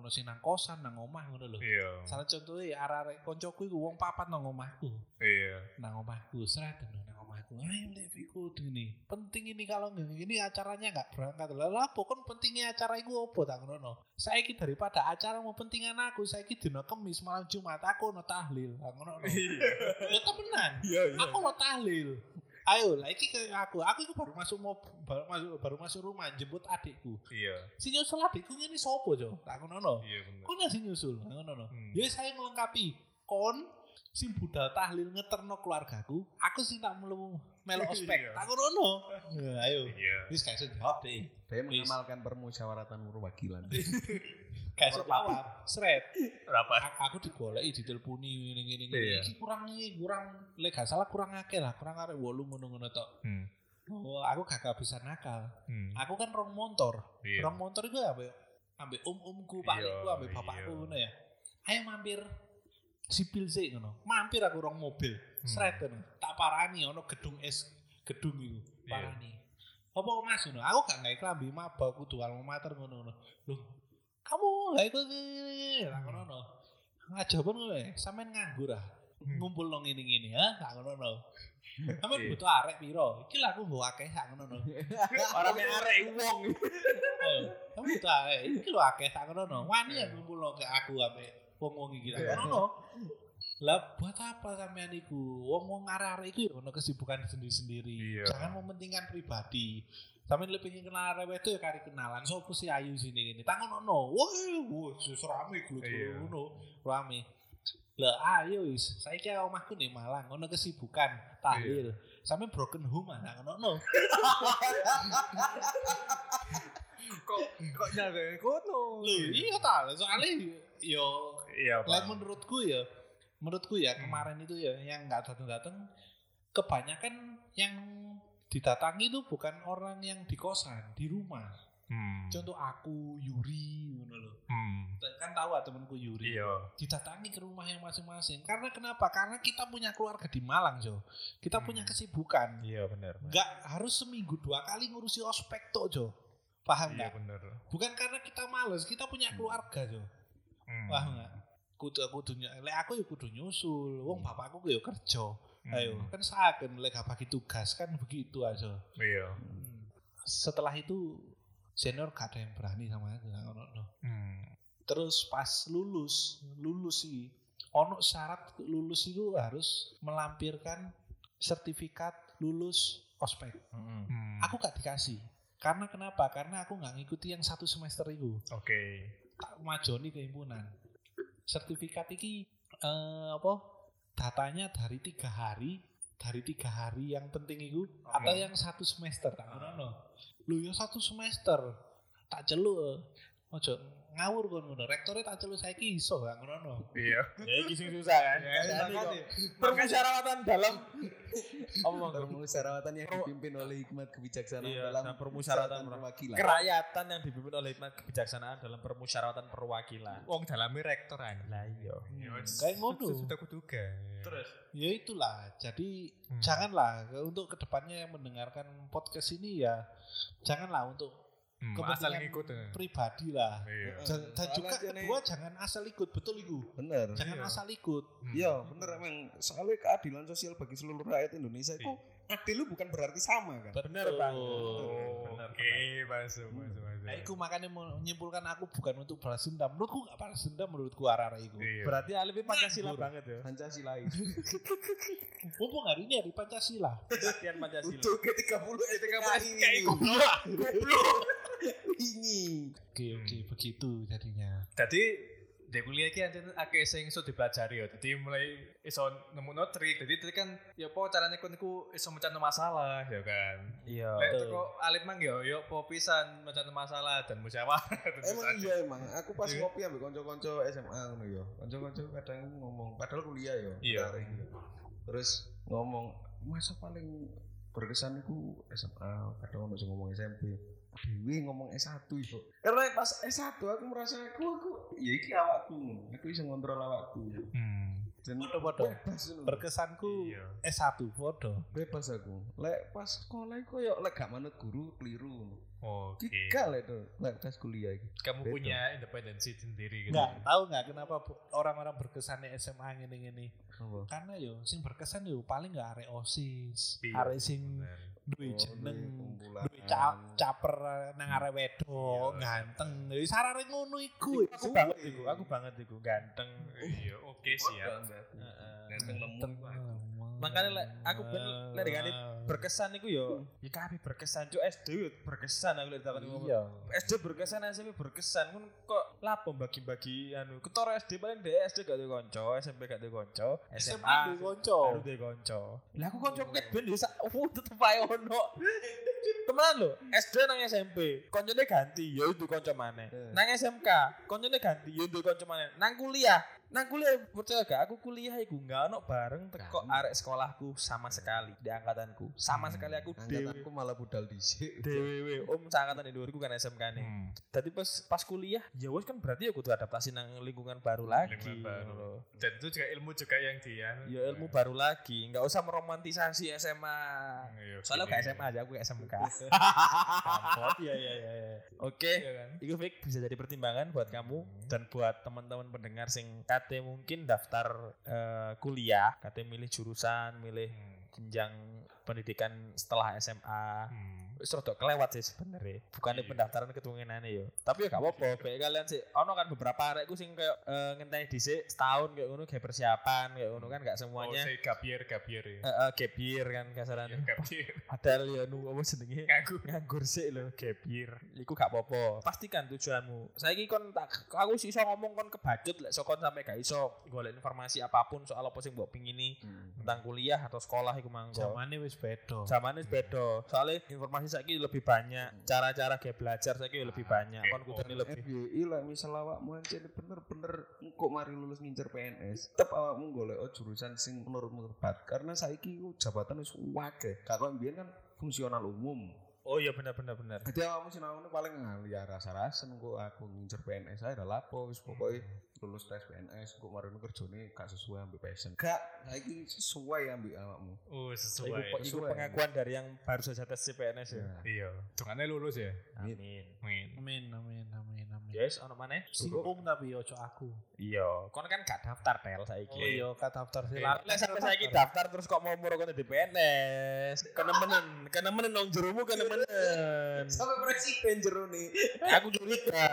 F: ono sing nang kosan nang omah ngono lho
B: Iya.
F: salah contohnya ya arek koncoku iku wong papat nang omahku
B: Iya.
F: nang omahku seret ngono, nang omahku ayo lek ikut ini penting ini kalau nggak ini acaranya nggak berangkat lah lah pokon pentingnya acara iku opo tak ngono saya daripada acara mau pentingan aku saya dina kemis malam jumat aku no tahlil tak ngono ya temenan
C: Iya.
F: aku mau tahlil ayo lah iki ke aku aku itu baru masuk mau baru masuk baru masuk rumah jemput adikku
B: Iya.
F: si nyusul adikku ini sopo jo tak ngono no
B: Iya bener.
F: kok nggak si nyusul tak ngono no
B: Hmm.
F: ya saya melengkapi kon si budal tahlil ngeterno keluargaku aku sih tak melu melu ospek
B: Iya.
F: tak ngono no Ya, ayo
B: Iya.
F: wis gak iso jawab deh
C: Dia mengamalkan permusyawaratan perwakilan.
F: gak iso jawab seret
B: Rapat.
F: A- aku digoleki ditelponi ngene ngene ngene
B: Iya.
F: iki kurang iki kurang lek gak salah kurang akeh lah kurang arek 8 ngono-ngono tok
B: Hmm.
F: oh aku gak kehabisan nakal
B: Hmm.
F: aku kan rong motor
B: Iya.
F: rong motor itu ambek ambek om-omku pakku
B: Iya,
F: ambek bapakku
B: iya.
F: ngono ya ayo mampir sipil sih ngono mampir aku rong mobil
B: Hmm.
F: sret ngono tak parani ono gedung es gedung itu
B: Iya.
F: parani apa mas ngono aku gak ngai klambi maba kudu alma mater ngono ngono loh kamu gak ikut
B: Hmm.
F: tak ngono no ngajak pun ngono ya sampean nganggur ah ngumpul nong ini ini ya tak ngono no sampean
B: Hmm. Iya.
F: butuh arek piro iki lah aku nggo akeh tak ngono no
B: Orangnya arek wong.
F: Ayo, Eh, kamu butuh arek iki lho akeh tak ngono no wani
B: Hmm.
F: ya ngumpul ke aku ambek wong-wong iki tak ngono no lah buat apa sampean iku wong-wong arek-arek iku ya ono kesibukan sendiri-sendiri
B: Iya.
F: jangan mementingkan pribadi Sampeyan lebih pengen kenal arek wedok ya kari kenalan sopo sih ayu sini ini tak ngono no wah wis rame
B: Iya.
F: glu-glu ngono rame lah ayo wis saiki omahku nih Malang ono kesibukan
B: Iya.
F: tahlil sampe broken home ah tak ngono no
B: Kok kok nyampe kono.
F: Loh, iya ta, soalnya yo
B: Iya,
F: Lah
B: Pak.
F: menurutku ya, menurutku ya
B: Hmm.
F: kemarin itu ya yang nggak datang-datang kebanyakan yang didatangi itu bukan orang yang di kosan, di rumah.
B: Hmm.
F: Contoh aku Yuri ngono lho.
B: Hmm.
F: Kan tahu ah temanku Yuri.
B: Iya.
F: Didatangi ke rumah yang masing-masing. Karena kenapa? Karena kita punya keluarga di Malang, Jo. Kita
B: Hmm.
F: punya kesibukan.
B: Iya bener.
F: Nggak harus seminggu dua kali ngurusi ospek tok, Jo. Paham
B: Iya
F: nggak?
B: bener.
F: Bukan karena kita males, kita punya keluarga, Jo.
B: Hmm.
F: Wah enggak. Kudu aku dunya, lek aku ya kudu nyusul. Wong bapakku ya kerja.
B: Hmm.
F: Ayo, kan saken lek gak bagi tugas kan begitu aja.
B: Iya.
F: Setelah itu senior gak ada yang berani sama aku. gak ono, no.
B: Hmm.
F: Terus pas lulus, lulus sih ono syarat lulus itu harus melampirkan sertifikat lulus ospek.
B: Hmm.
F: Aku gak dikasih. Karena kenapa? Karena aku nggak ngikuti yang satu semester itu.
B: Oke.
F: tak majoni kehimpunan sertifikat iki eh, apa datanya dari tiga hari dari tiga hari yang penting itu atau yang satu semester tak ngono lu yo satu semester tak celuk eh. ojo ngawur kon ngono rektore tak celuk saiki iso gak ngono
B: Iya. Ya iki sing susah kan.
D: iya,
B: Permusyawaratan dalam
C: Permusyawaratan yang dipimpin oleh hikmat kebijaksanaan
B: Iya,
C: dalam
B: nah, permusyawaratan
C: perwakilan.
B: kerakyatan yang dipimpin oleh hikmat kebijaksanaan dalam permusyawaratan perwakilan.
D: Wong dalami rektor ae.
B: Lah iya.
F: kayak ngono
D: Sudah kuduga. Terus.
F: ya itulah jadi
D: Hmm.
F: janganlah untuk kedepannya yang mendengarkan podcast ini ya janganlah untuk
D: Hmm,
F: kepentingan
D: asal ngikut. eh.
F: pribadi lah.
D: Iya.
F: Dan, dan
C: Soalnya
F: juga
C: jene-
F: kedua jangan asal ikut, betul itu.
C: bener
F: Jangan
D: Iya.
F: asal ikut.
D: Hmm.
C: iya bener emang soalnya keadilan sosial bagi seluruh rakyat Indonesia
D: Iya.
C: itu adil itu bukan berarti sama kan
B: Bener banget. Bener,
D: Oh, Oke,
B: Hmm.
D: masuk, masuk, masuk.
F: Nah, iku makanya menyimpulkan aku bukan untuk balas dendam. Menurutku gak balas dendam menurutku arah-arah iku.
D: Iya.
B: Berarti Alif Pancasila banget ya.
C: Pancasila
F: Mumpung hari ini hari Pancasila.
B: Kesaktian Pancasila.
C: untuk ke 30 STKI ini
F: Oke,
D: Hmm.
F: oke, begitu jadinya.
D: Jadi di kuliah iki ancen akeh sing iso dipelajari ya. Dadi mulai iso nemuno trik. Dadi trik kan ya apa carane kon iku iso mecahno masalah ya kan.
B: Iya.
D: Lek teko alit mang ya ya apa pisan mecahno masalah dan musyawarah. tentu
C: emang
D: saja.
C: iya emang aku pas ngopi ambil konco-konco SMA ngono ya konco-konco kadang ngomong padahal kuliah ya
D: Iya.
C: kemarin. terus ngomong masa paling berkesan itu SMA kadang ono sing ngomong SMP Dewi ngomong S1 yo. Karena pas S1 aku merasa aku aku ya iki awakku. Aku bisa ngontrol awakku.
D: Hmm.
C: Dan
F: Podo-podo.
C: bebas ngono.
F: Berkesanku
D: Iya.
F: S1 foto.
C: bebas aku. Lek pas sekolah iku koyo lek gak manut guru keliru.
D: Oke.
C: Iki gak lek to, lek pas kuliah iki.
D: Kamu
C: Beda.
D: punya independensi sendiri gitu.
F: Enggak, tahu nggak kenapa bu- orang-orang berkesannya SMA ngene-ngene?
C: Apa?
F: Karena yo sing berkesan yo paling gak arek OSIS,
D: Iya,
F: arek sing
D: Bener.
F: duwe
C: Oh, duwe
F: jeneng,
C: kumpulan.
F: duwe ca- caper nang arek
D: Iya.
F: wedok, ganteng. Wis arek ngono iku.
B: Aku banget iku, aku banget iku ganteng.
D: Iya, oke siap.
C: Ganteng lemu.
B: Makanya lek aku ben lek dikane berkesan iku yo ya kabeh berkesan cuk SD yo berkesan aku lek takon ngomong.
F: Iya.
B: SD berkesan, SMP berkesan. Kun kok lapo bagi-bagi anu. Ketara SD paling dhek SD gak duwe kanca, SMP gak duwe kanca,
F: SMA
B: SMA
F: duwe kanca.
B: baru duwe kanca. Lah aku kanca ket ben yo sak oh tetep ae ono. Temenan lho, SD nang SMP, koncone ganti, ya itu kanca maneh.
D: Iya.
B: Nang SMK, koncone ganti, ya itu kanca maneh. Nang kuliah, nang kuliah percaya gak aku kuliah iku gak ono bareng teko arek sekolahku sama sekali di angkatanku. Sama
D: Hmm,
B: sekali aku dhewe.
C: Angkatanku malah budal dhisik.
B: Dewe, om seangkatan di dhuwurku kan SMK nih.
D: Hmm.
B: Tadi pas pas kuliah, ya wes kan berarti ya kudu adaptasi nang lingkungan baru lagi.
D: Lingkungan baru.
B: ngono.
D: Dan itu juga ilmu juga yang dia.
B: Ya ilmu baru lagi, nggak usah meromantisasi SMA.
D: Iya,
B: Soalnya
D: gini.
B: gak SMA aja, aku SMK. Iya iya iya. Hmm. Oke,
D: Iya kan?
B: itu Vic bisa jadi pertimbangan buat kamu dan buat teman-teman pendengar sing kate mungkin daftar eh, kuliah, kate milih jurusan, milih
D: Hmm.
B: jenjang pendidikan setelah SMA.
D: Hmm.
B: wis rada kelewat sih sebenarnya bukannya
D: Iya.
B: pendaftaran ketungenane yo tapi ya gak apa-apa baik kalian sih ono kan beberapa arekku sing kayak eh, ngenteni dhisik setahun kayak ngono kayak persiapan kayak ngono kan gak semuanya
D: Oh, saya gabier, gabier ya.
B: eh, eh, gap year kan
D: Iya,
B: kasarannya
D: gabier.
B: padahal ya nu apa jenenge
D: Nganggur.
B: nganggur sih lo gap year iku gak apa-apa pastikan tujuanmu saiki kon tak aku sih iso ngomong kon kebacut lek sokon sampe gak iso golek informasi apapun soal apa sing mbok pingini tentang kuliah atau sekolah iku mangko
F: Zamane wis beda.
B: Zaman itu beda. Soalnya informasi saiki lebih banyak, cara-cara kayak belajar saiki lebih banyak.
D: oke.
B: Kon kudune lebih.
C: FYI lah misal awakmu aja bener-bener engkok mari lulus ngincer PNS tetep awakmu golek oh, jurusan sing menurutmu tepat karena saiki ku jabatan wis akeh gak koyo mbiyen kan fungsional umum
B: Oh iya benar benar benar.
C: Jadi awakmu sinau paling ngali ya rasa-rasa engko aku ngincer PNS ae lah lapo wis pokoke lulus tes PNS engko mari kerjane gak sesuai ambek passion. Gak saiki sesuai ambek awakmu.
D: Oh,
B: Iku,
D: sesuai.
B: iku
C: sesuai.
B: pengakuan dari yang baru saja tes CPNS ya.
D: Iya. Tungannya lulus ya.
B: Amin.
D: Amin.
F: Amin amin amin amin.
B: Yes, ono maneh?
F: Singkung tapi ya, ojo aku.
B: Iya, kon kan gak daftar tel saiki.
F: Oh iya, kata daftar
B: Lah
F: silat.
B: lek sampe saiki daftar terus kok mau moro kon di PNS. Kenemenen, kenemenen nang jeromu kenemenen.
C: Sampai presiden jero nih.
B: Aku curiga.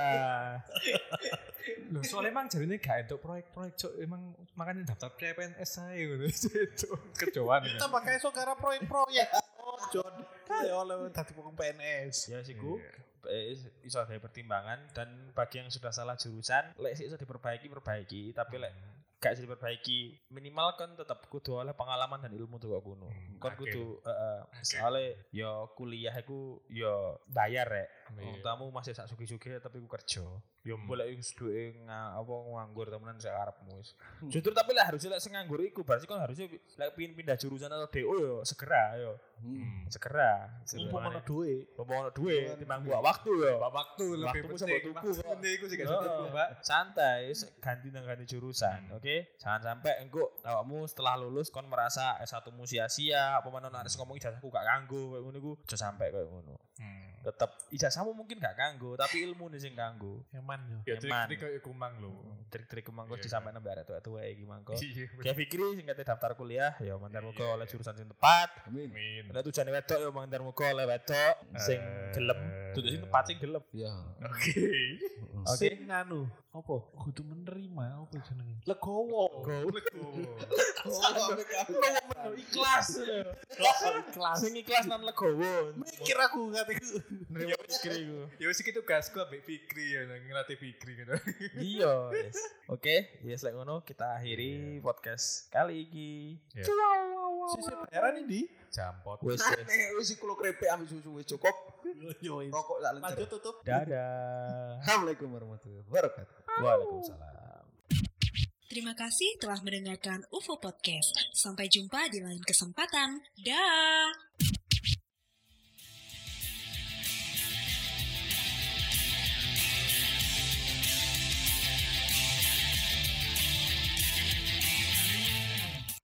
D: Loh, soalnya emang jadinya gak entuk proyek-proyek, Cok. Emang makanya daftar PNS saya gitu. Itu kecoan.
F: Kita pakai iso gara proyek-proyek. Oh, John. Kayak oleh dadi pokok PNS.
B: Ya siku
D: Iya.
B: eh, iso ada pertimbangan dan bagi yang sudah salah jurusan lek sih iso diperbaiki perbaiki tapi lek
D: Hmm.
B: gak bisa diperbaiki minimal kan tetap kudu oleh pengalaman dan ilmu tuh kok kuno
D: Hmm,
B: kan
D: akeh.
B: kudu heeh soalnya yo kuliah iku yo bayar rek
D: Iya.
B: Wong tamu masih sak sugi-sugi tapi ku kerja yo
D: Ya
B: boleh wis duwe nga- apa nganggur temenan sak arepmu wis
D: Hmm.
B: jujur tapi lek harusnya lek sing nganggur iku berarti kan harusnya lek pin pindah jurusan atau DO yo segera yo
C: Hmm.
B: segera
F: Mumpung ono duit.
B: Mumpung ono duit timbang buat waktu yo
D: Waktu
B: lebih
D: lebih
B: penting.
D: penting. Maksudnya itu sih gak
B: Mbak. santai se- ganti nang ganti jurusan oke jangan sampai engko awakmu setelah lulus kon merasa S1mu sia-sia, apa menon harus ngomong ijazahku gak kanggo koyo ngono iku, aja sampai koyo ngono. Tetep ijazahmu mungkin gak kanggo, tapi ilmu nih sing kanggo.
D: Nyaman yo.
B: Ya,
D: trik-trik
B: trik-trik
D: kayak kumang lho.
B: Trik-trik mangko
D: Iya.
B: disampaikan sampai arek tua-tua iki mangko.
D: Iya.
B: Kayak pikir sing kate daftar kuliah, ya mantar
D: Iya,
B: muga
D: iya.
B: oleh jurusan sing tepat.
C: Amin.
D: Min.
B: Ada tujuan wedok ya mantar muga oleh wedok sing gelem. Tujuan sing tepat sing gelem.
C: Ya.
D: Oke.
B: Oke.
F: Sing anu, apa? Kudu menerima apa jenenge? Legowo.
B: Ikhlas.
F: Kelas.
B: Sing ikhlas nan legowo.
F: Mikir aku katiku.
B: Nerima pikir iku.
D: Ya wis iki tugasku ambek Fikri ya, ngelatih Fikri gitu.
B: Iya. yes. Oke, yes lek ngono kita akhiri podcast kali iki.
D: Iya.
F: Sisi bayaran ini.
D: Jampot.
B: Wes wes.
C: Aneh wis iki kulo krepek ambek susu wis cukup.
F: Yo, yo.
C: Rokok tak lencer.
F: Lanjut tutup.
B: Dadah.
C: Assalamualaikum warahmatullahi wabarakatuh.
B: Waalaikumsalam.
A: Terima kasih telah mendengarkan UFO Podcast. Sampai jumpa di lain kesempatan. Dah.